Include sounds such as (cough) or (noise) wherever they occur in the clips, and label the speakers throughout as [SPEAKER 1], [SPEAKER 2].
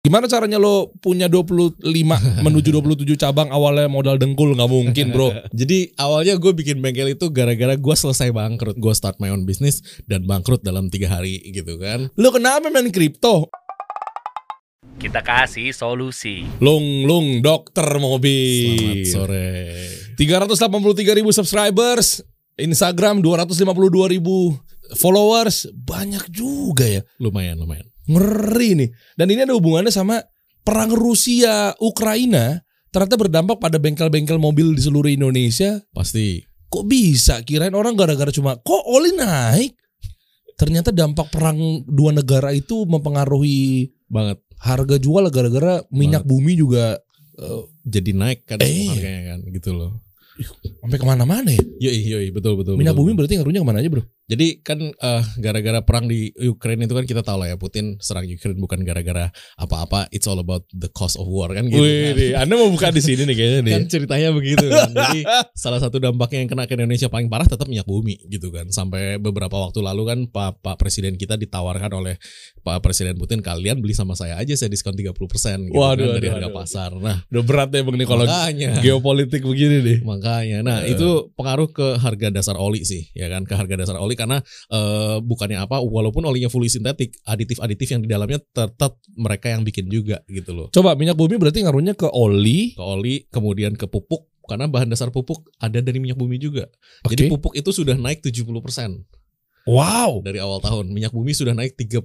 [SPEAKER 1] Gimana caranya lo punya 25
[SPEAKER 2] (laughs)
[SPEAKER 1] menuju 27 cabang awalnya modal dengkul nggak mungkin bro.
[SPEAKER 2] Jadi awalnya gue bikin bengkel itu gara-gara gue selesai bangkrut. Gue start my own business dan bangkrut dalam tiga hari gitu kan.
[SPEAKER 1] Lo kenapa main kripto?
[SPEAKER 3] Kita kasih solusi.
[SPEAKER 1] Lung lung dokter mobil.
[SPEAKER 2] Selamat sore.
[SPEAKER 1] 383 ribu subscribers, Instagram 252 ribu followers, banyak juga ya.
[SPEAKER 2] Lumayan, lumayan.
[SPEAKER 1] Ngeri nih. Dan ini ada hubungannya sama perang Rusia Ukraina ternyata berdampak pada bengkel-bengkel mobil di seluruh Indonesia.
[SPEAKER 2] Pasti.
[SPEAKER 1] Kok bisa? Kirain orang gara-gara cuma kok oli naik. Ternyata dampak perang dua negara itu mempengaruhi
[SPEAKER 2] Banget.
[SPEAKER 1] harga jual gara-gara minyak bumi juga eh,
[SPEAKER 2] Jadi naik kan
[SPEAKER 1] Eh.
[SPEAKER 2] harganya kan gitu loh.
[SPEAKER 1] sampai kemana-mana ya.
[SPEAKER 2] Yoi, yoi, betul, betul.
[SPEAKER 1] Minyak bumi
[SPEAKER 2] betul,
[SPEAKER 1] berarti ngaruhnya kemana aja bro?
[SPEAKER 2] Jadi kan eh, gara-gara perang di Ukraine itu kan kita tahu lah ya Putin serang Ukraine bukan gara-gara apa-apa. It's all about the cost of war kan gitu.
[SPEAKER 1] Wih,
[SPEAKER 2] kan.
[SPEAKER 1] deh, Anda mau buka di sini nih kayaknya nih.
[SPEAKER 2] Kan ceritanya begitu
[SPEAKER 1] (laughs)
[SPEAKER 2] kan. Jadi salah satu dampaknya yang kena ke Indonesia paling parah tetap minyak bumi gitu kan. Sampai beberapa waktu lalu kan Pak Pak Presiden kita ditawarkan oleh Pak Presiden Putin kalian beli sama saya aja saya diskon 30% gitu kan,
[SPEAKER 1] Waduh, aduh,
[SPEAKER 2] dari harga
[SPEAKER 1] aduh.
[SPEAKER 2] pasar. Nah,
[SPEAKER 1] Udah berat ya bang nih kalau
[SPEAKER 2] makanya.
[SPEAKER 1] geopolitik begini nih.
[SPEAKER 2] Makanya, nah
[SPEAKER 1] Eh.
[SPEAKER 2] itu pengaruh ke harga dasar oli sih, ya kan ke harga dasar oli karena eh, bukannya apa, walaupun olinya fully sintetik, aditif-aditif yang di dalamnya tetap mereka yang bikin juga gitu loh.
[SPEAKER 1] Coba minyak bumi berarti ngaruhnya ke oli.
[SPEAKER 2] Ke oli, kemudian ke pupuk, karena bahan dasar pupuk ada dari minyak bumi juga. Jadi
[SPEAKER 1] Oke.
[SPEAKER 2] pupuk itu sudah naik 70%
[SPEAKER 1] Wow.
[SPEAKER 2] dari awal tahun. Minyak bumi sudah naik 35%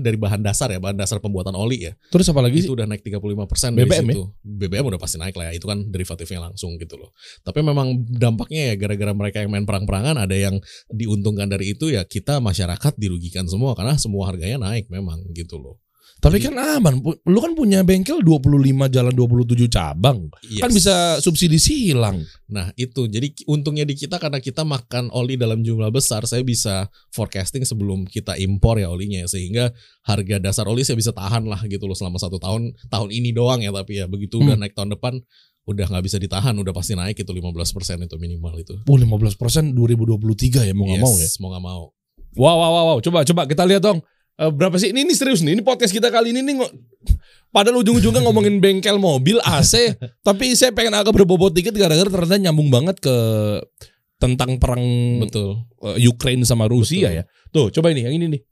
[SPEAKER 2] dari bahan dasar ya, bahan dasar pembuatan oli ya.
[SPEAKER 1] Terus apa lagi sih?
[SPEAKER 2] itu udah naik 35% dari
[SPEAKER 1] BBM ya?
[SPEAKER 2] situ. BBM udah pasti naik lah ya. Itu kan derivatifnya langsung gitu loh. Tapi memang dampaknya ya gara-gara mereka yang main perang-perangan ada yang diuntungkan dari itu ya kita masyarakat dirugikan semua karena semua harganya naik memang gitu loh.
[SPEAKER 1] Tapi kan aman. Pu- Lu kan punya bengkel 25 jalan 27 cabang. Kan
[SPEAKER 2] Yes.
[SPEAKER 1] bisa subsidi silang.
[SPEAKER 2] Nah, itu. Jadi untungnya di kita karena kita makan oli dalam jumlah besar, saya bisa forecasting sebelum kita impor ya olinya sehingga harga dasar oli saya bisa tahan lah gitu loh selama satu tahun tahun ini doang ya tapi ya begitu
[SPEAKER 1] Hmm.
[SPEAKER 2] udah naik tahun depan udah nggak bisa ditahan udah pasti naik itu 15% itu minimal itu
[SPEAKER 1] Oh, 15% 2023 ya mau nggak
[SPEAKER 2] Yes,
[SPEAKER 1] mau ya.
[SPEAKER 2] mau nggak mau
[SPEAKER 1] Wow, wow, wow, wow. Coba coba kita lihat dong. Eh, berapa sih ini, ini serius nih. Ini podcast kita kali ini nih ngo- Padahal ujung-ujungnya ngomongin bengkel mobil
[SPEAKER 2] (laughs)
[SPEAKER 1] AC, tapi saya pengen agak berbobot dikit gara-gara ternyata nyambung banget ke tentang perang
[SPEAKER 2] betul
[SPEAKER 1] eh, Ukraine sama Rusia
[SPEAKER 2] Betul.
[SPEAKER 1] ya. Tuh, coba ini yang ini nih.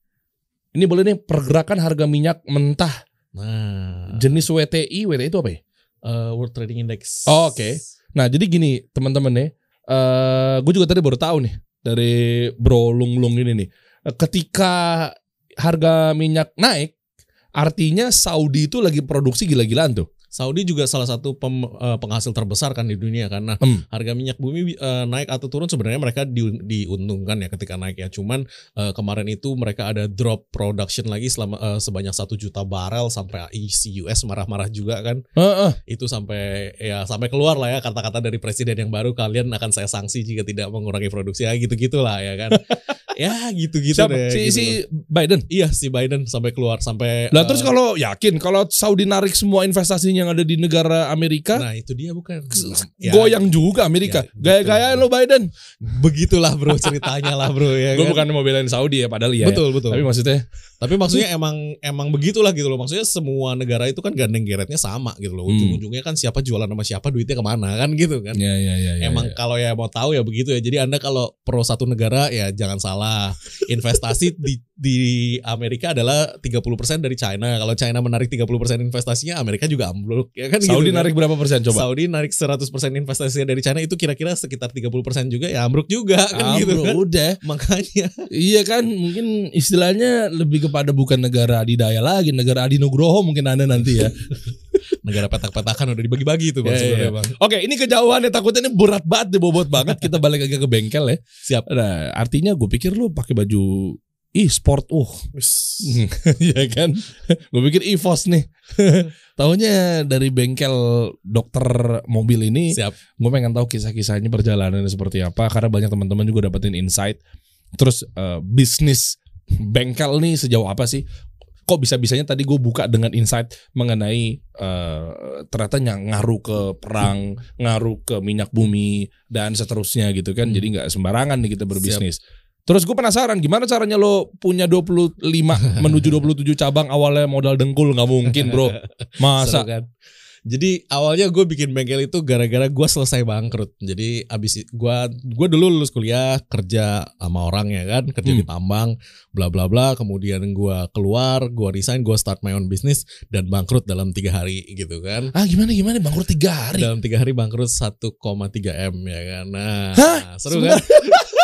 [SPEAKER 1] Ini boleh nih pergerakan harga minyak mentah
[SPEAKER 2] nah
[SPEAKER 1] jenis WTI, WTI itu apa ya?
[SPEAKER 2] eh, World Trading Index
[SPEAKER 1] Oh, oke. Nah, jadi gini teman-teman nih, eh gue juga tadi baru tahu nih dari Bro Lung Lung ini nih. Eh, Ketika harga minyak naik, artinya Saudi itu lagi produksi gila-gilaan tuh.
[SPEAKER 2] Saudi juga salah satu pem- eh, penghasil terbesar kan di dunia karena
[SPEAKER 1] Hmm.
[SPEAKER 2] harga minyak bumi eh, naik atau turun sebenarnya mereka di- diuntungkan ya ketika naik ya cuman eh, kemarin itu mereka ada drop production lagi selama eh, sebanyak satu juta barel sampai isi US marah-marah juga kan
[SPEAKER 1] Heeh.
[SPEAKER 2] itu sampai ya sampai keluar lah ya kata-kata dari presiden yang baru kalian akan saya sanksi jika tidak mengurangi produksi ya gitu gitulah ya
[SPEAKER 1] (laughs)
[SPEAKER 2] kan ya gitu-gitu
[SPEAKER 1] Siapa?
[SPEAKER 2] deh
[SPEAKER 1] si,
[SPEAKER 2] gitu
[SPEAKER 1] si
[SPEAKER 2] loh.
[SPEAKER 1] Biden.
[SPEAKER 2] iya si Biden sampai keluar sampai
[SPEAKER 1] Lah
[SPEAKER 2] eh,
[SPEAKER 1] terus kalau yakin kalau Saudi narik semua investasinya yang ada di negara Amerika,
[SPEAKER 2] nah itu dia bukan Ya,
[SPEAKER 1] goyang juga Amerika.
[SPEAKER 2] Ya, betul.
[SPEAKER 1] Gaya-gayaan lo Biden.
[SPEAKER 2] begitulah bro ceritanya lah bro ya
[SPEAKER 1] Gue
[SPEAKER 2] kan?
[SPEAKER 1] bukan mau belain Saudi ya padahal ya.
[SPEAKER 2] betul betul
[SPEAKER 1] Tapi maksudnya
[SPEAKER 2] Tapi maksudnya emang emang begitulah gitu loh. Maksudnya semua negara itu kan gandeng geretnya sama gitu loh.
[SPEAKER 1] Hmm.
[SPEAKER 2] Ujung-ujungnya kan siapa jualan sama siapa duitnya kemana kan gitu kan.
[SPEAKER 1] ya ya ya. ya,
[SPEAKER 2] Emang
[SPEAKER 1] ya.
[SPEAKER 2] kalau ya mau tahu ya begitu ya. Jadi Anda kalau pro satu negara ya jangan salah. Investasi di di Amerika adalah 30% dari China. Kalau China menarik 30% investasinya, Amerika juga ambruk ya kan
[SPEAKER 1] Saudi
[SPEAKER 2] gitu. kan.
[SPEAKER 1] narik berapa persen coba?
[SPEAKER 2] Saudi narik 100% investasinya dari China itu kira-kira sekitar 30% juga ya ambruk juga kan
[SPEAKER 1] Ah,
[SPEAKER 2] gitu
[SPEAKER 1] bro,
[SPEAKER 2] kan.
[SPEAKER 1] udah.
[SPEAKER 2] Makanya
[SPEAKER 1] Iya kan, mungkin istilahnya lebih kepada bukan negara adidaya lagi, negara Adi Nugroho mungkin Anda nanti ya.
[SPEAKER 2] negara petak-petakan udah dibagi-bagi itu Bang
[SPEAKER 1] Ya, ya,
[SPEAKER 2] sebenarnya,
[SPEAKER 1] ya.
[SPEAKER 2] Bang.
[SPEAKER 1] Oke, ini kejauhan ya, takutnya ini berat banget, bobot banget. Kita balik agak ke bengkel ya.
[SPEAKER 2] Siap.
[SPEAKER 1] Nah, artinya gue pikir lu pakai baju Ih sport, uh, (laughs) ya kan? Gue pikir EVOS nih. Tahunya dari bengkel dokter mobil ini,
[SPEAKER 2] Siap.
[SPEAKER 1] gue pengen tahu kisah-kisahnya perjalanannya seperti apa karena banyak teman-teman juga dapetin insight terus eh, bisnis bengkel nih sejauh apa sih kok bisa-bisanya tadi gue buka dengan insight mengenai eh, ternyata yang ngaruh ke perang ngaruh ke minyak bumi dan seterusnya gitu kan
[SPEAKER 2] Hmm.
[SPEAKER 1] jadi nggak sembarangan nih kita berbisnis Terus gue penasaran gimana caranya lo punya 25 menuju 27 cabang awalnya modal dengkul nggak mungkin bro. Masa
[SPEAKER 2] Seru kan? Jadi awalnya gue bikin bengkel itu gara-gara gue selesai bangkrut. Jadi abis i- gua gue dulu lulus kuliah kerja sama orang ya kan, kerja
[SPEAKER 1] Hmm.
[SPEAKER 2] di tambang, bla bla bla. Kemudian gua keluar, gua resign, gua start my own business dan bangkrut dalam tiga hari gitu kan.
[SPEAKER 1] ah gimana gimana bangkrut tiga hari.
[SPEAKER 2] Dalam tiga hari bangkrut 1,3 m ya kan. Nah,
[SPEAKER 1] Hah?
[SPEAKER 2] seru kan? (laughs)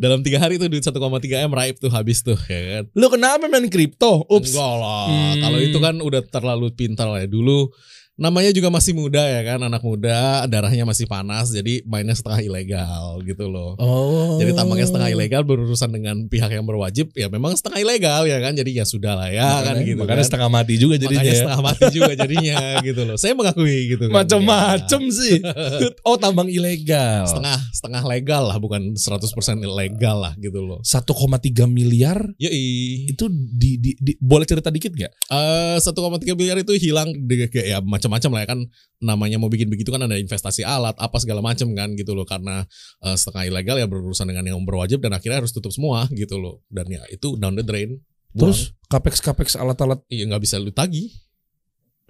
[SPEAKER 2] dalam tiga hari tuh duit 1,3 m raib tuh habis tuh ya kan.
[SPEAKER 1] Lo kenapa main kripto? Ups.
[SPEAKER 2] Enggak lah.
[SPEAKER 1] Hmm.
[SPEAKER 2] Kalau itu kan udah terlalu pintar lah ya. Dulu namanya juga masih muda ya kan, anak muda, darahnya masih panas, jadi mainnya setengah ilegal gitu loh.
[SPEAKER 1] Oh.
[SPEAKER 2] Jadi tambangnya setengah ilegal berurusan dengan pihak yang berwajib, ya memang setengah ilegal ya kan, jadi ya sudah lah ya kan
[SPEAKER 1] Makanya-
[SPEAKER 2] gitu.
[SPEAKER 1] Makanya
[SPEAKER 2] kan.
[SPEAKER 1] setengah mati juga jadinya.
[SPEAKER 2] Makanya
[SPEAKER 1] ya.
[SPEAKER 2] setengah mati juga jadinya (laughs) gitu loh. Saya mengakui gitu. kan.
[SPEAKER 1] Macem-macem sih. (laughs) Oh tambang
[SPEAKER 2] Ya.
[SPEAKER 1] ilegal.
[SPEAKER 2] Setengah setengah legal lah, bukan 100% ilegal lah gitu loh.
[SPEAKER 1] 1,3 miliar
[SPEAKER 2] Yoi.
[SPEAKER 1] itu di, di, di- boleh cerita dikit gak?
[SPEAKER 2] Eh, 1,3 miliar itu hilang de- kayak ya macam-macam lah ya kan namanya mau bikin begitu kan ada investasi alat apa segala macam kan gitu loh karena eh, setengah ilegal ya berurusan dengan yang berwajib dan akhirnya harus tutup semua gitu loh dan ya itu down the drain Buang.
[SPEAKER 1] Terus capex capex alat-alat
[SPEAKER 2] iya nggak bisa lu tagih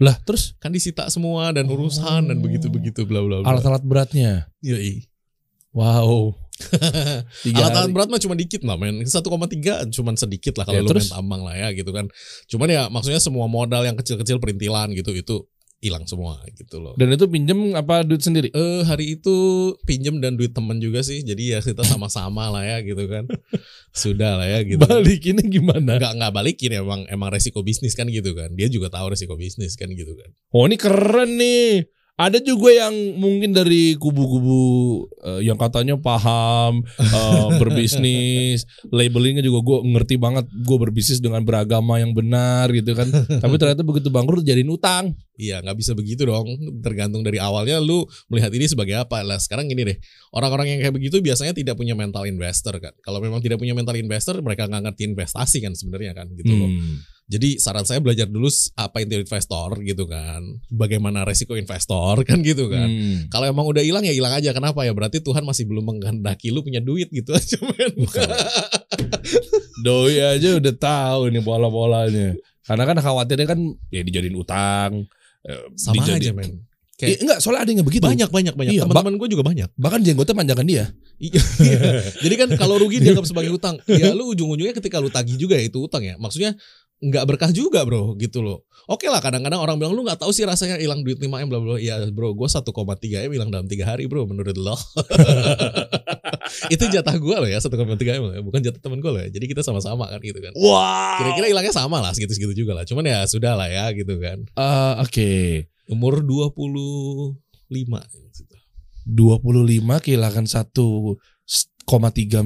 [SPEAKER 1] lah, terus
[SPEAKER 2] kan disita semua dan urusan
[SPEAKER 1] Oh.
[SPEAKER 2] dan begitu begitu bla bla Iya, bla
[SPEAKER 1] alat-alat beratnya. (laughs)
[SPEAKER 2] Yoi.
[SPEAKER 1] Wow. Tiga
[SPEAKER 2] alat alat
[SPEAKER 1] hari.
[SPEAKER 2] berat mah cuma dikit lah men 1,3 cuman sedikit lah kalau
[SPEAKER 1] Ya,
[SPEAKER 2] lu main
[SPEAKER 1] terus?
[SPEAKER 2] tambang lah ya gitu kan cuman ya maksudnya semua modal yang kecil-kecil perintilan gitu itu hilang semua gitu loh
[SPEAKER 1] Dan itu pinjem apa duit sendiri?
[SPEAKER 2] Eh hari itu pinjem dan duit temen juga sih. Jadi ya kita sama-sama lah ya gitu kan. Sudah lah ya gitu. kan.
[SPEAKER 1] Balikinnya gimana?
[SPEAKER 2] Nggak nggak balikin emang emang resiko bisnis kan gitu kan. Dia juga tahu resiko bisnis kan gitu kan.
[SPEAKER 1] Oh ini keren nih. Ada juga yang mungkin dari kubu-kubu eh, yang katanya paham
[SPEAKER 2] (laughs)
[SPEAKER 1] eh, berbisnis, labelingnya juga gue ngerti banget. Gue berbisnis dengan beragama yang benar gitu kan. Tapi ternyata begitu bangkrut jadiin utang.
[SPEAKER 2] Iya nggak bisa begitu dong. Tergantung dari awalnya lu melihat ini sebagai apa lah. Sekarang gini deh. Orang-orang yang kayak begitu biasanya tidak punya mental investor kan. Kalau memang tidak punya mental investor mereka nggak ngerti investasi kan sebenarnya kan gitu
[SPEAKER 1] Hmm.
[SPEAKER 2] loh. Jadi saran saya belajar dulu s- apa itu investor gitu kan. Bagaimana resiko investor (laughs) kan gitu kan.
[SPEAKER 1] Hmm.
[SPEAKER 2] Kalau emang udah hilang ya hilang aja. Kenapa ya? Berarti Tuhan masih belum menghendaki lu punya duit gitu aja (laughs) men.
[SPEAKER 1] Doi aja udah tahu nih pola-polanya. Karena kan khawatirnya kan ya dijadiin utang. eh,
[SPEAKER 2] Sama
[SPEAKER 1] dijadi-
[SPEAKER 2] aja men.
[SPEAKER 1] Eh, enggak, soalnya ada yang begitu.
[SPEAKER 2] Banyak banyak banyak.
[SPEAKER 1] Iya,
[SPEAKER 2] Teman-teman gue juga
[SPEAKER 1] (laughs)
[SPEAKER 2] banyak.
[SPEAKER 1] Bahkan jenggotnya panjangkan dia.
[SPEAKER 2] Jadi kan kalau rugi dianggap sebagai utang. Ya lu ujung-ujungnya ketika lu tagih juga ya itu utang ya. Maksudnya nggak berkah juga bro gitu loh. Oke lah kadang-kadang orang bilang lu nggak tahu sih rasanya hilang duit 5 m bla bla. Ya bro gue 1,3 m hilang dalam tiga hari bro menurut lo. itu jatah gue loh ya 1,3 m loh ya. bukan jatah temen gue loh ya. Jadi kita sama-sama kan gitu kan.
[SPEAKER 1] Wow.
[SPEAKER 2] Kira-kira hilangnya sama lah segitu-segitu juga lah. Cuman ya sudah lah ya gitu kan.
[SPEAKER 1] eh, oke.
[SPEAKER 2] Umur 25. gitu.
[SPEAKER 1] 25 kehilangan 1,3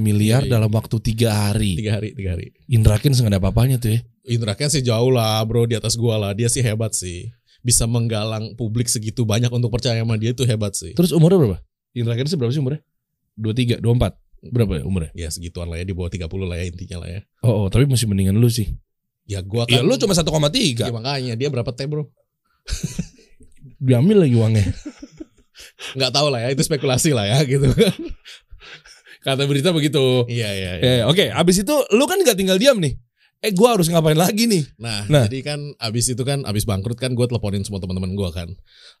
[SPEAKER 1] miliar
[SPEAKER 2] Iya, iya.
[SPEAKER 1] dalam waktu tiga hari.
[SPEAKER 2] Tiga hari, tiga hari.
[SPEAKER 1] Indra Kens nggak ada apa-apanya tuh ya.
[SPEAKER 2] Indraknya sih jauh lah bro di atas gua lah. Dia sih hebat sih. Bisa menggalang publik segitu banyak untuk percaya sama dia itu hebat sih.
[SPEAKER 1] Terus umurnya berapa? Indra Kens berapa sih umurnya? 23, 24. Berapa ya umurnya?
[SPEAKER 2] Ya segituan lah ya di bawah 30 lah ya intinya lah ya.
[SPEAKER 1] Oh, oh, tapi masih mendingan lu sih. Iya,
[SPEAKER 2] Ya gua
[SPEAKER 1] Ya lu
[SPEAKER 2] kan.
[SPEAKER 1] cuma 1,3.
[SPEAKER 2] Ya, makanya dia berapa T bro?
[SPEAKER 1] Diambil lagi uangnya.
[SPEAKER 2] Nggak tahu lah ya itu spekulasi lah ya
[SPEAKER 1] (laughs)
[SPEAKER 2] gitu kan.
[SPEAKER 1] (laughs) Kata berita begitu.
[SPEAKER 2] Iya iya. iya.
[SPEAKER 1] Eh, oke, abis itu lu kan nggak tinggal diam nih. Eh, gua harus ngapain lagi nih?
[SPEAKER 2] Nah,
[SPEAKER 1] Nah.
[SPEAKER 2] jadi kan abis itu kan abis bangkrut kan gue teleponin semua teman-teman gue kan.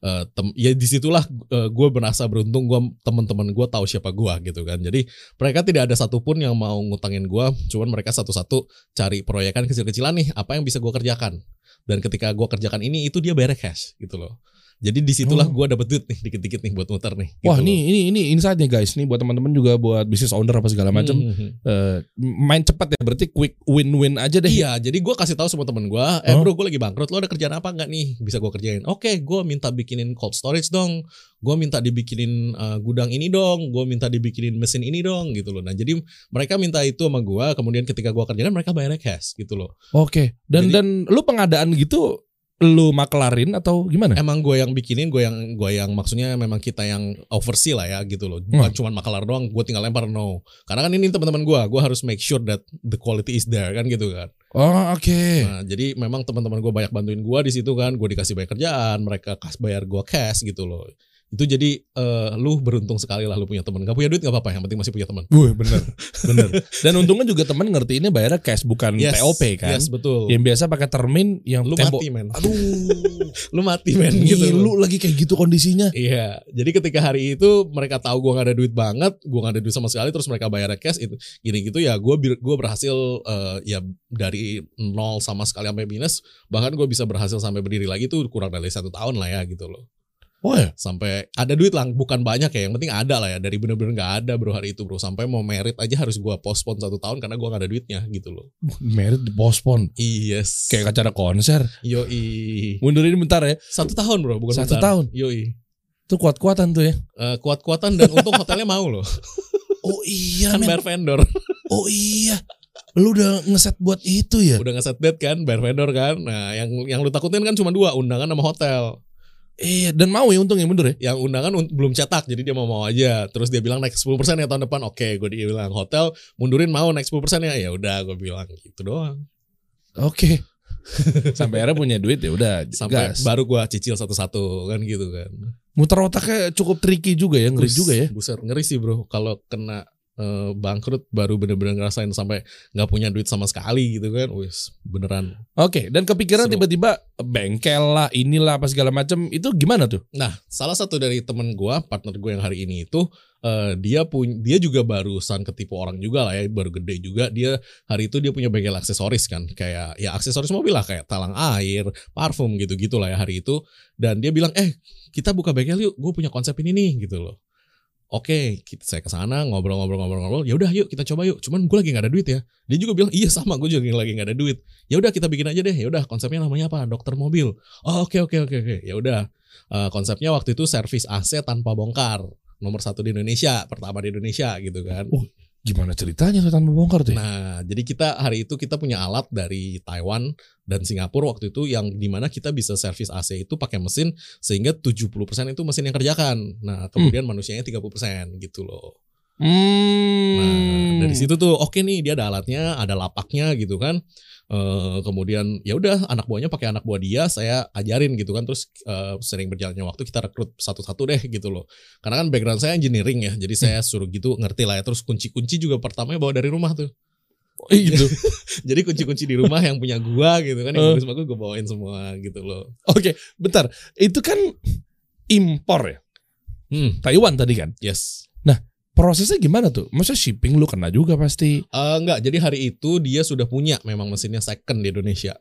[SPEAKER 2] Eh, tem- ya disitulah gue merasa beruntung gue teman-teman gue tahu siapa gue gitu kan. Jadi mereka tidak ada satupun yang mau ngutangin gue. Cuman mereka satu-satu cari proyekan kecil-kecilan nih apa yang bisa gue kerjakan. Dan ketika gue kerjakan ini itu dia bayar cash gitu loh. Jadi disitulah
[SPEAKER 1] Oh.
[SPEAKER 2] gue dapet duit nih dikit-dikit nih buat muter nih.
[SPEAKER 1] Wah,
[SPEAKER 2] gitu
[SPEAKER 1] nih ini ini insight nih guys. Nih buat teman-teman juga buat bisnis owner apa segala
[SPEAKER 2] loh.
[SPEAKER 1] macam.
[SPEAKER 2] Mhm.
[SPEAKER 1] Eh, main cepat ya berarti quick win-win aja deh.
[SPEAKER 2] Iya, jadi gue kasih tahu semua temen gue, eh
[SPEAKER 1] Huh?
[SPEAKER 2] bro gue lagi bangkrut, lo ada kerjaan apa nggak nih bisa gue kerjain? Oke, gue minta bikinin cold storage dong, gue minta dibikinin eh, gudang ini dong, gue minta dibikinin mesin ini dong gitu loh. Nah jadi mereka minta itu sama gue, kemudian ketika gue kerjakan mereka bayarnya cash gitu loh.
[SPEAKER 1] Oke. Dan
[SPEAKER 2] Jadi-
[SPEAKER 1] dan lu pengadaan gitu lu makelarin atau gimana?
[SPEAKER 2] Emang gue yang bikinin, gue yang gue yang maksudnya memang kita yang oversee lah ya gitu loh. Bukan cuman makalar doang, gue tinggal lempar no. Karena kan ini teman-teman gue, gue harus make sure that the quality is there kan gitu kan.
[SPEAKER 1] Oh, oke.
[SPEAKER 2] Nah, jadi memang teman-teman gue banyak bantuin gue di situ kan, gue dikasih banyak kerjaan, mereka kas bayar gue cash gitu loh. Itu jadi eh, lu beruntung sekali lah lu punya teman. Gak punya duit gak apa-apa, yang penting masih punya teman.
[SPEAKER 1] Wih, bener, (laughs) bener. Dan untungnya juga teman ngerti ini bayarnya cash bukan
[SPEAKER 2] Yes,
[SPEAKER 1] TOP kan.
[SPEAKER 2] Yes, betul.
[SPEAKER 1] Yang biasa pakai termin yang
[SPEAKER 2] Lu
[SPEAKER 1] tembok.
[SPEAKER 2] mati, men.
[SPEAKER 1] Aduh,
[SPEAKER 2] (laughs) Lu mati, men gitu.
[SPEAKER 1] ngilu lagi kayak gitu kondisinya.
[SPEAKER 2] Iya, jadi ketika hari itu mereka tahu gua nggak ada duit banget, gua nggak ada duit sama sekali, terus mereka bayar cash itu gini gitu ya, gua bir- gua berhasil eh, ya dari nol sama sekali sampai minus, bahkan gua bisa berhasil sampai berdiri lagi tuh kurang dari satu tahun lah ya gitu loh,
[SPEAKER 1] Wah,
[SPEAKER 2] sampai ada duit lah, bukan banyak ya, yang penting ada lah ya dari bener-bener nggak ada bro hari itu bro, sampai mau merit aja harus gua postpone satu tahun karena gua nggak ada duitnya gitu loh.
[SPEAKER 1] merit dipospon.
[SPEAKER 2] Yes.
[SPEAKER 1] Kayak kan? acara konser.
[SPEAKER 2] yoi
[SPEAKER 1] Mundurin bentar ya.
[SPEAKER 2] satu tahun bro, bukan
[SPEAKER 1] Satu
[SPEAKER 2] bentar.
[SPEAKER 1] tahun.
[SPEAKER 2] Yoi.
[SPEAKER 1] Itu kuat-kuatan tuh ya.
[SPEAKER 2] Eh, kuat-kuatan dan untung hotelnya mau loh,
[SPEAKER 1] Oh iya,
[SPEAKER 2] kan
[SPEAKER 1] men.
[SPEAKER 2] bayar
[SPEAKER 1] (laughs)
[SPEAKER 2] vendor.
[SPEAKER 1] Oh iya. Lu udah ngeset buat itu ya?
[SPEAKER 2] udah ngeset date kan bayar vendor kan nah yang yang lu takutin kan cuma dua undangan sama hotel
[SPEAKER 1] Iya, dan mau ya untung ya mundur ya.
[SPEAKER 2] yang undangan un- belum cetak jadi dia mau mau aja terus dia bilang naik 10% ya tahun depan oke gue dibilang hotel mundurin mau naik 10% ya ya udah gue bilang gitu doang
[SPEAKER 1] Oke. (laughs) Sampai akhirnya punya duit ya udah
[SPEAKER 2] sampai
[SPEAKER 1] gas.
[SPEAKER 2] baru gua cicil satu-satu kan gitu kan
[SPEAKER 1] Muter otaknya cukup tricky juga ya, ngeri
[SPEAKER 2] Bus-
[SPEAKER 1] juga ya.
[SPEAKER 2] buset ngeri sih bro kalau kena eh, bangkrut baru bener-bener ngerasain sampai nggak punya duit sama sekali gitu kan wis beneran
[SPEAKER 1] Oke, dan kepikiran
[SPEAKER 2] Seru.
[SPEAKER 1] tiba-tiba bengkel lah, inilah apa segala macam itu gimana tuh?
[SPEAKER 2] Nah, salah satu dari temen gua, partner gue yang hari ini itu, eh, dia pun dia juga barusan ketipu orang juga lah ya, baru gede juga. Dia hari itu dia punya bengkel aksesoris kan, kayak ya aksesoris mobil lah, kayak talang air, parfum gitu gitulah ya hari itu. Dan dia bilang, eh kita buka bengkel yuk, gue punya konsep ini nih gitu loh. Oke, kita, saya ke sana ngobrol-ngobrol-ngobrol-ngobrol. Ya udah, yuk kita coba yuk. Cuman gue lagi nggak ada duit ya. Dia juga bilang, iya sama, gue juga lagi nggak ada duit. Ya udah kita bikin aja deh. Ya udah konsepnya namanya apa? Dokter mobil. Oh, oke oke oke oke. Ya udah Eh, konsepnya waktu itu servis AC tanpa bongkar nomor satu di Indonesia pertama di Indonesia gitu kan
[SPEAKER 1] Gimana ceritanya tuh tanpa bongkar tuh? ya?
[SPEAKER 2] nah jadi kita hari itu kita punya alat dari Taiwan dan Singapura waktu itu yang dimana kita bisa servis AC itu pakai mesin sehingga 70% itu mesin yang kerjakan nah kemudian manusianya 30% gitu loh
[SPEAKER 1] Hmm.
[SPEAKER 2] Nah, dari situ tuh oke nih dia ada alatnya, ada lapaknya gitu kan. Eh, kemudian ya udah anak buahnya pakai anak buah dia, saya ajarin gitu kan. Terus eh, sering berjalannya waktu kita rekrut satu-satu deh gitu loh. Karena kan background saya engineering ya, jadi saya
[SPEAKER 1] Hmm.
[SPEAKER 2] suruh gitu ngerti lah ya. Terus kunci-kunci juga pertamanya bawa dari rumah tuh. (laughs)
[SPEAKER 1] Oh, iya gitu.
[SPEAKER 2] Jadi kunci-kunci di rumah yang punya gua gitu
[SPEAKER 1] Eh.
[SPEAKER 2] kan, yang bagus bagus gua bawain semua gitu loh.
[SPEAKER 1] Oke, bentar. Itu kan impor ya.
[SPEAKER 2] Hmm,
[SPEAKER 1] Taiwan tadi kan.
[SPEAKER 2] yes.
[SPEAKER 1] Prosesnya gimana tuh? Maksudnya shipping lu kena juga pasti.
[SPEAKER 2] Eh enggak, jadi hari itu dia sudah punya memang mesinnya second di Indonesia.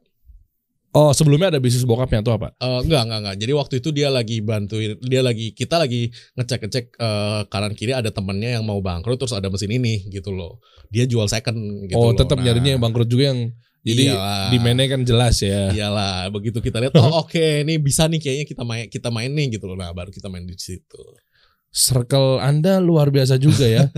[SPEAKER 1] Oh, sebelumnya ada bisnis bokapnya atau apa?
[SPEAKER 2] Eh, enggak, enggak, enggak. Jadi waktu itu dia lagi bantuin, dia lagi kita lagi ngecek-ngecek eh, kanan kiri ada temennya yang mau bangkrut terus ada mesin ini gitu loh. Dia jual second gitu
[SPEAKER 1] oh,
[SPEAKER 2] loh.
[SPEAKER 1] tetap
[SPEAKER 2] Nah, Iya.
[SPEAKER 1] nyarinya yang bangkrut juga yang jadi
[SPEAKER 2] iyalah.
[SPEAKER 1] di kan jelas ya.
[SPEAKER 2] Iyalah, begitu kita lihat oh oke, ini bisa nih kayaknya kita main kita main nih gitu loh. Nah, baru kita main di situ.
[SPEAKER 1] Circle Anda luar biasa juga
[SPEAKER 2] (laughs)
[SPEAKER 1] ya.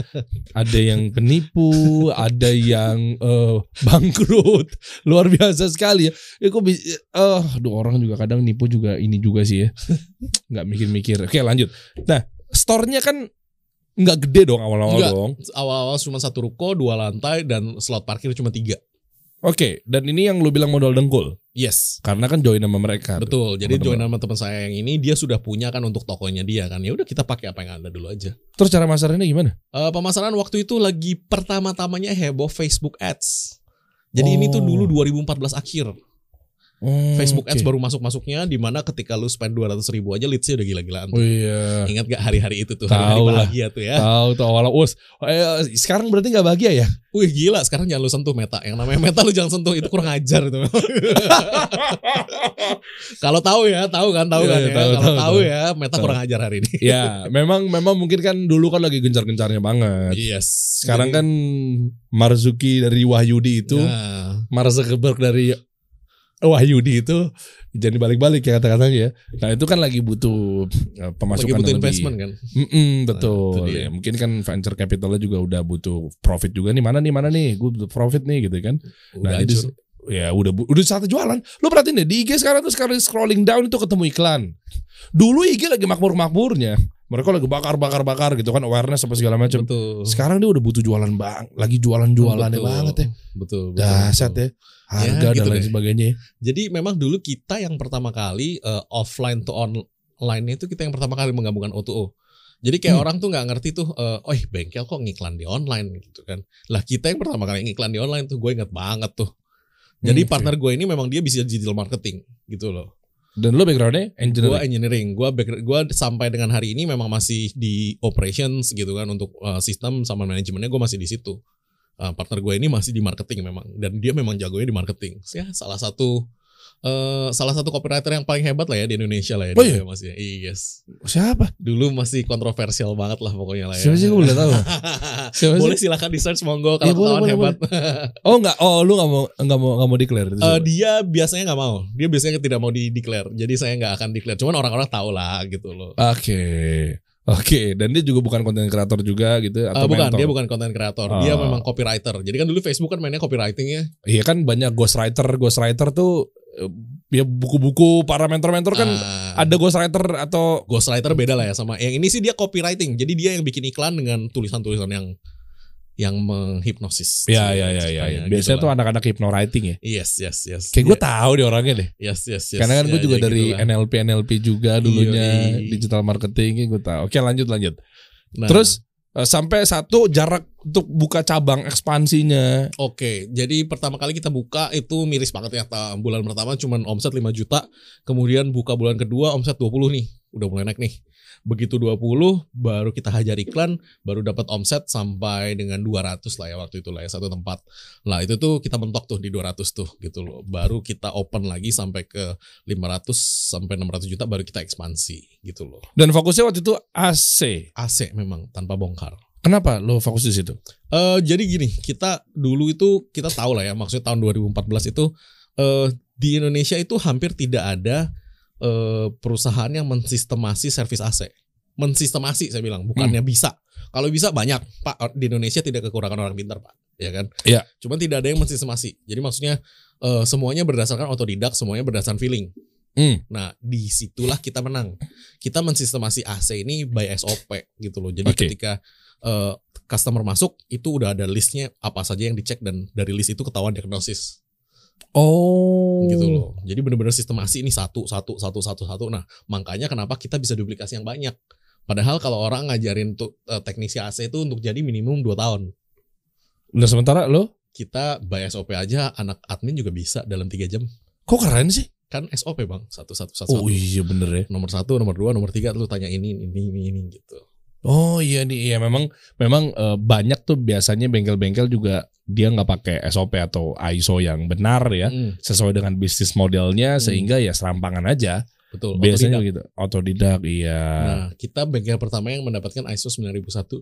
[SPEAKER 1] ada yang penipu, ada yang eh, bangkrut. Luar biasa sekali ya. Ya kok bisa eh aduh, orang juga kadang nipu juga ini juga sih ya. nggak mikir-mikir. Oke, lanjut. Nah, store-nya kan nggak gede dong awal-awal
[SPEAKER 2] Nggak.
[SPEAKER 1] dong.
[SPEAKER 2] Awal-awal cuma satu ruko, dua lantai dan slot parkir cuma tiga.
[SPEAKER 1] Oke, dan ini yang lu bilang modal dengkul.
[SPEAKER 2] Yes.
[SPEAKER 1] Karena kan join sama mereka. tuh.
[SPEAKER 2] Betul. Jadi
[SPEAKER 1] Teman-teman.
[SPEAKER 2] join sama teman saya yang ini dia sudah punya kan untuk tokonya dia kan. Ya udah kita pakai apa yang ada dulu aja.
[SPEAKER 1] Terus cara masarnya gimana?
[SPEAKER 2] Eh, pemasaran waktu itu lagi pertama-tamanya heboh Facebook Ads. Jadi ini tuh
[SPEAKER 1] Oh.
[SPEAKER 2] dulu 2014 akhir.
[SPEAKER 1] Hmm,
[SPEAKER 2] Facebook Ads
[SPEAKER 1] oke.
[SPEAKER 2] baru masuk-masuknya di mana ketika lu spend 200 ribu aja leadsnya udah gila-gilaan.
[SPEAKER 1] Oh iya.
[SPEAKER 2] Ingat gak hari-hari itu tuh
[SPEAKER 1] Tahu
[SPEAKER 2] hari-hari
[SPEAKER 1] lah.
[SPEAKER 2] bahagia tuh ya.
[SPEAKER 1] Tahu tuh awalnya us. Eh, sekarang berarti nggak bahagia ya?
[SPEAKER 2] Wih gila sekarang jangan lu sentuh meta. Yang namanya meta lu jangan sentuh itu kurang ajar
[SPEAKER 1] (laughs)
[SPEAKER 2] itu. Kalau tahu ya, tahu kan, tahu
[SPEAKER 1] Iya,
[SPEAKER 2] kan
[SPEAKER 1] iya,
[SPEAKER 2] ya.
[SPEAKER 1] tahu,
[SPEAKER 2] Kalau
[SPEAKER 1] tahu, tahu.
[SPEAKER 2] tahu ya, meta
[SPEAKER 1] Tahu.
[SPEAKER 2] kurang ajar hari ini.
[SPEAKER 1] ya,
[SPEAKER 2] (laughs)
[SPEAKER 1] memang memang mungkin kan dulu kan lagi gencar-gencarnya banget.
[SPEAKER 2] Yes.
[SPEAKER 1] Sekarang
[SPEAKER 2] Jadi-
[SPEAKER 1] kan Marzuki dari Wahyudi itu,
[SPEAKER 2] Nah.
[SPEAKER 1] Mark Zuckerberg dari Wahyudi itu jadi balik-balik ya kata-katanya ya. Nah, itu kan lagi butuh eh,
[SPEAKER 2] lagi
[SPEAKER 1] pemasukan
[SPEAKER 2] butuh
[SPEAKER 1] yang lebih-
[SPEAKER 2] investment kan.
[SPEAKER 1] Nah, Mm-mm,
[SPEAKER 2] itu
[SPEAKER 1] betul.
[SPEAKER 2] dia.
[SPEAKER 1] ya, mungkin kan venture capitalnya juga udah butuh profit juga nih. Mana nih, mana nih? Gue butuh profit nih gitu kan.
[SPEAKER 2] Udah
[SPEAKER 1] jadi
[SPEAKER 2] hancur.
[SPEAKER 1] se- ya udah bu- udah saatnya jualan. Lu perhatiin deh di IG sekarang tuh sekarang scrolling down itu ketemu iklan. Dulu IG lagi makmur-makmurnya. Mereka lagi bakar-bakar-bakar gitu kan awareness apa segala macam.
[SPEAKER 2] Betul.
[SPEAKER 1] Sekarang dia udah butuh jualan bang, lagi jualan-jualannya
[SPEAKER 2] Betul.
[SPEAKER 1] banget ya.
[SPEAKER 2] Betul. betul,
[SPEAKER 1] Dasar
[SPEAKER 2] betul.
[SPEAKER 1] ya. Harga
[SPEAKER 2] Ya, gitu
[SPEAKER 1] dan lain
[SPEAKER 2] deh.
[SPEAKER 1] sebagainya. ya.
[SPEAKER 2] Jadi memang dulu kita yang pertama kali eh, offline to on lainnya itu kita yang pertama kali menggabungkan O2O. Jadi kayak
[SPEAKER 1] Hmm.
[SPEAKER 2] orang tuh nggak ngerti tuh, eh, oh ih, bengkel kok ngiklan di online gitu kan. Lah kita yang pertama kali ngiklan di online tuh gue inget banget tuh. Jadi
[SPEAKER 1] Hmm,
[SPEAKER 2] partner gue ini memang dia bisa digital marketing gitu loh.
[SPEAKER 1] Dan lo backgroundnya
[SPEAKER 2] Gue
[SPEAKER 1] engineering.
[SPEAKER 2] engineering, gue back- gue sampai dengan hari ini memang masih di operations gitu kan untuk eh, sistem sama manajemennya gue masih di situ. Eh, partner gue ini masih di marketing memang dan dia memang jagonya di marketing. Ya salah satu eh salah satu copywriter yang paling hebat lah ya di Indonesia lah ya.
[SPEAKER 1] Oh
[SPEAKER 2] dia
[SPEAKER 1] iya?
[SPEAKER 2] masih. Yes.
[SPEAKER 1] Siapa?
[SPEAKER 2] Dulu masih kontroversial banget lah pokoknya lah ya.
[SPEAKER 1] Siapa sih gue
[SPEAKER 2] (laughs)
[SPEAKER 1] boleh tahu? Siapa sih?
[SPEAKER 2] boleh silahkan di search monggo
[SPEAKER 1] Iya,
[SPEAKER 2] kalau
[SPEAKER 1] boleh, boleh,
[SPEAKER 2] ketahuan hebat.
[SPEAKER 1] Oh enggak, oh lu enggak mau enggak mau enggak mau declare itu.
[SPEAKER 2] Eh,
[SPEAKER 1] siapa?
[SPEAKER 2] dia biasanya nggak mau. Dia biasanya tidak mau di declare. Jadi saya nggak akan declare. Cuman orang-orang tahu lah gitu loh.
[SPEAKER 1] Oke. Oke, dan dia juga bukan konten kreator juga gitu
[SPEAKER 2] Eh,
[SPEAKER 1] atau
[SPEAKER 2] bukan,
[SPEAKER 1] mentor.
[SPEAKER 2] dia bukan content creator. Dia
[SPEAKER 1] Ah.
[SPEAKER 2] memang copywriter. Jadi kan dulu Facebook kan mainnya copywriting ya.
[SPEAKER 1] Iya kan banyak ghostwriter, ghostwriter tuh eh, ya buku-buku para mentor-mentor kan
[SPEAKER 2] Ah,
[SPEAKER 1] ada ghostwriter atau
[SPEAKER 2] ghostwriter beda lah ya sama yang ini sih dia copywriting. Jadi dia yang bikin iklan dengan tulisan-tulisan yang yang menghipnosis.
[SPEAKER 1] ya ya ya ya. ya. Biasanya
[SPEAKER 2] Ceritanya Iya, gitu
[SPEAKER 1] tuh
[SPEAKER 2] lah.
[SPEAKER 1] anak-anak hypnowriting ya.
[SPEAKER 2] Yes, yes, yes.
[SPEAKER 1] Kayak gue tahu deh orangnya deh.
[SPEAKER 2] Yes, yes, yes.
[SPEAKER 1] Karena kan gue
[SPEAKER 2] Ya,
[SPEAKER 1] juga
[SPEAKER 2] jadi
[SPEAKER 1] dari
[SPEAKER 2] gitulah.
[SPEAKER 1] NLP NLP juga dulunya
[SPEAKER 2] Yoi.
[SPEAKER 1] digital marketing gue tahu. Oke, lanjut lanjut.
[SPEAKER 2] Nah,
[SPEAKER 1] Terus eh, sampai satu jarak untuk buka cabang ekspansinya.
[SPEAKER 2] Oke, jadi pertama kali kita buka itu miris banget ya. Ta- Bulan pertama cuman omset 5 juta, kemudian buka bulan kedua omset 20 nih. Udah mulai naik nih. Begitu 20 baru kita hajar iklan, baru dapat omset sampai dengan 200 lah ya waktu itu lah ya satu tempat. Lah itu tuh kita mentok tuh di 200 tuh gitu loh. Baru kita open lagi sampai ke 500 sampai 600 juta baru kita ekspansi gitu loh.
[SPEAKER 1] Dan fokusnya waktu itu AC.
[SPEAKER 2] AC memang tanpa bongkar.
[SPEAKER 1] Kenapa lo fokus di situ?
[SPEAKER 2] Eh jadi gini, kita dulu itu kita tahu lah ya, maksudnya tahun 2014 itu eh di Indonesia itu hampir tidak ada eh perusahaan yang mensistemasi servis AC. Mensistemasi saya bilang, bukannya bisa. Kalau bisa banyak, Pak. Di Indonesia tidak kekurangan orang pintar, Pak. Ya kan?
[SPEAKER 1] Iya.
[SPEAKER 2] Cuman tidak ada yang mensistemasi. Jadi maksudnya eh semuanya berdasarkan otodidak, semuanya berdasarkan feeling.
[SPEAKER 1] Hmm.
[SPEAKER 2] Nah, disitulah kita menang. Kita mensistemasi AC ini by SOP gitu loh. Jadi
[SPEAKER 1] Oke.
[SPEAKER 2] ketika eh, customer masuk itu udah ada listnya apa saja yang dicek dan dari list itu ketahuan diagnosis
[SPEAKER 1] Oh.
[SPEAKER 2] gitu loh. Jadi benar-benar sistem AC ini satu satu satu satu satu. Nah, makanya kenapa kita bisa duplikasi yang banyak. Padahal kalau orang ngajarin tuh eh, teknisi AC itu untuk jadi minimum 2 tahun.
[SPEAKER 1] Nah sementara lo
[SPEAKER 2] Kita by SOP aja anak admin juga bisa dalam 3 jam.
[SPEAKER 1] kok keren sih?
[SPEAKER 2] Kan SOP, Bang. Satu satu satu.
[SPEAKER 1] Oh
[SPEAKER 2] satu.
[SPEAKER 1] iya bener ya.
[SPEAKER 2] Nomor satu, nomor dua, nomor tiga lu tanya ini ini ini ini gitu.
[SPEAKER 1] Oh iya nih, iya memang memang eh, banyak tuh biasanya bengkel-bengkel juga dia nggak pakai SOP atau ISO yang benar ya,
[SPEAKER 2] Mm.
[SPEAKER 1] sesuai dengan bisnis modelnya
[SPEAKER 2] Hmm.
[SPEAKER 1] sehingga ya serampangan aja.
[SPEAKER 2] Betul.
[SPEAKER 1] biasanya
[SPEAKER 2] otodidak.
[SPEAKER 1] gitu, otodidak iya.
[SPEAKER 2] Nah, kita bengkel pertama yang mendapatkan ISO 9001.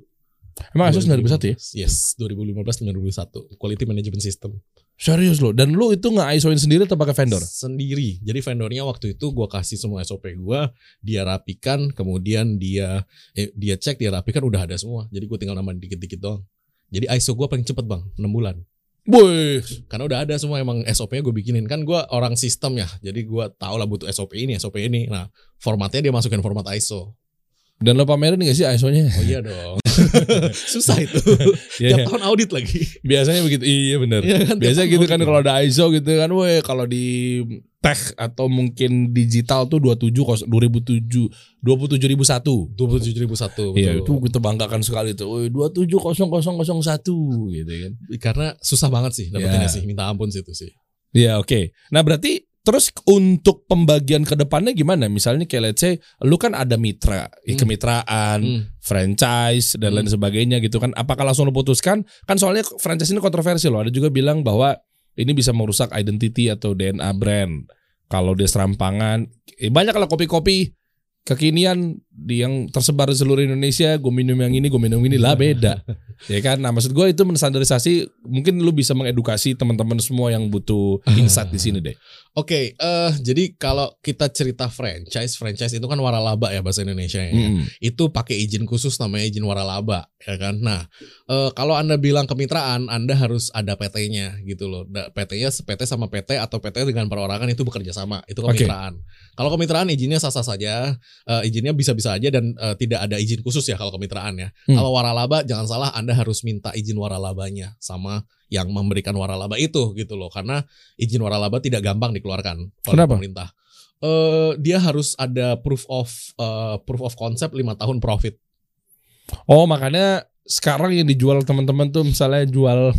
[SPEAKER 1] Emang ISO 9001 ya?
[SPEAKER 2] Yes, 2015 9001. Quality Management System.
[SPEAKER 1] Serius lo, dan lo itu nggak ISOin sendiri atau pakai vendor?
[SPEAKER 2] Sendiri. Jadi vendornya waktu itu gua kasih semua SOP gua, dia rapikan, kemudian dia eh, dia cek, dia rapikan udah ada semua. Jadi gue tinggal nambahin dikit-dikit doang. Jadi ISO gua paling cepet bang, 6 bulan.
[SPEAKER 1] Boy,
[SPEAKER 2] Karena udah ada semua emang SOP-nya gue bikinin kan gua orang sistem ya. Jadi gua tau lah butuh SOP ini, SOP ini. Nah formatnya dia masukin format ISO.
[SPEAKER 1] dan lo pamerin nggak sih ISO-nya?
[SPEAKER 2] Oh iya dong. (laughs) Susah itu.
[SPEAKER 1] (laughs) Iya,
[SPEAKER 2] Tiap tahun audit lagi.
[SPEAKER 1] biasanya begitu. Iya bener.
[SPEAKER 2] Iya kan, tiap
[SPEAKER 1] Biasanya
[SPEAKER 2] tahun
[SPEAKER 1] gitu kan
[SPEAKER 2] audit.
[SPEAKER 1] kalau ada ISO gitu kan, weh kalau di tech atau mungkin digital tuh 27 2007 27001.
[SPEAKER 2] 27.001
[SPEAKER 1] Iya, itu
[SPEAKER 2] betul.
[SPEAKER 1] kita banggakan sekali tuh. Woi, 2700001 gitu kan.
[SPEAKER 2] Karena susah banget sih dapetinnya
[SPEAKER 1] Ya.
[SPEAKER 2] sih, minta ampun sih itu sih.
[SPEAKER 1] Iya, oke. Nah, berarti terus untuk pembagian ke depannya gimana? Misalnya kayak let's say lu kan ada mitra, eh,
[SPEAKER 2] Hmm.
[SPEAKER 1] kemitraan, franchise dan lain sebagainya gitu kan. Apakah langsung lu putuskan? Kan soalnya franchise ini kontroversi loh. Ada juga bilang bahwa ini bisa merusak identity atau DNA brand. Kalau dia serampangan, eh, banyak lah kopi-kopi kekinian di yang tersebar di seluruh Indonesia. Gue minum yang ini, gue minum ini lah beda, ya kan? Nah maksud gue itu menstandarisasi. Mungkin lu bisa mengedukasi teman-teman semua yang butuh insight di sini deh.
[SPEAKER 2] Oke, eh jadi kalau kita cerita franchise, franchise itu kan waralaba ya bahasa Indonesia ya.
[SPEAKER 1] Mm-mm.
[SPEAKER 2] Itu pakai izin khusus namanya izin waralaba, ya kan? Nah, eh kalau Anda bilang kemitraan, Anda harus ada PT-nya gitu loh. Da- PT-nya PT sama PT atau PT dengan perorangan itu bekerja sama, itu
[SPEAKER 1] Oke.
[SPEAKER 2] kemitraan. Kalau kemitraan izinnya sah-sah saja, eh izinnya bisa-bisa aja dan eh, tidak ada izin khusus ya kalau kemitraan ya.
[SPEAKER 1] Hmm.
[SPEAKER 2] Kalau waralaba jangan salah Anda harus minta izin waralabanya sama yang memberikan waralaba itu gitu loh karena izin waralaba tidak gampang dikeluarkan oleh
[SPEAKER 1] Kenapa?
[SPEAKER 2] pemerintah. Eh eh, dia harus ada proof of eh, proof of concept lima tahun profit.
[SPEAKER 1] Oh makanya sekarang yang dijual teman-teman tuh misalnya jual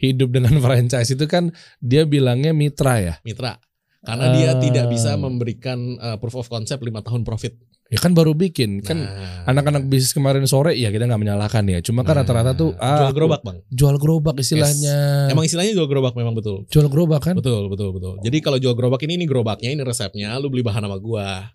[SPEAKER 1] hidup dengan (laughs) franchise itu kan dia bilangnya mitra ya.
[SPEAKER 2] Mitra. Karena dia
[SPEAKER 1] Ah.
[SPEAKER 2] tidak bisa memberikan eh, proof of concept lima tahun profit.
[SPEAKER 1] Ya kan baru bikin kan
[SPEAKER 2] Nah,
[SPEAKER 1] anak-anak bisnis kemarin sore ya kita nggak menyalahkan ya. Cuma kan
[SPEAKER 2] nah,
[SPEAKER 1] rata-rata tuh ah,
[SPEAKER 2] jual gerobak bang.
[SPEAKER 1] jual gerobak istilahnya.
[SPEAKER 2] Emang istilahnya jual gerobak memang betul.
[SPEAKER 1] jual gerobak kan?
[SPEAKER 2] Betul, betul, betul. Jadi kalau jual gerobak ini ini gerobaknya, ini resepnya, lu beli bahan sama
[SPEAKER 1] (laughs)
[SPEAKER 2] gua.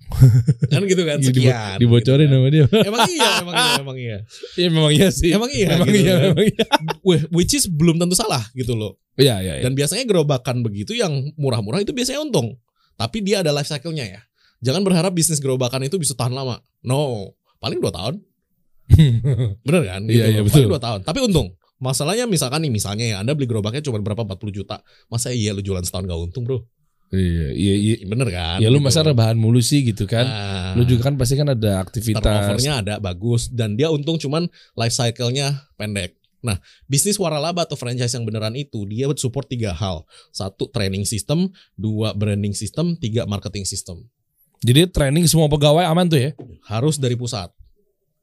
[SPEAKER 2] kan gitu kan,
[SPEAKER 1] Iya, dibo-
[SPEAKER 2] sekian.
[SPEAKER 1] dibocorin
[SPEAKER 2] gitu
[SPEAKER 1] sama
[SPEAKER 2] kan.
[SPEAKER 1] dia. (laughs)
[SPEAKER 2] Emang iya, emang iya, emang iya.
[SPEAKER 1] Iya memang iya sih.
[SPEAKER 2] Emang (laughs) iya,
[SPEAKER 1] Emang
[SPEAKER 2] gitu
[SPEAKER 1] iya,
[SPEAKER 2] kan.
[SPEAKER 1] memang iya.
[SPEAKER 2] Weh, which is belum tentu salah gitu loh.
[SPEAKER 1] Iya, iya, iya. (laughs)
[SPEAKER 2] Dan biasanya gerobakan begitu yang murah-murah itu biasanya untung. Tapi dia ada life cycle-nya ya. Jangan berharap bisnis gerobakan itu bisa tahan lama. No, paling 2 tahun. Bener kan?
[SPEAKER 1] Iya, iya,
[SPEAKER 2] loh.
[SPEAKER 1] betul.
[SPEAKER 2] Paling 2 tahun. Tapi untung. Masalahnya misalkan nih, misalnya ya Anda beli gerobaknya cuma berapa 40 juta. Masa iya lu jualan setahun gak untung, Bro?
[SPEAKER 1] Iya, iya, iya.
[SPEAKER 2] Bener kan?
[SPEAKER 1] Ya lu
[SPEAKER 2] Gitu.
[SPEAKER 1] masa rebahan mulu sih gitu kan.
[SPEAKER 2] Nah,
[SPEAKER 1] Lu juga kan pasti kan ada aktivitas.
[SPEAKER 2] turnovernya ada bagus dan dia untung cuman life cycle-nya pendek. Nah, bisnis waralaba atau franchise yang beneran itu dia support tiga hal. Satu training system, dua branding system, tiga marketing system.
[SPEAKER 1] Jadi training semua pegawai aman tuh ya.
[SPEAKER 2] Harus dari pusat.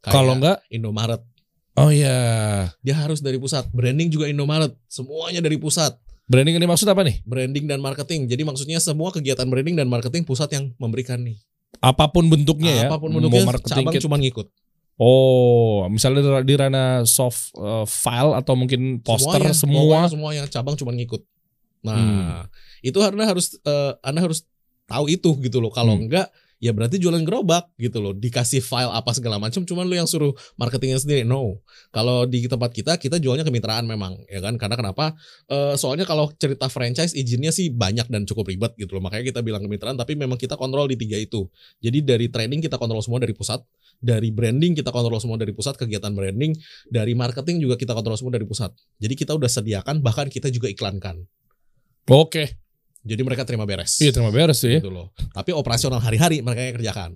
[SPEAKER 2] Kayak
[SPEAKER 1] Kalau enggak,
[SPEAKER 2] Indomaret,
[SPEAKER 1] oh iya.
[SPEAKER 2] dia harus dari pusat. Branding juga Indomaret, semuanya dari pusat.
[SPEAKER 1] Branding yang dimaksud apa nih?
[SPEAKER 2] Branding dan marketing. Jadi maksudnya semua kegiatan branding dan marketing pusat yang memberikan nih.
[SPEAKER 1] Apapun bentuknya ya.
[SPEAKER 2] Apapun bentuknya,
[SPEAKER 1] Mau marketing
[SPEAKER 2] cabang
[SPEAKER 1] kit.
[SPEAKER 2] cuma ngikut.
[SPEAKER 1] Oh, misalnya di ra- di ranah soft eh, file atau mungkin poster
[SPEAKER 2] Semuanya,
[SPEAKER 1] semua.
[SPEAKER 2] pokoknya semua yang cabang cuma ngikut. Nah,
[SPEAKER 1] Hmm.
[SPEAKER 2] itu karena harus eh, Anda harus tahu itu gitu loh. Kalau
[SPEAKER 1] Hmm.
[SPEAKER 2] enggak ya berarti jualan gerobak gitu loh. Dikasih file apa segala macam cuman lu yang suruh marketingnya sendiri. No. Kalau di tempat kita kita jualnya kemitraan memang ya kan. Karena kenapa? Eh, soalnya kalau cerita franchise izinnya sih banyak dan cukup ribet gitu loh. Makanya kita bilang kemitraan tapi memang kita kontrol di tiga itu. Jadi dari training kita kontrol semua dari pusat, dari branding kita kontrol semua dari pusat, kegiatan branding, dari marketing juga kita kontrol semua dari pusat. Jadi kita udah sediakan bahkan kita juga iklankan.
[SPEAKER 1] Oke.
[SPEAKER 2] Jadi mereka terima beres.
[SPEAKER 1] Iya, terima beres sih. ya.
[SPEAKER 2] Gitu loh. Tapi operasional hari-hari mereka yang kerjakan.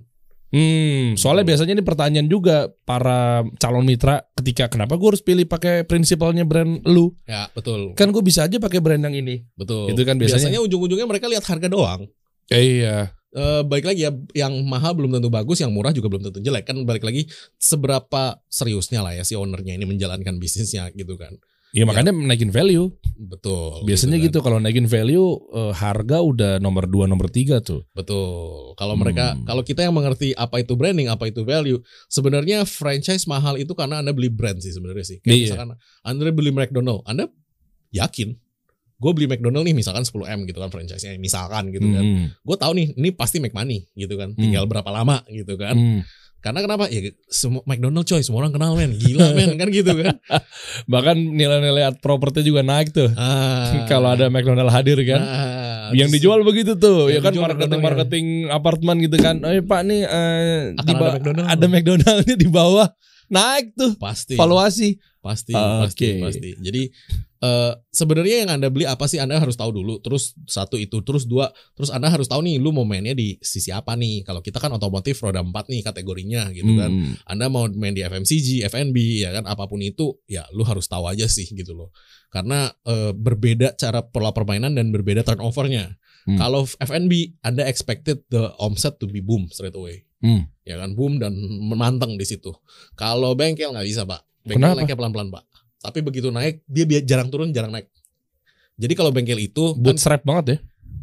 [SPEAKER 1] Hmm, soalnya biasanya ini pertanyaan juga para calon mitra ketika kenapa gue harus pilih pakai prinsipalnya brand lu?
[SPEAKER 2] Ya, betul.
[SPEAKER 1] Kan gue bisa aja pakai brand yang ini.
[SPEAKER 2] betul.
[SPEAKER 1] Itu kan biasanya.
[SPEAKER 2] biasanya ujung-ujungnya mereka lihat harga doang.
[SPEAKER 1] iya.
[SPEAKER 2] Eh balik lagi ya, yang mahal belum tentu bagus, yang murah juga belum tentu jelek. Kan balik lagi seberapa seriusnya lah ya si ownernya ini menjalankan bisnisnya gitu kan.
[SPEAKER 1] Ya makanya naikin value.
[SPEAKER 2] Betul.
[SPEAKER 1] Biasanya
[SPEAKER 2] Oh, kan.
[SPEAKER 1] gitu, kalau naikin value eh, harga udah nomor 2 nomor 3 tuh.
[SPEAKER 2] Betul. Kalau mereka,
[SPEAKER 1] Hmm.
[SPEAKER 2] kalau kita yang mengerti apa itu branding, apa itu value, sebenarnya franchise mahal itu karena anda beli brand sih sebenarnya sih. Kayak
[SPEAKER 1] Iya.
[SPEAKER 2] misalkan anda beli McDonald, anda yakin? Gue beli McDonald nih misalkan 10 m gitu kan franchise-nya, misalkan gitu kan.
[SPEAKER 1] Hmm.
[SPEAKER 2] Gue tahu nih, ini pasti make money gitu kan.
[SPEAKER 1] Hmm.
[SPEAKER 2] Tinggal berapa lama gitu kan.
[SPEAKER 1] Hmm.
[SPEAKER 2] Karena kenapa? Ya semua McDonald coy, semua orang kenal men, gila men kan gitu
[SPEAKER 1] (laughs)
[SPEAKER 2] kan.
[SPEAKER 1] Bahkan nilai-nilai art property juga naik tuh.
[SPEAKER 2] Ah.
[SPEAKER 1] (laughs) kalau ada McDonald hadir kan.
[SPEAKER 2] Ah,
[SPEAKER 1] yang
[SPEAKER 2] terus
[SPEAKER 1] dijual begitu tuh, ya
[SPEAKER 2] Yang
[SPEAKER 1] kan
[SPEAKER 2] dijual
[SPEAKER 1] marketing
[SPEAKER 2] McDonald's-nya.
[SPEAKER 1] marketing apartemen gitu kan. Eh Pak nih eh,
[SPEAKER 2] Akan
[SPEAKER 1] di
[SPEAKER 2] ada
[SPEAKER 1] ba-
[SPEAKER 2] McDonald.
[SPEAKER 1] ada McDonaldnya di bawah naik tuh
[SPEAKER 2] pasti
[SPEAKER 1] valuasi.
[SPEAKER 2] pasti
[SPEAKER 1] Ah,
[SPEAKER 2] pasti
[SPEAKER 1] oke.
[SPEAKER 2] pasti jadi eh sebenarnya yang anda beli apa sih anda harus tahu dulu terus satu itu terus dua terus anda harus tahu nih lu mau mainnya di sisi apa nih kalau kita kan otomotif roda empat nih kategorinya gitu kan
[SPEAKER 1] Hmm.
[SPEAKER 2] anda mau main di FMCG FNB ya kan apapun itu ya lu harus tahu aja sih gitu loh karena eh, berbeda cara pola permainan dan berbeda turnovernya
[SPEAKER 1] Hmm.
[SPEAKER 2] kalau FNB anda expected the omset to be boom straight away
[SPEAKER 1] Hmm.
[SPEAKER 2] ya kan boom dan menantang di situ. Kalau bengkel nggak bisa pak, bengkel
[SPEAKER 1] Kenapa?
[SPEAKER 2] naiknya pelan-pelan pak. Tapi begitu naik dia bi- jarang turun, jarang naik. Jadi kalau bengkel itu kan,
[SPEAKER 1] Bootstrap banget ya.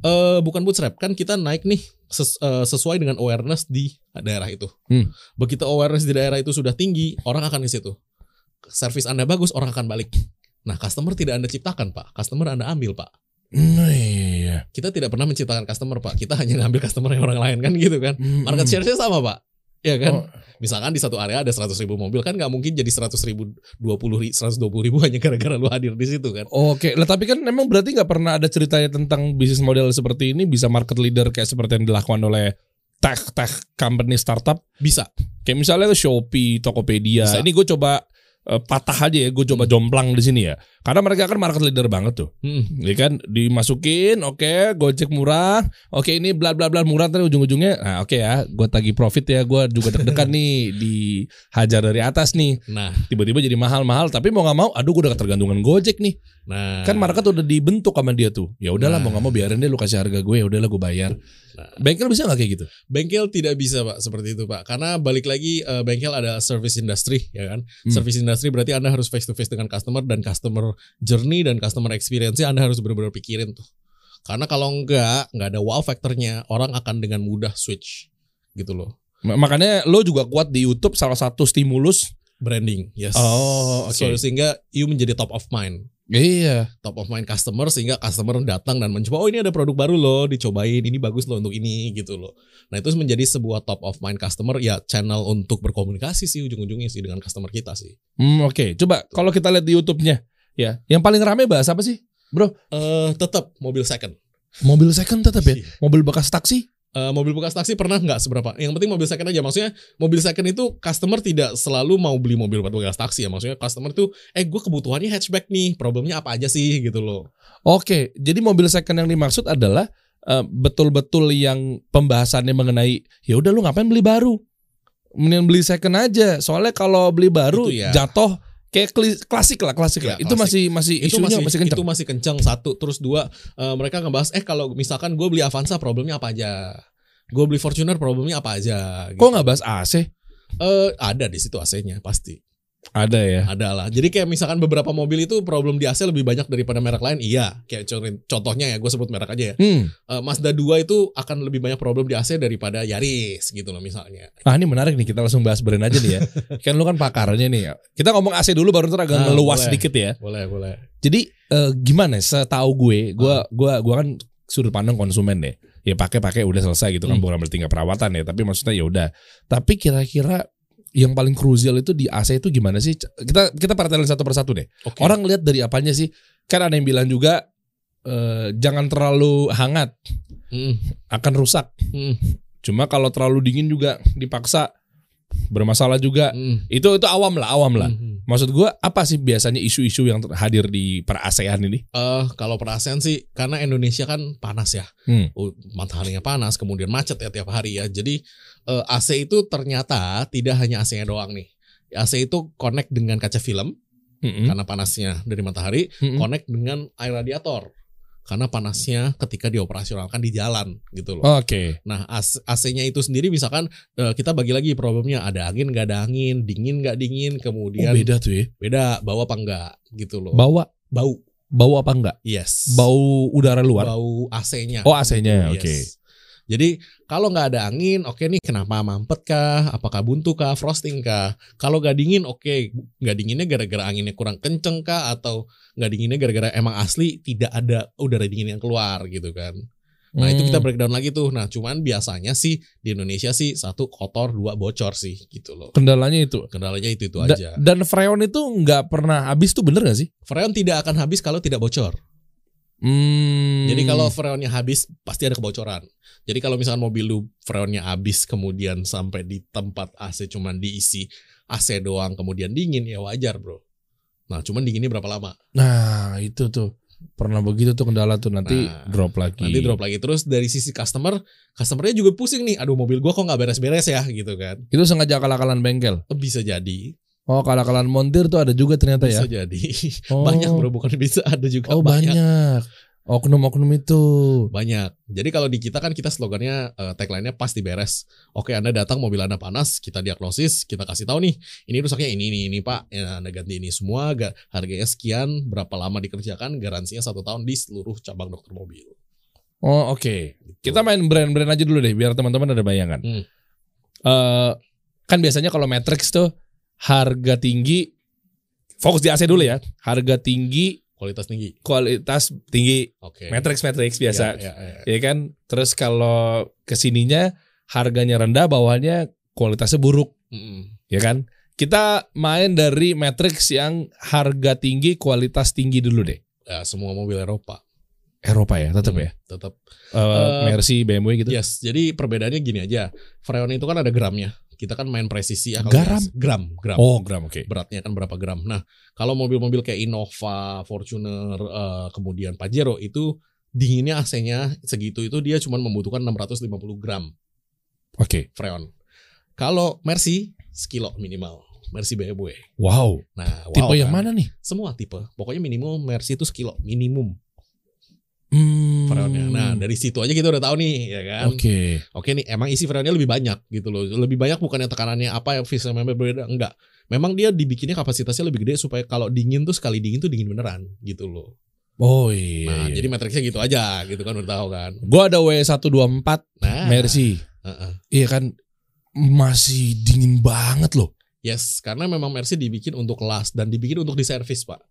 [SPEAKER 2] eh, bukan bootstrap kan kita naik nih ses- eh, sesuai dengan awareness di daerah itu.
[SPEAKER 1] Hmm.
[SPEAKER 2] Begitu awareness di daerah itu sudah tinggi, orang akan ke situ. Servis anda bagus, orang akan balik. Nah customer tidak anda ciptakan pak, customer anda ambil pak. Hmm,
[SPEAKER 1] Nah, iya.
[SPEAKER 2] Kita tidak pernah menciptakan customer pak, kita hanya ngambil customer yang orang lain kan gitu kan.
[SPEAKER 1] Hmm.
[SPEAKER 2] Market share-nya sama pak, ya kan?
[SPEAKER 1] Oh,
[SPEAKER 2] misalkan di satu area ada 100 ribu mobil kan nggak mungkin jadi 100 ribu 20 ribu 120 ribu hanya gara-gara lu hadir di situ kan
[SPEAKER 1] Oke, lah tapi kan memang berarti nggak pernah ada ceritanya tentang bisnis model seperti ini bisa market leader kayak seperti yang dilakukan oleh tech tech company startup
[SPEAKER 2] bisa
[SPEAKER 1] kayak misalnya tuh Shopee, Tokopedia.
[SPEAKER 2] Bisa.
[SPEAKER 1] Ini gue coba eh, patah aja ya, gue coba jomplang di sini ya. Karena mereka kan market leader banget tuh,
[SPEAKER 2] Hmm,
[SPEAKER 1] ya kan? Dimasukin, oke, Gojek murah, oke ini bla bla bla murah, terus ujung-ujungnya, nah oke ya, gue tagih profit ya, gue juga
[SPEAKER 2] (laughs)
[SPEAKER 1] deg-degan nih dihajar dari atas nih,
[SPEAKER 2] nah
[SPEAKER 1] tiba-tiba jadi mahal-mahal, tapi mau nggak mau, aduh gue udah ketergantungan Gojek nih.
[SPEAKER 2] nah
[SPEAKER 1] Kan market udah dibentuk sama dia tuh. Ya udahlah
[SPEAKER 2] Nah.
[SPEAKER 1] mau nggak mau biarin deh lu kasih harga gue, ya udahlah gue bayar. Bengkel bisa nggak kayak gitu?
[SPEAKER 2] Bengkel tidak bisa pak seperti itu pak karena balik lagi eh, bengkel adalah service industry ya kan
[SPEAKER 1] Hmm.
[SPEAKER 2] service industry berarti anda harus face to face dengan customer dan customer journey dan customer experience anda harus benar-benar pikirin tuh karena kalau enggak nggak ada wow faktornya orang akan dengan mudah switch gitu loh
[SPEAKER 1] Ma- Makanya lo juga kuat di YouTube salah satu stimulus.
[SPEAKER 2] branding yes
[SPEAKER 1] Oh, oke.
[SPEAKER 2] So, sehingga you menjadi top of mind
[SPEAKER 1] Iya.
[SPEAKER 2] top of mind customer sehingga customer datang dan mencoba oh ini ada produk baru loh dicobain ini bagus loh untuk ini gitu loh nah itu menjadi sebuah top of mind customer ya channel untuk berkomunikasi sih ujung-ujungnya sih dengan customer kita sih
[SPEAKER 1] Hmm, Oke, coba kalau kita lihat di YouTube-nya, ya, yang paling rame bahas apa sih?
[SPEAKER 2] eh tetap mobil second
[SPEAKER 1] Mobil second tetap
[SPEAKER 2] Iya.
[SPEAKER 1] ya, mobil bekas taksi.
[SPEAKER 2] Eh, mobil bekas taksi pernah nggak seberapa yang penting mobil second aja maksudnya mobil second itu customer tidak selalu mau beli mobil buat bekas taksi ya maksudnya customer itu eh gue kebutuhannya hatchback nih problemnya apa aja sih gitu loh
[SPEAKER 1] Oke, jadi mobil second yang dimaksud adalah eh, betul-betul yang pembahasannya mengenai ya udah lu ngapain beli baru? Mending beli second aja. Soalnya kalau beli baru
[SPEAKER 2] Itu ya.
[SPEAKER 1] jatuh kayak kli- klasik lah, klasik
[SPEAKER 2] Ya,
[SPEAKER 1] lah. Itu
[SPEAKER 2] klasik.
[SPEAKER 1] masih masih
[SPEAKER 2] itu
[SPEAKER 1] isunya
[SPEAKER 2] masih,
[SPEAKER 1] masih, kencang.
[SPEAKER 2] itu masih kencang satu terus dua eh, mereka ngebahas eh kalau misalkan gue beli Avanza problemnya apa aja gue beli Fortuner problemnya apa aja gitu.
[SPEAKER 1] Kok nggak bahas AC?
[SPEAKER 2] Eh, ada di situ AC-nya pasti
[SPEAKER 1] Ada ya.
[SPEAKER 2] ada lah jadi kayak misalkan beberapa mobil itu problem di AC lebih banyak daripada merek lain iya kayak contoh- contohnya ya gue sebut merek aja ya
[SPEAKER 1] Hmm.
[SPEAKER 2] Eh, Mazda 2 itu akan lebih banyak problem di AC daripada Yaris gitu loh misalnya
[SPEAKER 1] Ah ini menarik nih kita langsung bahas brand aja nih
[SPEAKER 2] (laughs)
[SPEAKER 1] ya. kan lu kan pakarnya nih. ya. Kita ngomong AC dulu baru ntar agak
[SPEAKER 2] Ah,
[SPEAKER 1] ngeluas
[SPEAKER 2] boleh.
[SPEAKER 1] sedikit ya.
[SPEAKER 2] boleh boleh
[SPEAKER 1] Jadi eh, gimana? Setahu gue, gue
[SPEAKER 2] Hmm.
[SPEAKER 1] gua gua kan sudut pandang konsumen deh. Ya pakai pakai udah selesai gitu kan
[SPEAKER 2] Hmm.
[SPEAKER 1] bukan berarti nggak perawatan ya. Tapi maksudnya ya udah. Tapi kira-kira yang paling krusial itu di AC itu gimana sih? C- Kita kita perhatiin satu persatu deh.
[SPEAKER 2] Oke.
[SPEAKER 1] Orang lihat dari apanya sih? Kan ada yang bilang juga eh, jangan terlalu hangat
[SPEAKER 2] Mm,
[SPEAKER 1] akan rusak.
[SPEAKER 2] mm,
[SPEAKER 1] Cuma kalau terlalu dingin juga dipaksa bermasalah juga.
[SPEAKER 2] mm,
[SPEAKER 1] Itu itu awam lah, awam lah.
[SPEAKER 2] mm.
[SPEAKER 1] Maksud gua apa sih biasanya isu-isu yang ter- hadir di per ASEAN ini?
[SPEAKER 2] Eh, kalau perasaan sih karena Indonesia kan panas ya
[SPEAKER 1] Hmm.
[SPEAKER 2] Oh, mataharinya panas kemudian macet ya tiap hari ya jadi eh, AC itu ternyata tidak hanya AC-nya doang nih AC itu connect dengan kaca film
[SPEAKER 1] Mm-mm.
[SPEAKER 2] karena panasnya dari matahari
[SPEAKER 1] Mm-mm.
[SPEAKER 2] connect dengan air radiator karena panasnya ketika dioperasionalkan di jalan gitu loh
[SPEAKER 1] Oh. Oke.
[SPEAKER 2] Nah AC-nya itu sendiri misalkan eh, kita bagi lagi problemnya ada angin nggak ada angin, dingin nggak dingin,
[SPEAKER 1] Oh,
[SPEAKER 2] kemudian
[SPEAKER 1] beda tuh ya.
[SPEAKER 2] beda bau apa enggak gitu loh.
[SPEAKER 1] Bawa
[SPEAKER 2] Bau,
[SPEAKER 1] bau apa enggak?
[SPEAKER 2] yes.
[SPEAKER 1] Bau udara luar.
[SPEAKER 2] bau AC-nya.
[SPEAKER 1] Oh, AC-nya,
[SPEAKER 2] Yes.
[SPEAKER 1] oke.
[SPEAKER 2] Ya, Jadi kalau nggak ada angin, oke nih kenapa mampet kah? Apakah buntu kah? Frosting kah? Kalau nggak dingin, oke nggak dinginnya gara-gara anginnya kurang kenceng kah? Atau nggak dinginnya gara-gara emang asli tidak ada udara dingin yang keluar gitu kan? Nah itu kita
[SPEAKER 1] Hmm.
[SPEAKER 2] breakdown lagi tuh. Nah cuman biasanya sih di Indonesia sih satu kotor, dua bocor sih gitu loh.
[SPEAKER 1] kendalanya itu.
[SPEAKER 2] Kendalanya itu itu
[SPEAKER 1] Da-
[SPEAKER 2] aja.
[SPEAKER 1] dan freon itu nggak pernah habis tuh bener gak sih?
[SPEAKER 2] Freon tidak akan habis kalau tidak bocor.
[SPEAKER 1] Hmm.
[SPEAKER 2] Jadi kalau freonnya habis pasti ada kebocoran. Jadi kalau misalkan mobil lu freonnya habis kemudian sampai di tempat AC cuman diisi AC doang kemudian dingin ya wajar bro. Nah cuman dinginnya berapa lama?
[SPEAKER 1] nah itu tuh pernah begitu tuh kendala tuh nanti
[SPEAKER 2] Nah,
[SPEAKER 1] drop lagi.
[SPEAKER 2] Nanti drop lagi terus dari sisi customer, customernya juga pusing nih. Aduh mobil gua kok nggak beres-beres ya gitu kan?
[SPEAKER 1] Itu sengaja akal-akalan bengkel.
[SPEAKER 2] Bisa jadi,
[SPEAKER 1] Oh, akal-akalan montir tuh ada juga ternyata
[SPEAKER 2] bisa
[SPEAKER 1] ya.
[SPEAKER 2] jadi (laughs)
[SPEAKER 1] Oh.
[SPEAKER 2] banyak bro bukan bisa ada juga
[SPEAKER 1] Oh, banyak. Oknum-oknum itu.
[SPEAKER 2] banyak. Jadi kalau di kita kan kita slogannya eh, tagline-nya pasti beres. Oke, Anda datang mobil Anda panas, kita diagnosis, kita kasih tahu nih, ini rusaknya ini ini ini Pak. Ya, anda ganti ini semua, ga- harganya sekian, berapa lama dikerjakan, garansinya satu tahun di seluruh cabang dokter mobil. Gitu.
[SPEAKER 1] Oh, oke. Kita main brand-brand aja dulu deh biar teman-teman ada bayangan.
[SPEAKER 2] Hmm.
[SPEAKER 1] Eh, kan biasanya kalau matrix tuh harga tinggi fokus di AC dulu ya. Harga tinggi,
[SPEAKER 2] kualitas tinggi.
[SPEAKER 1] kualitas tinggi.
[SPEAKER 2] Oke.
[SPEAKER 1] Matrix matrix
[SPEAKER 2] Ya,
[SPEAKER 1] biasa.
[SPEAKER 2] ya, ya.
[SPEAKER 1] Ya kan? Terus kalau kesininya harganya rendah, bawahnya kualitasnya buruk,
[SPEAKER 2] Mm-mm.
[SPEAKER 1] ya kan? Kita main dari matrix yang harga tinggi, kualitas tinggi dulu deh.
[SPEAKER 2] Ya, semua mobil Eropa
[SPEAKER 1] Eropa ya,
[SPEAKER 2] Hmm.
[SPEAKER 1] tetap ya.
[SPEAKER 2] tetap.
[SPEAKER 1] Eh, Mercy, BMW gitu.
[SPEAKER 2] Yes, jadi perbedaannya gini aja. Freon itu kan ada gramnya. Kita kan main presisi ya. kalau
[SPEAKER 1] Garam?
[SPEAKER 2] di- Gram, gram.
[SPEAKER 1] Oh, gram oke.
[SPEAKER 2] beratnya kan berapa gram. Nah, kalau mobil-mobil kayak Innova, Fortuner, eh, kemudian Pajero itu dinginnya AC-nya segitu itu dia cuma membutuhkan 650 gram
[SPEAKER 1] Oke.
[SPEAKER 2] freon. Kalau Mercy sekilo minimal. Mercy BMW.
[SPEAKER 1] Wow.
[SPEAKER 2] Nah, wow,
[SPEAKER 1] Tipe yang
[SPEAKER 2] kan?
[SPEAKER 1] mana nih?
[SPEAKER 2] Semua tipe. Pokoknya minimal Mercy itu sekilo minimum.
[SPEAKER 1] Hmm.
[SPEAKER 2] perannya. Nah dari situ aja kita udah tahu nih ya kan.
[SPEAKER 1] Oke.
[SPEAKER 2] Oke nih emang isi perannya lebih banyak gitu loh. Lebih banyak bukannya tekanannya apa ya visual member berbeda enggak. Memang dia dibikinnya kapasitasnya lebih gede supaya kalau dingin tuh sekali dingin tuh dingin beneran gitu loh.
[SPEAKER 1] Oh iya.
[SPEAKER 2] Nah,
[SPEAKER 1] iya.
[SPEAKER 2] jadi matriksnya gitu aja gitu kan udah tahu kan.
[SPEAKER 1] Gua ada W124
[SPEAKER 2] Nah,
[SPEAKER 1] Mercy.
[SPEAKER 2] heeh.
[SPEAKER 1] Iya kan masih dingin banget loh.
[SPEAKER 2] Yes, karena memang Mercy dibikin untuk kelas dan dibikin untuk diservis, Pak.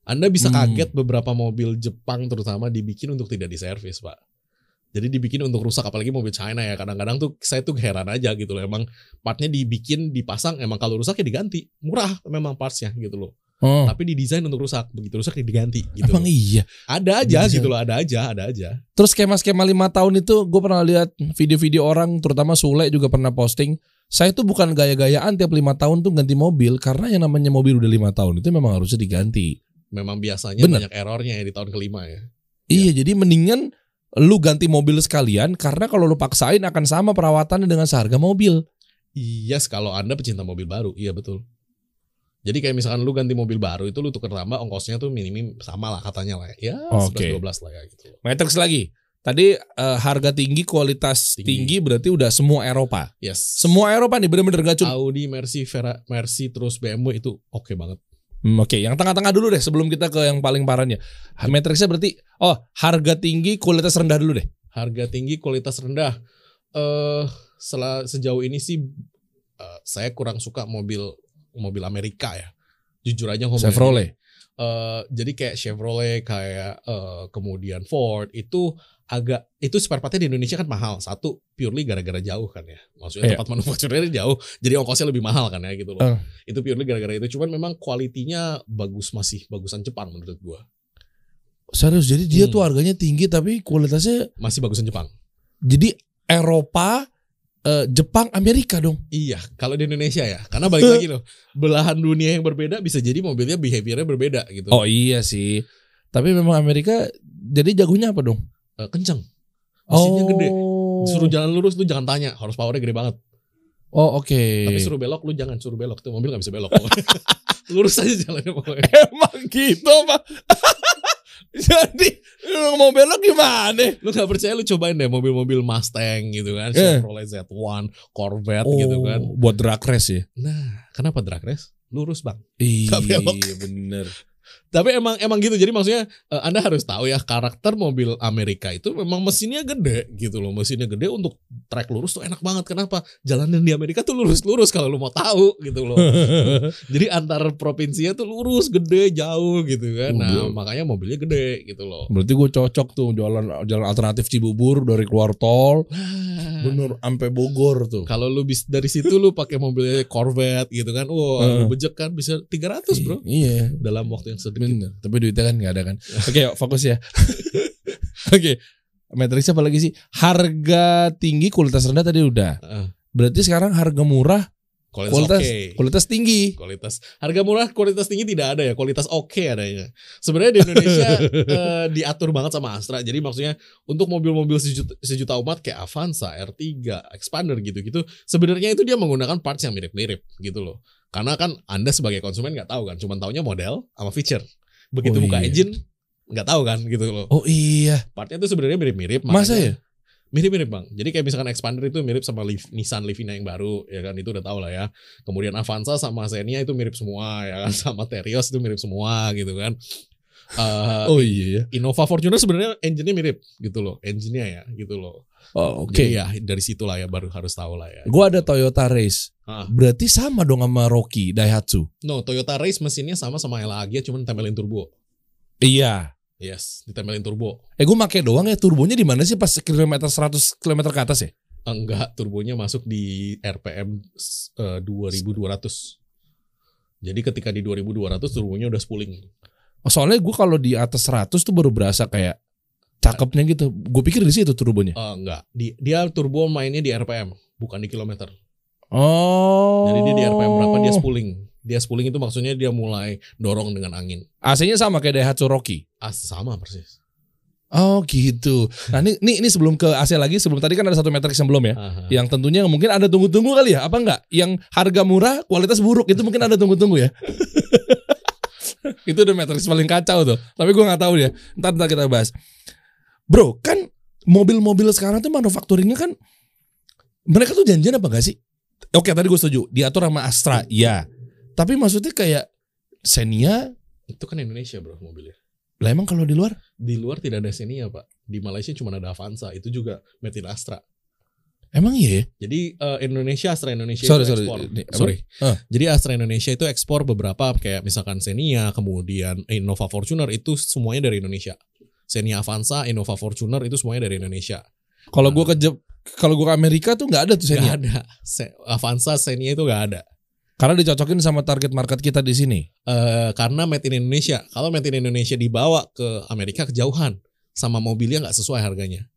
[SPEAKER 2] Anda bisa
[SPEAKER 1] Hmm.
[SPEAKER 2] kaget beberapa mobil Jepang terutama dibikin untuk tidak diservis, Pak. Jadi dibikin untuk rusak apalagi mobil China ya. Kadang-kadang tuh saya tuh heran aja gitu loh. Emang partnya dibikin, dipasang, emang kalau rusak ya diganti. Murah memang partsnya gitu loh.
[SPEAKER 1] Oh.
[SPEAKER 2] Tapi didesain untuk rusak, begitu rusak ya diganti gitu.
[SPEAKER 1] Emang
[SPEAKER 2] loh.
[SPEAKER 1] iya.
[SPEAKER 2] Ada aja
[SPEAKER 1] didesain?
[SPEAKER 2] gitu loh, ada aja, ada aja.
[SPEAKER 1] Terus skema-skema lima tahun itu gue pernah lihat video-video orang terutama Sule juga pernah posting. Saya tuh bukan gaya-gayaan tiap lima tahun tuh ganti mobil karena yang namanya mobil udah lima tahun itu memang harusnya diganti.
[SPEAKER 2] Memang biasanya
[SPEAKER 1] Bener.
[SPEAKER 2] banyak errornya ya di tahun kelima ya.
[SPEAKER 1] Iya, jadi mendingan lu ganti mobil sekalian karena kalau lu paksain akan sama perawatannya dengan seharga mobil.
[SPEAKER 2] Yes, kalau Anda pecinta mobil baru, iya betul. Jadi kayak misalkan lu ganti mobil baru itu lu tuker tambah ongkosnya tuh minim sama lah katanya lah ya. Ya,
[SPEAKER 1] Oke.
[SPEAKER 2] 11 12 lah ya gitu.
[SPEAKER 1] Matrix lagi. Tadi eh, harga tinggi, kualitas tinggi.
[SPEAKER 2] Tinggi.
[SPEAKER 1] berarti udah semua Eropa.
[SPEAKER 2] Yes.
[SPEAKER 1] Semua Eropa nih bener-bener gak cuma.
[SPEAKER 2] Audi, Mercy, Vera, Mercy terus BMW itu oke banget.
[SPEAKER 1] Hmm, Oke, yang tengah-tengah dulu deh sebelum kita ke yang paling parahnya. Matrixnya berarti oh harga tinggi, kualitas rendah dulu deh.
[SPEAKER 2] Harga tinggi, kualitas rendah. Eh sela- sejauh ini sih eh, saya kurang suka mobil mobil Amerika ya. Jujur aja ngomong.
[SPEAKER 1] Chevrolet.
[SPEAKER 2] eh jadi kayak Chevrolet kayak eh, kemudian Ford itu agak itu spare partnya di Indonesia kan mahal satu purely gara-gara jauh kan ya maksudnya
[SPEAKER 1] Iya.
[SPEAKER 2] tempat manufakturnya (laughs) jauh jadi ongkosnya lebih mahal kan ya gitu
[SPEAKER 1] Eh.
[SPEAKER 2] loh itu purely gara-gara itu cuman memang kualitinya bagus masih bagusan Jepang menurut gua
[SPEAKER 1] Serius, jadi dia
[SPEAKER 2] Hmm.
[SPEAKER 1] tuh harganya tinggi tapi kualitasnya
[SPEAKER 2] masih bagusan Jepang
[SPEAKER 1] jadi Eropa, eh, Jepang, Amerika dong.
[SPEAKER 2] Iya, kalau di Indonesia ya, karena balik lagi loh, belahan dunia yang berbeda bisa jadi mobilnya behaviornya berbeda gitu.
[SPEAKER 1] Oh iya sih. Tapi memang Amerika jadi jagonya apa dong?
[SPEAKER 2] Eh, kenceng, mesinnya gede,
[SPEAKER 1] Oh.
[SPEAKER 2] suruh
[SPEAKER 1] jalan.
[SPEAKER 2] jalan lurus lu jangan tanya, harus powernya gede banget.
[SPEAKER 1] Oh oke.
[SPEAKER 2] Tapi suruh belok lu jangan suruh belok tuh mobil nggak bisa belok. (laughs) pokoknya. Lurus aja jalannya pokoknya.
[SPEAKER 1] Emang gitu
[SPEAKER 2] (laughs)
[SPEAKER 1] apa? Jadi lu mau belok gimana?
[SPEAKER 2] Lu nggak percaya lu cobain deh mobil-mobil Mustang gitu kan,
[SPEAKER 1] Eh.
[SPEAKER 2] Chevrolet Z1, Corvette gitu kan.
[SPEAKER 1] buat Oh, drag race ya?
[SPEAKER 2] Nah, kenapa drag race? Lurus bang.
[SPEAKER 1] Iya
[SPEAKER 2] Nggak belok.
[SPEAKER 1] bener.
[SPEAKER 2] Tapi emang emang gitu. Jadi maksudnya eh, anda harus tahu ya karakter mobil Amerika itu memang mesinnya gede gitu loh. Mesinnya gede untuk track lurus tuh enak banget. Kenapa? Jalanan di Amerika tuh lurus-lurus kalau lu mau tahu gitu loh. Jadi antar provinsinya tuh lurus, gede, jauh gitu kan. Nah
[SPEAKER 1] Mobil.
[SPEAKER 2] makanya mobilnya gede gitu loh.
[SPEAKER 1] Berarti gue cocok tuh jalan jalan alternatif Cibubur dari keluar tol,
[SPEAKER 2] Nah,
[SPEAKER 1] bener sampai Bogor tuh.
[SPEAKER 2] Kalau lu bis dari situ lu pakai mobilnya Corvette gitu kan. Wah,
[SPEAKER 1] Heeh.
[SPEAKER 2] lu bejek kan bisa 300, Bro.
[SPEAKER 1] Iya.
[SPEAKER 2] Dalam waktu yang sedikit.
[SPEAKER 1] Bener. Tapi duitnya kan nggak ada
[SPEAKER 2] (laughs)
[SPEAKER 1] kan. Oke, yuk, fokus ya. (laughs) Oke. Matrix apa lagi sih? Harga tinggi, kualitas rendah tadi udah.
[SPEAKER 2] Heeh.
[SPEAKER 1] Berarti sekarang harga murah,
[SPEAKER 2] Kualitas,
[SPEAKER 1] kualitas
[SPEAKER 2] oke.
[SPEAKER 1] kualitas tinggi.
[SPEAKER 2] Kualitas harga murah, kualitas tinggi tidak ada ya. Kualitas oke adanya. Sebenarnya di
[SPEAKER 1] (laughs)
[SPEAKER 2] Indonesia eh, diatur banget sama Astra. Jadi maksudnya untuk mobil-mobil sejuta, sejuta umat kayak Avanza, R3, Expander gitu-gitu, sebenarnya itu dia menggunakan parts yang mirip-mirip gitu loh. Karena kan Anda sebagai konsumen nggak tahu kan, cuman taunya model sama feature. Begitu
[SPEAKER 1] Oh,
[SPEAKER 2] buka
[SPEAKER 1] iya.
[SPEAKER 2] engine nggak tahu kan gitu loh.
[SPEAKER 1] Oh iya.
[SPEAKER 2] Partnya tuh sebenarnya mirip-mirip.
[SPEAKER 1] Masa
[SPEAKER 2] makanya-
[SPEAKER 1] ya?
[SPEAKER 2] Mirip-mirip bang. Jadi kayak misalkan Expander itu mirip sama Liv- Nissan Livina yang baru, ya kan itu udah tau lah ya. Kemudian Avanza sama Xenia itu mirip semua, ya kan (laughs) sama Terios itu mirip semua gitu kan. Eh,
[SPEAKER 1] Oh iya ya.
[SPEAKER 2] Innova Fortuner sebenarnya engine-nya mirip gitu loh, engine-nya ya gitu loh.
[SPEAKER 1] Oh, oke.
[SPEAKER 2] Jadi ya dari situlah ya baru harus tahu lah ya.
[SPEAKER 1] Gua ada Toyota Race.
[SPEAKER 2] Ah.
[SPEAKER 1] Berarti sama dong sama Rocky Daihatsu.
[SPEAKER 2] No, Toyota Race mesinnya sama sama Elagia cuman tempelin turbo.
[SPEAKER 1] Iya.
[SPEAKER 2] Yes, ditempelin turbo.
[SPEAKER 1] Eh gua make doang ya turbonya di mana sih pas kilometer 100 km ke atas ya?
[SPEAKER 2] Enggak, turbonya masuk di RPM s- eh, 2200. Jadi ketika di 2200 turbonya udah spooling.
[SPEAKER 1] Oh, Soalnya gua kalau di atas 100 tuh baru berasa kayak cakepnya gitu. Gue pikir di situ turbonya.
[SPEAKER 2] Eh, enggak, di, dia turbo mainnya di RPM, bukan di kilometer.
[SPEAKER 1] Oh.
[SPEAKER 2] Jadi dia di RPM berapa dia spooling. Dia spooling itu maksudnya dia mulai dorong dengan angin.
[SPEAKER 1] AC-nya sama kayak Daihatsu Rocky.
[SPEAKER 2] Ah, sama persis.
[SPEAKER 1] Oh gitu. Nah ini, ini ini sebelum ke AC lagi, sebelum tadi kan ada satu matrix yang belum ya.
[SPEAKER 2] Aha.
[SPEAKER 1] Yang tentunya mungkin ada tunggu-tunggu kali ya, apa enggak? Yang harga murah, kualitas buruk itu mungkin ada tunggu-tunggu ya. (laughs) itu udah matrix paling kacau tuh. Tapi gue nggak tahu ya. Ntar ntar kita bahas. Bro, kan mobil-mobil sekarang tuh manufakturingnya kan mereka tuh janjian apa gak sih? Oke, tadi gue setuju. Diatur sama Astra, iya. Tapi maksudnya kayak Xenia,
[SPEAKER 2] Itu kan Indonesia bro mobilnya.
[SPEAKER 1] lah emang kalau di luar?
[SPEAKER 2] Di luar tidak ada Xenia pak. Di Malaysia cuma ada Avanza. Itu juga Metin Astra.
[SPEAKER 1] Emang iya ya?
[SPEAKER 2] Jadi eh, Indonesia Astra Indonesia
[SPEAKER 1] Sorry,
[SPEAKER 2] itu
[SPEAKER 1] sorry.
[SPEAKER 2] ekspor.
[SPEAKER 1] Ini, apa?
[SPEAKER 2] sorry.
[SPEAKER 1] Ah.
[SPEAKER 2] Jadi Astra Indonesia itu ekspor beberapa kayak misalkan Xenia, kemudian Innova Fortuner itu semuanya dari Indonesia. Xenia Avanza, Innova Fortuner itu semuanya dari Indonesia.
[SPEAKER 1] Kalau gue ke Jep- kalau gue ke Amerika tuh nggak ada tuh
[SPEAKER 2] Gak
[SPEAKER 1] Xenia.
[SPEAKER 2] ada. Se- Avanza, Xenia itu gak ada.
[SPEAKER 1] Karena dicocokin sama target market kita di sini.
[SPEAKER 2] Eh, karena made in Indonesia. Kalau made in Indonesia dibawa ke Amerika kejauhan sama mobilnya nggak sesuai harganya.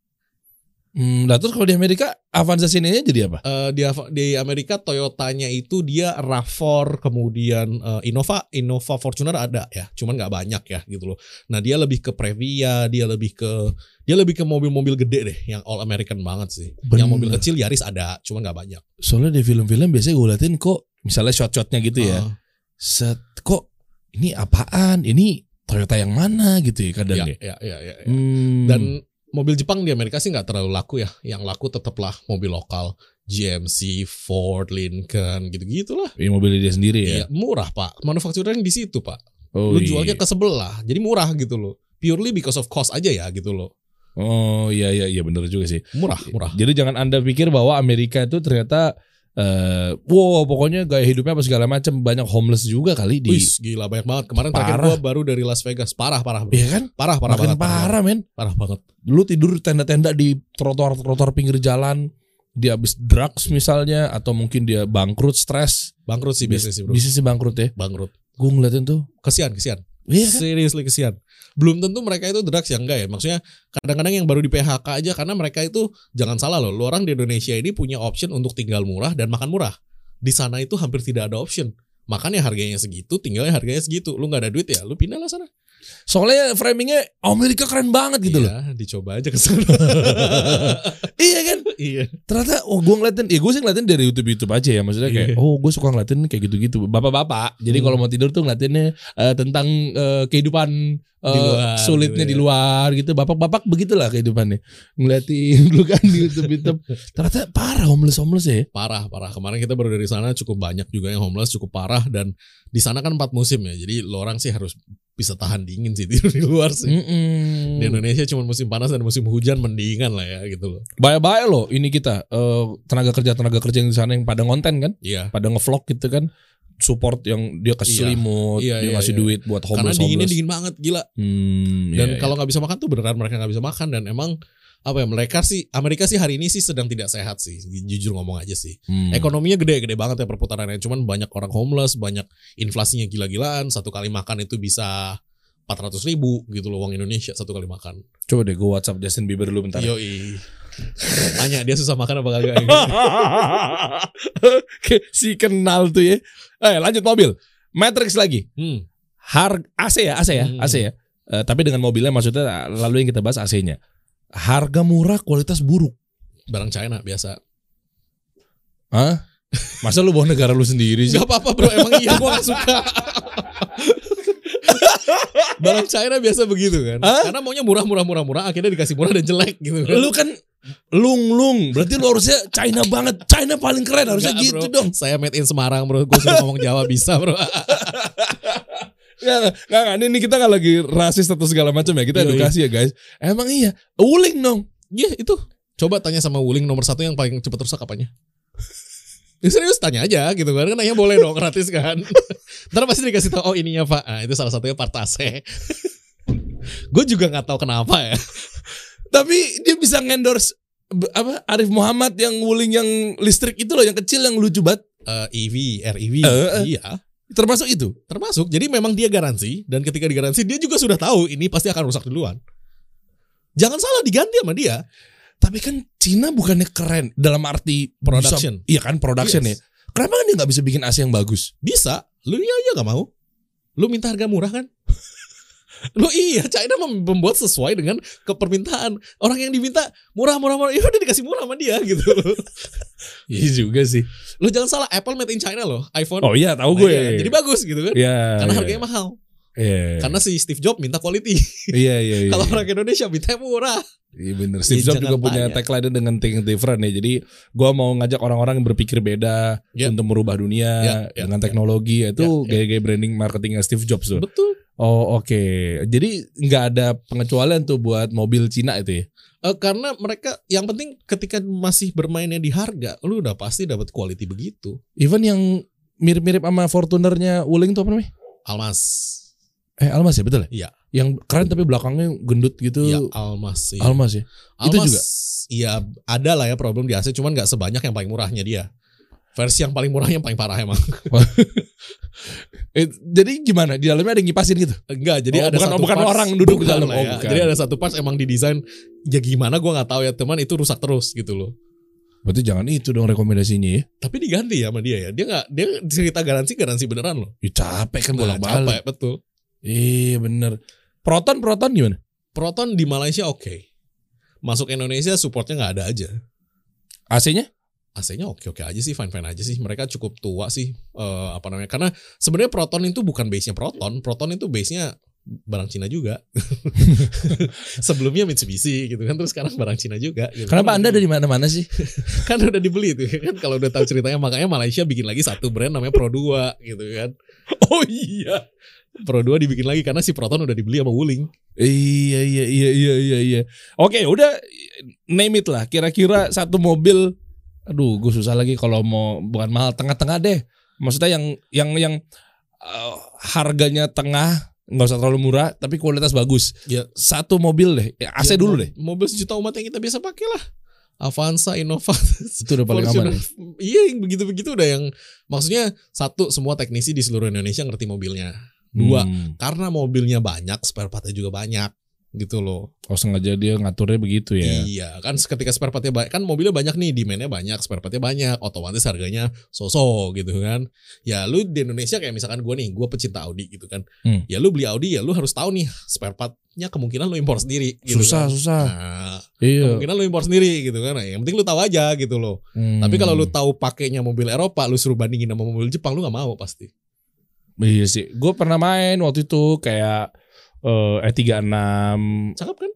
[SPEAKER 1] Hmm, nah terus kalau di Amerika Avanza sininya jadi apa?
[SPEAKER 2] Eh, di Av- di Amerika Toyotanya itu dia RAV4 kemudian eh, Innova Innova Fortuner ada ya, cuman nggak banyak ya gitu loh. Nah, dia lebih ke Previa, dia lebih ke dia lebih ke mobil-mobil gede deh yang all American banget sih. Yang
[SPEAKER 1] Bener.
[SPEAKER 2] mobil kecil Yaris ada, cuman nggak banyak.
[SPEAKER 1] Soalnya di film-film biasanya gue liatin kok misalnya shot-shotnya gitu ya.
[SPEAKER 2] Eh,
[SPEAKER 1] Set kok ini apaan? Ini Toyota yang mana gitu ya kadang ya.
[SPEAKER 2] ya, ya, ya, ya, ya.
[SPEAKER 1] Hmm.
[SPEAKER 2] Dan mobil Jepang di Amerika sih nggak terlalu laku ya. Yang laku tetaplah mobil lokal, GMC, Ford, Lincoln, gitu-gitulah.
[SPEAKER 1] ya, mobilnya dia sendiri ya.
[SPEAKER 2] Iya, murah pak. Manufacturing di situ pak.
[SPEAKER 1] Oh,
[SPEAKER 2] Lu
[SPEAKER 1] iya.
[SPEAKER 2] jualnya ke sebelah, jadi murah gitu loh. Purely because of cost aja ya gitu loh.
[SPEAKER 1] Oh iya iya iya bener juga sih.
[SPEAKER 2] Murah, murah.
[SPEAKER 1] Jadi jangan anda pikir bahwa Amerika itu ternyata eh wow pokoknya gaya hidupnya apa segala macam banyak homeless juga kali di.
[SPEAKER 2] Wih, gila banyak banget. Kemarin terakhir
[SPEAKER 1] Parah.
[SPEAKER 2] gua baru dari Las Vegas. Parah, parah, bro.
[SPEAKER 1] Iya kan?
[SPEAKER 2] parah, parah
[SPEAKER 1] Makin
[SPEAKER 2] banget.
[SPEAKER 1] parah men.
[SPEAKER 2] Parah banget.
[SPEAKER 1] lu tidur tenda-tenda di trotoar-trotoar pinggir jalan dia habis drugs misalnya atau mungkin dia bangkrut stres
[SPEAKER 2] Bangkrut sih bisnis sih bro.
[SPEAKER 1] bisnis sih bangkrut ya
[SPEAKER 2] Bangkrut.
[SPEAKER 1] gue ngeliatin tuh
[SPEAKER 2] Kesian, kesian.
[SPEAKER 1] iya kan
[SPEAKER 2] Seriously kesian. Belum tentu mereka itu drugs ya enggak ya. Maksudnya kadang-kadang yang baru di PHK aja karena mereka itu jangan salah loh. Lu orang di Indonesia ini punya option untuk tinggal murah dan makan murah. Di sana itu hampir tidak ada option. Makannya harganya segitu, tinggalnya harganya segitu. Lu nggak ada duit ya, lu pindah lah sana.
[SPEAKER 1] soalnya framingnya Amerika keren banget gitu loh
[SPEAKER 2] Iya, dicoba aja ke sana. (laughs)
[SPEAKER 1] iya kan
[SPEAKER 2] iya.
[SPEAKER 1] ternyata oh gue ngeliatin ya gue sih ngeliatin dari YouTube YouTube aja ya maksudnya kayak
[SPEAKER 2] Iya.
[SPEAKER 1] oh gue suka ngeliatin kayak gitu-gitu bapak-bapak jadi
[SPEAKER 2] Hmm.
[SPEAKER 1] kalau mau tidur tuh ngeliatinnya eh, tentang eh, kehidupan eh,
[SPEAKER 2] Di luar,
[SPEAKER 1] sulitnya
[SPEAKER 2] gitu
[SPEAKER 1] di
[SPEAKER 2] ya.
[SPEAKER 1] luar gitu bapak-bapak begitulah kehidupannya ngeliatin (laughs) dulu kan di YouTube YouTube ternyata parah homeless homeless ya
[SPEAKER 2] Parah, parah. Kemarin kita baru dari sana cukup banyak juga yang homeless, cukup parah dan di sana kan empat musim ya. Jadi lu orang sih harus bisa tahan dingin sih (laughs) tidur di luar sih.
[SPEAKER 1] Mm-mm.
[SPEAKER 2] Di Indonesia cuma musim panas dan musim hujan mendingan lah ya gitu loh.
[SPEAKER 1] Bye-bye loh ini kita eh, tenaga kerja tenaga kerja yang di sana yang pada konten kan,
[SPEAKER 2] Iya.
[SPEAKER 1] pada ngevlog gitu kan, support yang dia kasih
[SPEAKER 2] Iya.
[SPEAKER 1] selimut,
[SPEAKER 2] Iya,
[SPEAKER 1] dia
[SPEAKER 2] iya,
[SPEAKER 1] ngasih
[SPEAKER 2] iya.
[SPEAKER 1] duit buat
[SPEAKER 2] Karena
[SPEAKER 1] homeless
[SPEAKER 2] dinginnya
[SPEAKER 1] homeless.
[SPEAKER 2] dingin banget gila.
[SPEAKER 1] Hmm,
[SPEAKER 2] Dan
[SPEAKER 1] iya,
[SPEAKER 2] kalau nggak bisa makan tuh beneran mereka nggak bisa makan dan emang apa ya mereka sih Amerika sih hari ini sih sedang tidak sehat sih jujur ngomong aja sih
[SPEAKER 1] iya. Hmm.
[SPEAKER 2] ekonominya gede-gede banget ya perputarannya cuman banyak orang homeless banyak inflasinya gila-gilaan satu kali makan itu bisa 400 ribu gitu loh uang Indonesia satu kali makan
[SPEAKER 1] coba deh gue WhatsApp Justin Bieber dulu (laughs) bentar.
[SPEAKER 2] yoi tanya dia susah makan apa
[SPEAKER 1] (laughs)
[SPEAKER 2] kagak
[SPEAKER 1] Ke- si kenal tuh ya. Eh lanjut mobil, Matrix lagi.
[SPEAKER 2] hmm.
[SPEAKER 1] Harga AC ya, AC ya,
[SPEAKER 2] Hmm.
[SPEAKER 1] AC ya. Eh, tapi dengan mobilnya maksudnya lalu yang kita bahas AC-nya. Harga murah, kualitas buruk.
[SPEAKER 2] barang China biasa
[SPEAKER 1] Hah? Masa lu bawa negara lu sendiri sih?
[SPEAKER 2] Gak apa-apa bro, emang iya gue gak suka. (laughs) Barang China biasa begitu kan.
[SPEAKER 1] Hah?
[SPEAKER 2] Karena maunya murah, murah, murah, murah. Akhirnya dikasih murah dan jelek gitu kan.
[SPEAKER 1] lu kan lung lung berarti lu harusnya China banget China paling keren harusnya
[SPEAKER 2] Nggak,
[SPEAKER 1] gitu
[SPEAKER 2] bro.
[SPEAKER 1] dong
[SPEAKER 2] Saya made in Semarang bro, gue sudah ngomong Jawa bisa bro.
[SPEAKER 1] nggak nggak, nggak nggak. ini, ini kita nggak lagi rasis atau segala macam ya kita
[SPEAKER 2] Yoi.
[SPEAKER 1] edukasi ya guys emang iya uling dong
[SPEAKER 2] Iya itu. Coba tanya sama Wuling nomor satu yang paling cepet rusak apanya? Ya, serius tanya aja gitu kan kan nanya boleh dong gratis
[SPEAKER 1] (laughs)
[SPEAKER 2] kan ntar pasti dikasih tahu oh ininya pak Ah, itu salah satunya (laughs) partase gue juga nggak tahu kenapa ya
[SPEAKER 1] tapi dia bisa endorse apa Arif Muhammad yang wuling yang listrik itu loh yang kecil yang lucu banget
[SPEAKER 2] Eh, EV REV
[SPEAKER 1] Eh,
[SPEAKER 2] iya
[SPEAKER 1] termasuk itu
[SPEAKER 2] Termasuk, jadi memang dia garansi dan ketika digaransi dia juga sudah tahu ini pasti akan rusak duluan. Jangan salah diganti sama dia.
[SPEAKER 1] tapi kan Cina bukannya keren dalam arti
[SPEAKER 2] Production.
[SPEAKER 1] bisa- iya kan production
[SPEAKER 2] Yes.
[SPEAKER 1] ya kenapa kan dia nggak bisa bikin AC yang bagus
[SPEAKER 2] Bisa, lu iya iya gak mau. Lu minta harga murah kan? (laughs) lu iya, China mem- membuat sesuai dengan kepermintaan. Orang yang diminta murah murah murah, ya udah dikasih murah sama dia (laughs) gitu.
[SPEAKER 1] iya juga sih
[SPEAKER 2] lu jangan salah Apple made in China loh, iPhone.
[SPEAKER 1] oh iya tahu
[SPEAKER 2] Nah,
[SPEAKER 1] gue
[SPEAKER 2] iya, jadi bagus gitu kan.
[SPEAKER 1] Iya,
[SPEAKER 2] Karena
[SPEAKER 1] iya,
[SPEAKER 2] harganya mahal.
[SPEAKER 1] iya, iya.
[SPEAKER 2] Karena si Steve Jobs minta quality.
[SPEAKER 1] (laughs) Iya iya. iya.
[SPEAKER 2] (laughs) Kalau orang Indonesia minta murah.
[SPEAKER 1] Iya bener. Steve
[SPEAKER 2] Ya,
[SPEAKER 1] Jobs juga
[SPEAKER 2] jangan
[SPEAKER 1] punya
[SPEAKER 2] tanya.
[SPEAKER 1] tagline dengan think different ya. Jadi gua mau ngajak orang-orang yang berpikir beda
[SPEAKER 2] Ya.
[SPEAKER 1] untuk merubah dunia
[SPEAKER 2] Ya, ya,
[SPEAKER 1] dengan
[SPEAKER 2] ya.
[SPEAKER 1] teknologi. Itu
[SPEAKER 2] Ya, ya.
[SPEAKER 1] gaya-gaya branding marketingnya Steve Jobs tuh.
[SPEAKER 2] Betul.
[SPEAKER 1] Oh oke. Jadi nggak ada pengecualian tuh buat mobil Cina itu ya.
[SPEAKER 2] Eh, karena mereka yang penting ketika masih bermainnya di harga, lu udah pasti dapat quality begitu.
[SPEAKER 1] Even yang mirip-mirip sama Fortunernya Wuling tuh apa namanya?
[SPEAKER 2] Almas.
[SPEAKER 1] Eh Almas ya betul ya?
[SPEAKER 2] Iya.
[SPEAKER 1] Yang keren tapi belakangnya gendut gitu.
[SPEAKER 2] Ya Almas. Iya.
[SPEAKER 1] Almas ya. itu
[SPEAKER 2] Almas,
[SPEAKER 1] juga?
[SPEAKER 2] Iya, ada lah ya problem di AC, cuman nggak sebanyak yang paling murahnya dia. Versi yang paling murahnya yang paling parah emang.
[SPEAKER 1] Eh, jadi gimana? Di dalamnya ada yang ngipasin gitu.
[SPEAKER 2] (laughs) Enggak, jadi
[SPEAKER 1] Oh,
[SPEAKER 2] ada
[SPEAKER 1] bukan-
[SPEAKER 2] satu
[SPEAKER 1] bukan
[SPEAKER 2] parts-
[SPEAKER 1] orang duduk di
[SPEAKER 2] bukan
[SPEAKER 1] dalam.
[SPEAKER 2] lah
[SPEAKER 1] Oh,
[SPEAKER 2] ya.
[SPEAKER 1] bukan.
[SPEAKER 2] Jadi ada satu parts emang didesain ya gimana gua nggak tahu ya, teman itu rusak terus gitu loh.
[SPEAKER 1] Berarti jangan itu dong rekomendasinya ya.
[SPEAKER 2] Tapi diganti ya sama dia ya. Dia nggak dia cerita garansi garansi beneran loh.
[SPEAKER 1] Ih, capek kan
[SPEAKER 2] Nah,
[SPEAKER 1] bolak-balik.
[SPEAKER 2] capek, betul.
[SPEAKER 1] Iya bener. Proton Proton gimana?
[SPEAKER 2] Proton di Malaysia oke. Masuk Indonesia supportnya nggak ada aja.
[SPEAKER 1] AC-nya?
[SPEAKER 2] AC-nya oke-oke aja sih, fine-fine aja sih. Mereka cukup tua sih, eh, apa namanya? Karena sebenarnya proton itu bukan base-nya proton, proton itu base-nya barang Cina juga. (laughs) Sebelumnya Mitsubishi gitu kan, terus sekarang barang Cina juga. gitu.
[SPEAKER 1] Kenapa
[SPEAKER 2] Kan
[SPEAKER 1] Anda
[SPEAKER 2] udah-
[SPEAKER 1] ada di mana-mana sih?
[SPEAKER 2] kan udah dibeli tuh kan kalau udah tahu ceritanya makanya Malaysia bikin lagi satu brand namanya Pro 2 gitu kan.
[SPEAKER 1] Oh iya.
[SPEAKER 2] Pro 2 dibikin lagi karena si proton udah dibeli sama Wuling.
[SPEAKER 1] Iya iya iya iya iya iya. Oke, udah name it lah. Kira-kira satu mobil aduh, gue susah lagi kalau mau bukan mahal tengah-tengah deh. Maksudnya yang yang yang eh, harganya tengah, nggak usah terlalu murah tapi kualitas bagus.
[SPEAKER 2] Ya.
[SPEAKER 1] Satu mobil deh. Ya, AC
[SPEAKER 2] Ya,
[SPEAKER 1] dulu
[SPEAKER 2] mo-
[SPEAKER 1] deh.
[SPEAKER 2] Mobil sejuta umat yang kita biasa pakai lah. Avanza, Innova, (laughs)
[SPEAKER 1] Itu udah paling aman. ya?
[SPEAKER 2] Fortuner. Iya, yang begitu-begitu udah yang maksudnya satu semua teknisi di seluruh Indonesia ngerti mobilnya. Dua,
[SPEAKER 1] Hmm.
[SPEAKER 2] karena mobilnya banyak, spare partnya juga banyak gitu loh.
[SPEAKER 1] Oh sengaja dia ngaturnya begitu ya.
[SPEAKER 2] Iya, kan ketika spare partnya banyak, kan mobilnya banyak nih, demandnya banyak, spare partnya banyak, otomatis harganya so-so gitu kan. Ya lu di Indonesia kayak misalkan gua nih, gua pecinta Audi gitu kan.
[SPEAKER 1] Hmm.
[SPEAKER 2] Ya lu beli Audi ya lu harus tahu nih spare partnya kemungkinan lu impor sendiri. Gitu
[SPEAKER 1] susah,
[SPEAKER 2] kan.
[SPEAKER 1] susah.
[SPEAKER 2] Nah,
[SPEAKER 1] Iya.
[SPEAKER 2] kemungkinan lu impor sendiri gitu kan. Nah, Yang penting lu tahu aja gitu loh.
[SPEAKER 1] Hmm.
[SPEAKER 2] Tapi kalau lu tahu pakainya mobil Eropa, lu suruh bandingin sama mobil Jepang, lu nggak mau pasti.
[SPEAKER 1] Iya sih, gue pernah main waktu itu kayak eh E36.
[SPEAKER 2] Cakep kan?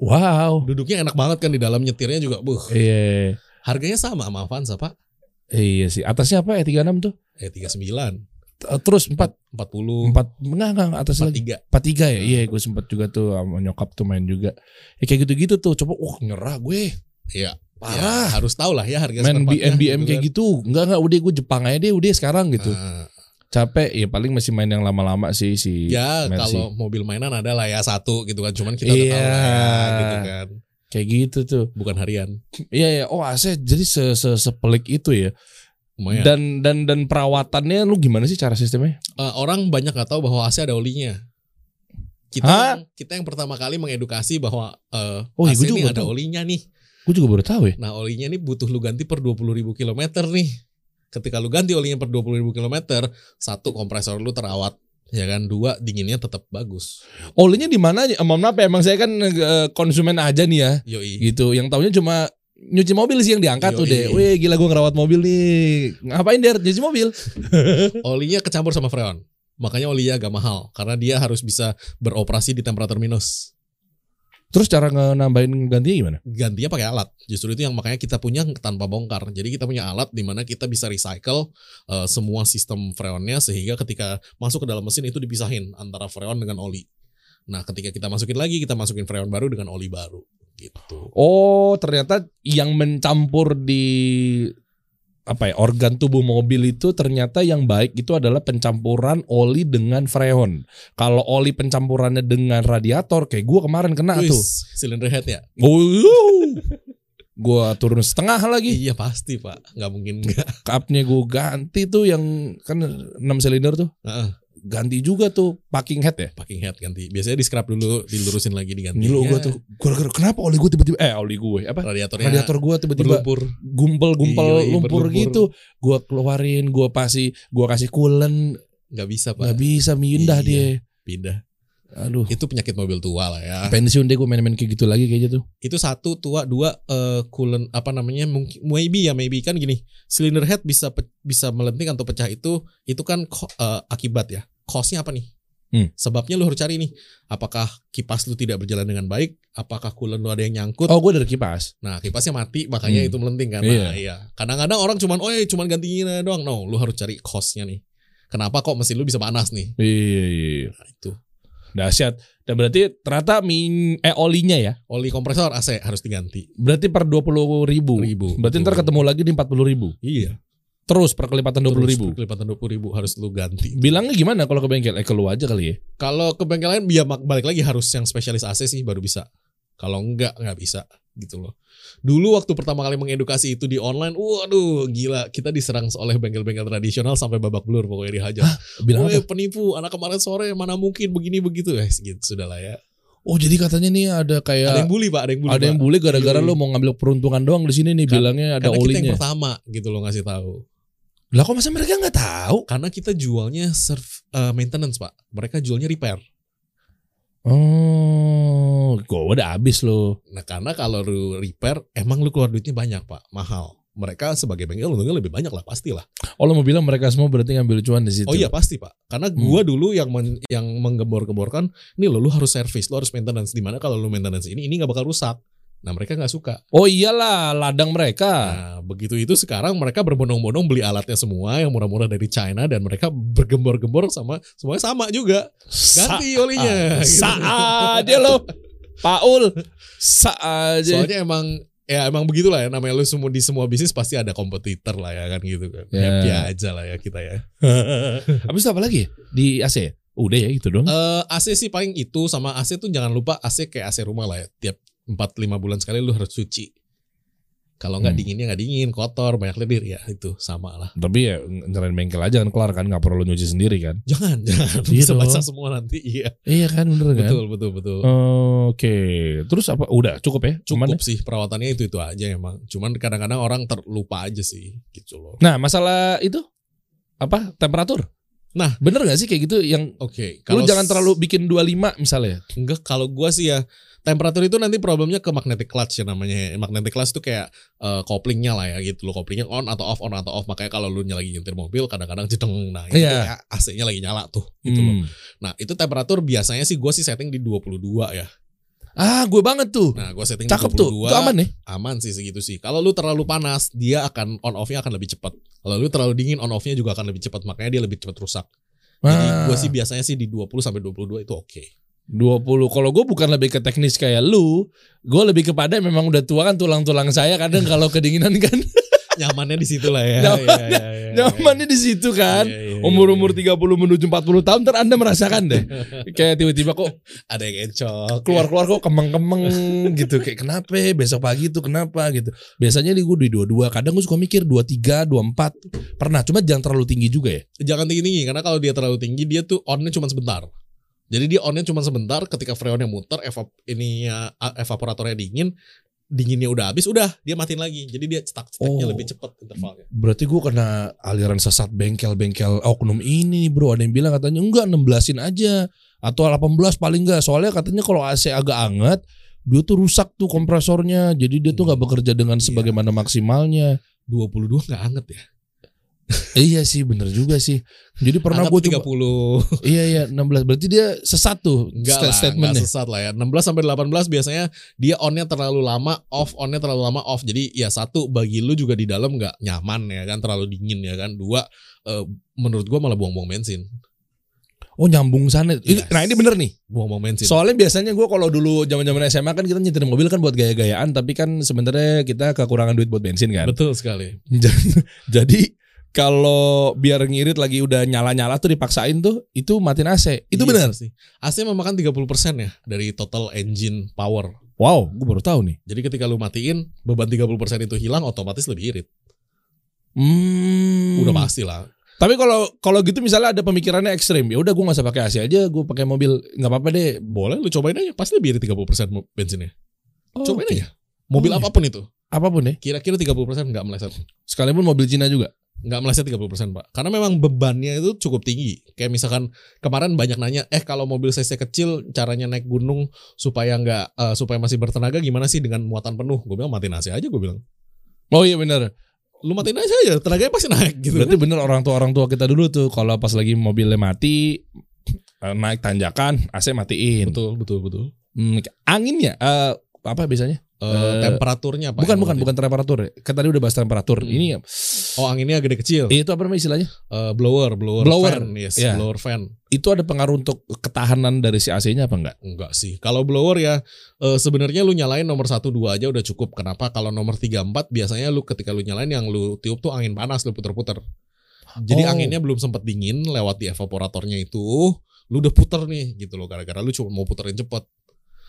[SPEAKER 1] Wow.
[SPEAKER 2] Duduknya enak banget kan di dalam nyetirnya juga. Buh,
[SPEAKER 1] Iya,
[SPEAKER 2] harganya sama sama Avanza, Pak.
[SPEAKER 1] iya sih. Atasnya apa E36 tuh?
[SPEAKER 2] Eh 39,
[SPEAKER 1] T- Terus 4
[SPEAKER 2] 40,
[SPEAKER 1] 4 enggak enggak atas lagi.
[SPEAKER 2] 43.
[SPEAKER 1] 43 ya. Iya, gue sempet juga tuh sama nyokap tuh main juga. Ya kayak gitu-gitu tuh. Coba wah nyerah gue.
[SPEAKER 2] Iya.
[SPEAKER 1] Parah.
[SPEAKER 2] Ya, harus tahu lah ya harga
[SPEAKER 1] main
[SPEAKER 2] spare partnya,
[SPEAKER 1] BM-BM kayak
[SPEAKER 2] kan.
[SPEAKER 1] gitu. Enggak enggak udah gue Jepang aja deh udah sekarang gitu.
[SPEAKER 2] Nah,
[SPEAKER 1] Capek ya paling masih main yang lama-lama sih si
[SPEAKER 2] ya
[SPEAKER 1] Mercy.
[SPEAKER 2] kalau mobil mainan ada lah ya satu gitu kan. Cuman kita udah tahu
[SPEAKER 1] Iya.
[SPEAKER 2] lah ya, gitu kan.
[SPEAKER 1] kayak gitu tuh.
[SPEAKER 2] Bukan harian.
[SPEAKER 1] Iya ya. Oh, AC jadi se -se sepelik itu ya.
[SPEAKER 2] Lumayan.
[SPEAKER 1] Dan dan dan perawatannya lu gimana sih cara sistemnya?
[SPEAKER 2] Eh, orang banyak nggak tahu bahwa AC ada olinya. Kita
[SPEAKER 1] Hah?
[SPEAKER 2] yang, kita yang pertama kali mengedukasi bahwa eh,
[SPEAKER 1] Oh, iya,
[SPEAKER 2] AC
[SPEAKER 1] gua juga
[SPEAKER 2] ini
[SPEAKER 1] nggak
[SPEAKER 2] ada
[SPEAKER 1] tahu.
[SPEAKER 2] olinya nih.
[SPEAKER 1] Gue juga baru tahu ya.
[SPEAKER 2] Nah olinya ini butuh lu ganti per 20.000 ribu kilometer nih. Ketika lu ganti olinya per 20.000 ribu kilometer, satu kompresor lu terawat, ya kan? Dua dinginnya tetap bagus.
[SPEAKER 1] Olinya di mana? aja? Emang kenapa? Emang saya kan eh, konsumen aja nih ya,
[SPEAKER 2] Yoi.
[SPEAKER 1] gitu. Yang taunya cuma nyuci mobil sih yang diangkat
[SPEAKER 2] Yoi.
[SPEAKER 1] tuh deh. Wih gila gue ngerawat mobil nih. Ngapain der? Nyuci mobil.
[SPEAKER 2] Olinya kecampur sama freon. Makanya olinya agak mahal karena dia harus bisa beroperasi di temperatur minus.
[SPEAKER 1] Terus cara nge- nambahin gantinya gimana?
[SPEAKER 2] Gantinya pakai alat. Justru itu yang makanya kita punya tanpa bongkar. Jadi kita punya alat di mana kita bisa recycle eh, semua sistem freonnya sehingga ketika masuk ke dalam mesin itu dipisahin antara freon dengan oli. Nah, ketika kita masukin lagi, kita masukin freon baru dengan oli baru gitu.
[SPEAKER 1] Oh ternyata yang mencampur di apa ya organ tubuh mobil itu ternyata yang baik itu adalah pencampuran oli dengan freon. Kalau oli pencampurannya dengan radiator kayak gue kemarin kena
[SPEAKER 2] Wis,
[SPEAKER 1] Nah, tuh.
[SPEAKER 2] Silinder head ya?
[SPEAKER 1] Wuh. Gua turun setengah lagi.
[SPEAKER 2] Iya pasti pak, nggak mungkin nggak.
[SPEAKER 1] cupnya gue ganti tuh yang kan 6 silinder tuh
[SPEAKER 2] Heeh,
[SPEAKER 1] ganti juga tuh packing head ya
[SPEAKER 2] Packing head ganti. Biasanya di scrap dulu, dilurusin lagi diganti. Iya.
[SPEAKER 1] Gila gue tuh gara-gara kenapa oli gue tiba-tiba eh oli gue apa
[SPEAKER 2] radiatornya
[SPEAKER 1] radiator gue tiba-tiba
[SPEAKER 2] berlumpur.
[SPEAKER 1] gumpel-gumpel
[SPEAKER 2] Iya, iya,
[SPEAKER 1] lumpur
[SPEAKER 2] berlumpur.
[SPEAKER 1] gitu gue keluarin gue pasti gue kasih coolant
[SPEAKER 2] Nggak bisa pak,
[SPEAKER 1] nggak bisa mindah
[SPEAKER 2] Iya.
[SPEAKER 1] dia
[SPEAKER 2] pindah.
[SPEAKER 1] aduh
[SPEAKER 2] Itu penyakit mobil tua lah ya.
[SPEAKER 1] pensiun deh gue main-main kayak gitu lagi kayaknya tuh
[SPEAKER 2] Itu satu tua, dua eh coolant apa namanya? Mungkin maybe ya maybe kan gini. Silinder head bisa pe- bisa melenting atau pecah itu, itu kan ko- eh, akibat ya. Cause-nya apa nih?
[SPEAKER 1] Hmm.
[SPEAKER 2] Sebabnya lu harus cari nih, apakah kipas lu tidak berjalan dengan baik, apakah coolant lu ada yang nyangkut.
[SPEAKER 1] Oh, gue dari kipas.
[SPEAKER 2] Nah, kipasnya mati makanya
[SPEAKER 1] Hmm.
[SPEAKER 2] itu melenting karena
[SPEAKER 1] Iya.
[SPEAKER 2] iya. Kadang-kadang orang cuman oh ya cuman gantinya doang. No, lu harus cari cost-nya nih. Kenapa kok mesin lu bisa panas nih?
[SPEAKER 1] Iya, iya, iya.
[SPEAKER 2] Nah, itu.
[SPEAKER 1] Dahsyat. Dan berarti ternyata min eh olinya ya.
[SPEAKER 2] Oli kompresor AC harus diganti.
[SPEAKER 1] Berarti per 20 ribu.
[SPEAKER 2] Ribu.
[SPEAKER 1] Berarti ntar ketemu lagi di 40 ribu.
[SPEAKER 2] Iya.
[SPEAKER 1] Terus per kelipatan 20 ribu.
[SPEAKER 2] Kelipatan 20 ribu harus lu ganti.
[SPEAKER 1] Bilangnya gimana kalau ke bengkel? Eh, keluar aja kali ya.
[SPEAKER 2] Kalau ke bengkel lain biar mak- balik lagi harus yang spesialis AC sih baru bisa. Kalau enggak nggak bisa gitu loh. Dulu waktu pertama kali mengedukasi itu di online, waduh gila kita diserang oleh bengkel-bengkel tradisional sampai babak belur pokoknya dihajar.
[SPEAKER 1] Bilang
[SPEAKER 2] Woi
[SPEAKER 1] apa?
[SPEAKER 2] penipu, anak kemarin sore mana mungkin begini begitu eh gitu sudah lah ya.
[SPEAKER 1] Oh, jadi katanya nih ada kayak
[SPEAKER 2] Ada yang bully pak, ada yang bully.
[SPEAKER 1] Ya, ada yang
[SPEAKER 2] Pak. Iya,
[SPEAKER 1] bule gara-gara
[SPEAKER 2] Yoi.
[SPEAKER 1] lo mau ngambil peruntungan doang di sini nih
[SPEAKER 2] Kan-
[SPEAKER 1] bilangnya ada
[SPEAKER 2] Karena kita yang
[SPEAKER 1] olinya.
[SPEAKER 2] pertama gitu loh ngasih tahu.
[SPEAKER 1] Lah kok masa mereka nggak tahu?
[SPEAKER 2] Karena kita jualnya serv- eh, maintenance pak, mereka jualnya repair.
[SPEAKER 1] Oh, gue udah habis lo.
[SPEAKER 2] Nah karena kalau lu repair, emang lu keluar duitnya banyak pak, mahal. Mereka sebagai bengkel untungnya lebih banyak lah pastilah.
[SPEAKER 1] Oh lo mau bilang mereka semua berarti ngambil cuan di situ?
[SPEAKER 2] Oh iya pasti pak, karena gua dulu yang men- yang menggembor-gemborkan, ini loh lu harus service, lu harus maintenance. Dimana kalau lu maintenance ini, ini nggak bakal rusak. Nah mereka nggak suka.
[SPEAKER 1] Oh iyalah ladang mereka.
[SPEAKER 2] Nah, begitu itu sekarang mereka berbondong-bondong beli alatnya semua yang murah-murah dari China dan mereka bergembor-gembor sama semuanya sama juga.
[SPEAKER 1] Sa-
[SPEAKER 2] Ganti olinya. gitu.
[SPEAKER 1] Sa aja lo, Paul. Sa aja.
[SPEAKER 2] Soalnya emang ya emang begitulah ya namanya lu semua di semua bisnis pasti ada kompetitor lah ya kan gitu kan.
[SPEAKER 1] Ya.
[SPEAKER 2] Happy aja lah ya kita ya. (laughs)
[SPEAKER 1] Habis itu apa lagi? ya? Di AC? ya? Udah ya gitu doang.
[SPEAKER 2] Eh AC sih paling itu sama AC tuh jangan lupa AC kayak AC rumah lah ya. Tiap 4 5 bulan sekali lu harus cuci. Kalau nggak
[SPEAKER 1] Hmm.
[SPEAKER 2] dinginnya nggak dingin, kotor, banyak lendir ya itu sama lah.
[SPEAKER 1] Tapi ya nyerain bengkel aja kan kelar kan nggak perlu lo nyuci sendiri kan?
[SPEAKER 2] Jangan, (laughs) jangan
[SPEAKER 1] Iya
[SPEAKER 2] bisa
[SPEAKER 1] dong.
[SPEAKER 2] basah semua nanti. Iya.
[SPEAKER 1] Iya kan bener kan?
[SPEAKER 2] Betul, betul, betul.
[SPEAKER 1] Oke, terus apa? Udah cukup ya? Cuman
[SPEAKER 2] cukup sih perawatannya itu itu aja emang cuman kadang-kadang orang terlupa aja sih gitu loh
[SPEAKER 1] Nah, masalah itu apa? Temperatur.
[SPEAKER 2] Nah.
[SPEAKER 1] bener gak sih kayak gitu yang
[SPEAKER 2] oke
[SPEAKER 1] lu jangan terlalu bikin 25 misalnya.
[SPEAKER 2] enggak kalau gua sih ya temperatur itu nanti problemnya ke magnetic clutch ya namanya magnetic clutch tuh kayak eh, koplingnya lah ya gitu loh koplingnya on atau off on atau off makanya kalau lu lagi nyetir mobil kadang-kadang jedeng nah itu
[SPEAKER 1] Iya.
[SPEAKER 2] kayak AC-nya lagi nyala tuh
[SPEAKER 1] Gitu
[SPEAKER 2] gitu loh
[SPEAKER 1] loh.
[SPEAKER 2] nah itu temperatur biasanya sih gua sih setting di 22 ya
[SPEAKER 1] Ah, gue banget tuh.
[SPEAKER 2] nah gua setting
[SPEAKER 1] Cakep
[SPEAKER 2] di
[SPEAKER 1] tuh.
[SPEAKER 2] 22
[SPEAKER 1] Itu aman nih.
[SPEAKER 2] aman sih segitu sih. Kalau lu terlalu panas, dia akan on off-nya akan lebih cepat. Kalau lu terlalu dingin, on off-nya juga akan lebih cepat. Makanya dia lebih cepat rusak. Jadi
[SPEAKER 1] Ah,
[SPEAKER 2] gua sih biasanya sih di 20 sampai 22 itu oke.
[SPEAKER 1] 20. Kalau gue bukan lebih ke teknis kayak lu, gue lebih kepada memang udah tua kan tulang-tulang saya
[SPEAKER 2] (laughs)
[SPEAKER 1] kadang kalau kedinginan kan
[SPEAKER 2] Nyamannya di situ lah ya.
[SPEAKER 1] (laughs) Nyamannya-
[SPEAKER 2] Iya, iya, iya.
[SPEAKER 1] nyamannya di situ kan.
[SPEAKER 2] Iya, iya, iya.
[SPEAKER 1] Umur-umur 30 menuju 40 tahun ntar Anda merasakan
[SPEAKER 2] (laughs)
[SPEAKER 1] deh. Kayak tiba-tiba kok
[SPEAKER 2] ada yang encok.
[SPEAKER 1] keluar-keluar kok kemeng-kemeng gitu kayak kenapa ya? besok pagi tuh kenapa gitu biasanya di gue di dua-dua kadang gue suka mikir dua tiga dua empat pernah cuma jangan terlalu tinggi juga ya
[SPEAKER 2] Jangan tinggi-tinggi karena kalau dia terlalu tinggi dia tuh on-nya cuma sebentar. Jadi dia on-nya cuma sebentar ketika freonnya muter, evap ini evaporatornya dingin, dinginnya udah habis, udah dia matiin lagi. Jadi dia cetak-cetaknya
[SPEAKER 1] Oh.
[SPEAKER 2] lebih cepat intervalnya.
[SPEAKER 1] berarti gue kena aliran sesat bengkel-bengkel oknum ini nih, bro ada yang bilang katanya enggak 16-in aja atau 18 paling enggak soalnya katanya kalau AC agak anget dia tuh rusak tuh kompresornya jadi dia tuh nggak bekerja dengan
[SPEAKER 2] Iya.
[SPEAKER 1] sebagaimana maksimalnya
[SPEAKER 2] 22 nggak anget ya.
[SPEAKER 1] iya sih bener juga sih jadi pernah
[SPEAKER 2] Anget
[SPEAKER 1] gue
[SPEAKER 2] 30.
[SPEAKER 1] coba iya iya 16 berarti dia sesat tuh
[SPEAKER 2] Enggak
[SPEAKER 1] sta-
[SPEAKER 2] lah,
[SPEAKER 1] statementnya
[SPEAKER 2] enggak sesat lah ya. 16 sampai 18 biasanya dia onnya terlalu lama, off onnya terlalu lama off. Jadi ya satu bagi lu juga di dalam nggak nyaman ya kan, terlalu dingin ya kan. Dua eh, menurut gua malah buang-buang bensin.
[SPEAKER 1] Oh nyambung sana. Ini-
[SPEAKER 2] Yes.
[SPEAKER 1] Nah ini bener nih.
[SPEAKER 2] Buang-buang bensin.
[SPEAKER 1] Soalnya biasanya gue kalau dulu zaman zaman SMA kan kita nyetir mobil kan buat gaya-gayaan, tapi kan sebenarnya kita kekurangan duit buat bensin kan.
[SPEAKER 2] Betul sekali.
[SPEAKER 1] (laughs) Jadi kalau biar ngirit lagi udah nyala-nyala tuh dipaksain tuh itu matiin AC. Itu
[SPEAKER 2] Iya
[SPEAKER 1] bener.
[SPEAKER 2] sih. AC memakan 30% ya dari total engine power.
[SPEAKER 1] Wow, gue baru tahu nih.
[SPEAKER 2] Jadi ketika lu matiin, beban 30% itu hilang otomatis lebih irit.
[SPEAKER 1] Hmm.
[SPEAKER 2] Udah pasti lah.
[SPEAKER 1] Tapi kalau kalau gitu misalnya ada pemikirannya ekstrim, ya udah gue nggak usah pakai AC aja, gue pakai mobil nggak apa-apa deh.
[SPEAKER 2] Boleh lu cobain aja, pasti lebih irit 30% mo- bensinnya.
[SPEAKER 1] Oh,
[SPEAKER 2] cobain
[SPEAKER 1] oke.
[SPEAKER 2] aja. Mobil
[SPEAKER 1] Boleh.
[SPEAKER 2] apapun itu,
[SPEAKER 1] Apapun ya.
[SPEAKER 2] kira-kira 30% nggak meleset.
[SPEAKER 1] Sekalipun mobil Cina juga.
[SPEAKER 2] nggak meleset 30% pak karena memang bebannya itu cukup tinggi kayak misalkan kemarin banyak nanya eh kalau mobil cc kecil caranya naik gunung supaya nggak eh, supaya masih bertenaga gimana sih dengan muatan penuh gue bilang matiin AC aja gue bilang
[SPEAKER 1] Oh iya bener.
[SPEAKER 2] lu matiin AC aja tenaganya pasti naik gitu
[SPEAKER 1] Berarti bener orang tua orang tua kita dulu tuh kalau pas lagi mobilnya mati eh, naik tanjakan AC matiin
[SPEAKER 2] Betul, betul, betul.
[SPEAKER 1] Hmm, anginnya eh, apa biasanya
[SPEAKER 2] Eh,
[SPEAKER 1] Eh,
[SPEAKER 2] temperaturnya
[SPEAKER 1] bukan
[SPEAKER 2] apa? yang
[SPEAKER 1] bukan
[SPEAKER 2] berarti?
[SPEAKER 1] bukan temperatur ya. kan tadi udah bahas temperatur
[SPEAKER 2] Hmm.
[SPEAKER 1] ini
[SPEAKER 2] Oh, anginnya gede kecil.
[SPEAKER 1] itu apa namanya istilahnya
[SPEAKER 2] Eh, blower, blower,
[SPEAKER 1] Iya. Blower.
[SPEAKER 2] fan, yes,
[SPEAKER 1] Iya.
[SPEAKER 2] blower fan.
[SPEAKER 1] itu ada pengaruh untuk ketahanan dari si AC-nya apa enggak
[SPEAKER 2] Enggak sih. Kalau blower ya eh, sebenarnya lu nyalain nomor 1 2 aja udah cukup. Kenapa? Kalau nomor 3 4 biasanya lu ketika lu nyalain yang lu tiup tuh angin panas lu puter-puter. Jadi
[SPEAKER 1] Oh.
[SPEAKER 2] anginnya belum sempat dingin lewat di evaporatornya itu lu udah puter nih gitu loh gara-gara lu cuma mau puterin cepet.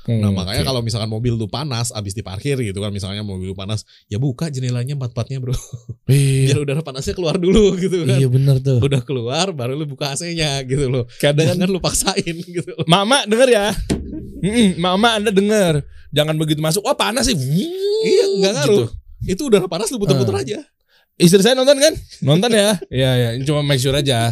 [SPEAKER 1] Hmm,
[SPEAKER 2] Nah, makanya kalau misalkan mobil lu panas abis diparkir gitu kan misalnya mobil lu panas, ya buka jendelanya empat-empatnya, Bro.
[SPEAKER 1] iya,
[SPEAKER 2] Biar udara panasnya keluar dulu (laughs) gitu kan.
[SPEAKER 1] iya benar tuh
[SPEAKER 2] Udah keluar baru lu buka AC-nya gitu loh.
[SPEAKER 1] kadang
[SPEAKER 2] Jangan lu paksain (laughs) gitu.
[SPEAKER 1] mama denger ya Mm-mm, mama anda denger jangan begitu masuk wah panas sih
[SPEAKER 2] Iya,
[SPEAKER 1] iya
[SPEAKER 2] nggak ngaruh. Itu udara panas lu puter-puter
[SPEAKER 1] Ah.
[SPEAKER 2] aja.
[SPEAKER 1] istri saya nonton kan nonton ya iya ya cuma make sure aja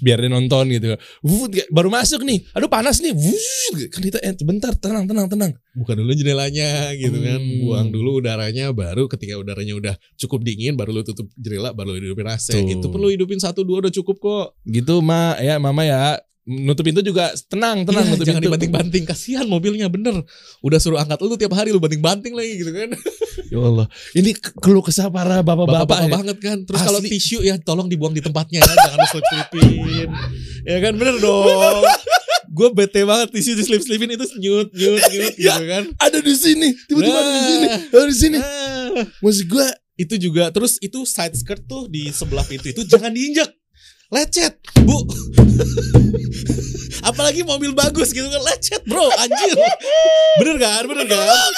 [SPEAKER 1] biar dia nonton gitu Wuh, kayak baru masuk nih aduh panas nih Wuh, kan kita eh, bentar tenang tenang tenang
[SPEAKER 2] buka dulu jendelanya gitu kan
[SPEAKER 1] Hmm.
[SPEAKER 2] buang dulu udaranya baru ketika udaranya udah cukup dingin baru lu tutup jendela baru lu hidupin AC
[SPEAKER 1] Tuh.
[SPEAKER 2] itu perlu hidupin satu dua udah cukup kok
[SPEAKER 1] gitu ma ya mama ya nutup pintu juga tenang tenang
[SPEAKER 2] Iya,
[SPEAKER 1] nutup
[SPEAKER 2] jangan
[SPEAKER 1] pintu
[SPEAKER 2] dibanting banting kasihan mobilnya bener udah suruh angkat lu tiap hari lu banting banting lagi gitu kan
[SPEAKER 1] ya Allah ini ke- keluh kesah para
[SPEAKER 2] bapak
[SPEAKER 1] bapak-bapak
[SPEAKER 2] bapak
[SPEAKER 1] ya.
[SPEAKER 2] banget kan terus kalau
[SPEAKER 1] Asli.
[SPEAKER 2] tisu ya tolong dibuang di tempatnya ya jangan lu selip selipin ya kan bener dong gue bete banget tisu diselip selipin itu nyut nyut nyut
[SPEAKER 1] Ya.
[SPEAKER 2] gitu kan
[SPEAKER 1] ada di sini tiba-tiba ada di sini
[SPEAKER 2] Ah.
[SPEAKER 1] ada di sini
[SPEAKER 2] Ah.
[SPEAKER 1] maksud gue
[SPEAKER 2] itu juga terus itu side skirt tuh di sebelah pintu itu jangan diinjek lecet bu (laughs) apalagi mobil bagus gitu kan lecet bro anjir bener kan bener kan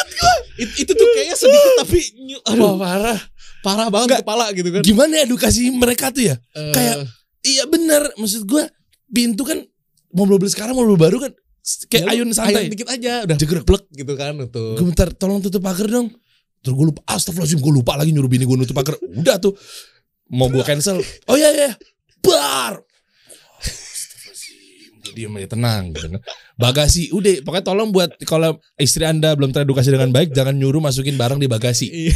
[SPEAKER 2] It- itu tuh kayaknya sedikit tapi nyu-
[SPEAKER 1] wah
[SPEAKER 2] aduh
[SPEAKER 1] parah
[SPEAKER 2] parah banget kepala gitu kan
[SPEAKER 1] gimana edukasi mereka tuh ya
[SPEAKER 2] Eh,
[SPEAKER 1] kayak- Iya benar, maksud gua pintu kan mobil mobil sekarang mobil baru kan s- kayak
[SPEAKER 2] ya lu
[SPEAKER 1] ayun santai.
[SPEAKER 2] ayun dikit aja udah
[SPEAKER 1] Jegrek.
[SPEAKER 2] plek gitu kan tuh
[SPEAKER 1] Gua bentar, tolong tutup pagar dong. Terus gue lupa, astagfirullahaladzim gue lupa lagi nyuruh bini gue nutup pagar. Udah tuh, mau gua cancel. Oh iya iya, bar. Astagfirullahaladzim, Gua diem aja tenang gitu kan. Bagasi, udah pokoknya tolong buat kalau istri anda belum teredukasi dengan baik jangan nyuruh masukin barang di bagasi.
[SPEAKER 2] Iya.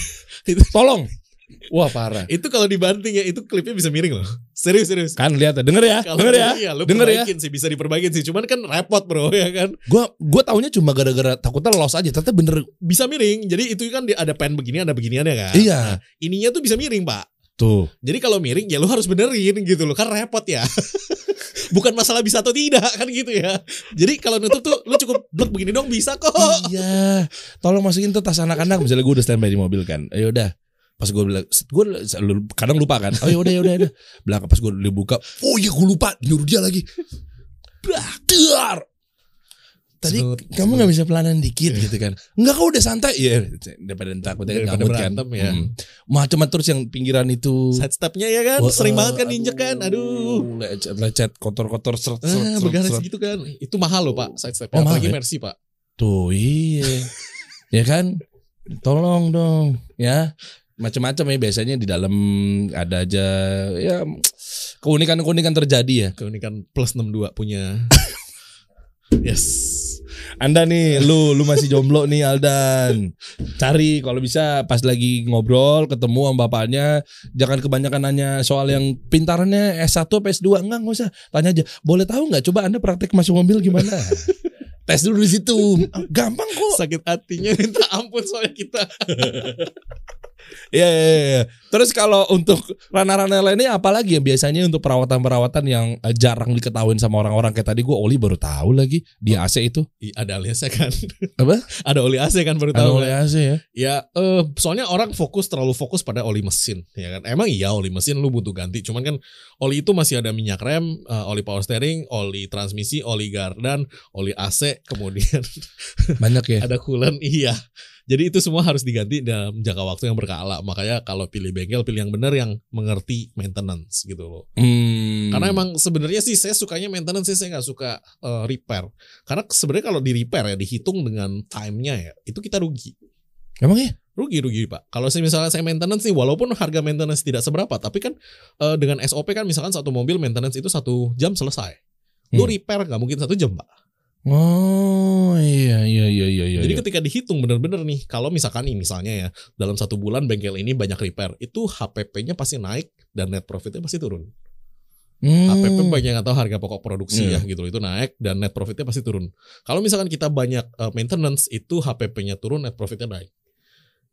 [SPEAKER 1] Tolong. Wah parah.
[SPEAKER 2] itu kalau dibanting ya itu klipnya bisa miring loh (laughs) serius serius
[SPEAKER 1] Kan lihat ya, denger ya,
[SPEAKER 2] kalau
[SPEAKER 1] denger ya.
[SPEAKER 2] iya, lu
[SPEAKER 1] denger ya.
[SPEAKER 2] perbaikin sih bisa diperbaikin sih cuman kan repot bro (laughs) ya kan
[SPEAKER 1] Gua gua taunya cuma gara-gara takutnya lolos aja, ternyata bener
[SPEAKER 2] bisa miring. Jadi itu kan di- ada pen begini, ada beginiannya kan.
[SPEAKER 1] Iya.
[SPEAKER 2] Nah, ininya tuh bisa miring, Pak.
[SPEAKER 1] tuh.
[SPEAKER 2] Jadi kalau miring ya lu harus benerin gitu loh. Kan repot ya. (laughs) Bukan masalah bisa atau tidak kan gitu ya. Jadi kalau nutup tuh lu cukup blok begini dong bisa kok.
[SPEAKER 1] (laughs) Iya, tolong masukin tuh tas anak-anak. Misalnya gue udah standby di mobil kan, ya udah. Pas gue bilang, gue kadang lupa kan. Oh yaudah yaudah yaudah. Belakang pas gue dibuka, oh iya gue lupa nyuruh dia lagi. Dar. Tadi
[SPEAKER 2] Sebut,
[SPEAKER 1] kamu nggak bisa pelanan dikit gitu kan? Enggak kau udah santai ya daripada takut kan
[SPEAKER 2] Iya.
[SPEAKER 1] gabut
[SPEAKER 2] Daripada
[SPEAKER 1] kan.
[SPEAKER 2] berantem, ya.
[SPEAKER 1] Hmm. Macam terus yang pinggiran itu.
[SPEAKER 2] Side stepnya ya kan.
[SPEAKER 1] Wah,
[SPEAKER 2] Sering banget kan
[SPEAKER 1] aduh,
[SPEAKER 2] diinjek kan. Aduh.
[SPEAKER 1] lecet lecet kotor-kotor seret seret, seret,
[SPEAKER 2] Ah, bergaris
[SPEAKER 1] seret.
[SPEAKER 2] gitu kan. Itu mahal loh, Pak.
[SPEAKER 1] Oh,
[SPEAKER 2] Side stepnya. Apalagi
[SPEAKER 1] mahal ya?
[SPEAKER 2] Mercy, Pak.
[SPEAKER 1] Tuh iya. ya kan? Tolong dong ya. Macam-macam ya biasanya di dalam ada aja ya keunikan-keunikan terjadi ya.
[SPEAKER 2] Keunikan kan plus 62
[SPEAKER 1] (laughs)
[SPEAKER 2] punya. yes.
[SPEAKER 1] Anda nih, lu lu masih jomblo nih Aldan. Cari kalau bisa pas lagi ngobrol ketemu sama bapaknya, jangan kebanyakan nanya soal yang pintarannya S1 apa S2 enggak enggak usah. Tanya aja, boleh tahu nggak coba Anda praktek masuk mobil gimana? Tes dulu di situ. Gampang kok.
[SPEAKER 2] Sakit hatinya minta ampun soalnya kita.
[SPEAKER 1] Iya, iya, iya, iya. Terus kalau untuk ranah-ranah lainnya apalagi yang biasanya untuk perawatan-perawatan yang eh, jarang diketahui sama orang-orang kayak tadi gue Oli baru tahu lagi di AC itu.
[SPEAKER 2] Ih, Ada aliasnya kan.
[SPEAKER 1] Apa?
[SPEAKER 2] (laughs) Ada oli AC kan baru
[SPEAKER 1] Ada
[SPEAKER 2] tahu.
[SPEAKER 1] Oli AC ya.
[SPEAKER 2] Ya, eh, soalnya orang fokus terlalu fokus pada oli mesin, ya kan? Emang iya oli mesin lu butuh ganti, cuman kan oli itu masih ada minyak rem, eh, oli power steering, oli transmisi, oli gardan, oli AC, kemudian (laughs)
[SPEAKER 1] Banyak ya.
[SPEAKER 2] ada coolant, iya. Jadi itu semua harus diganti dalam jangka waktu yang berkala. Makanya kalau pilih bengkel, pilih yang benar yang mengerti maintenance gitu loh.
[SPEAKER 1] Hmm.
[SPEAKER 2] Karena emang sebenarnya sih saya sukanya maintenance sih saya nggak suka eh, repair. Karena sebenarnya kalau di repair ya dihitung dengan time-nya ya, itu kita rugi
[SPEAKER 1] emang ya?
[SPEAKER 2] rugi rugi pak kalau saya misalnya saya maintenance nih walaupun harga maintenance tidak seberapa tapi kan eh, dengan SOP kan misalkan satu mobil maintenance itu satu jam selesai lu
[SPEAKER 1] Hmm.
[SPEAKER 2] repair nggak mungkin satu jam pak
[SPEAKER 1] Oh iya iya iya iya. iya.
[SPEAKER 2] jadi kan
[SPEAKER 1] iya.
[SPEAKER 2] ketika dihitung bener-bener nih kalau misalkan nih misalnya ya dalam satu bulan bengkel ini banyak repair itu HPP-nya pasti naik dan net profitnya pasti turun
[SPEAKER 1] Hmm.
[SPEAKER 2] HPP banyak yang nggak tahu harga pokok produksi
[SPEAKER 1] Iya.
[SPEAKER 2] ya gitu loh. itu naik dan net profitnya pasti turun. Kalau misalkan kita banyak eh, maintenance itu HPP-nya turun net profitnya naik.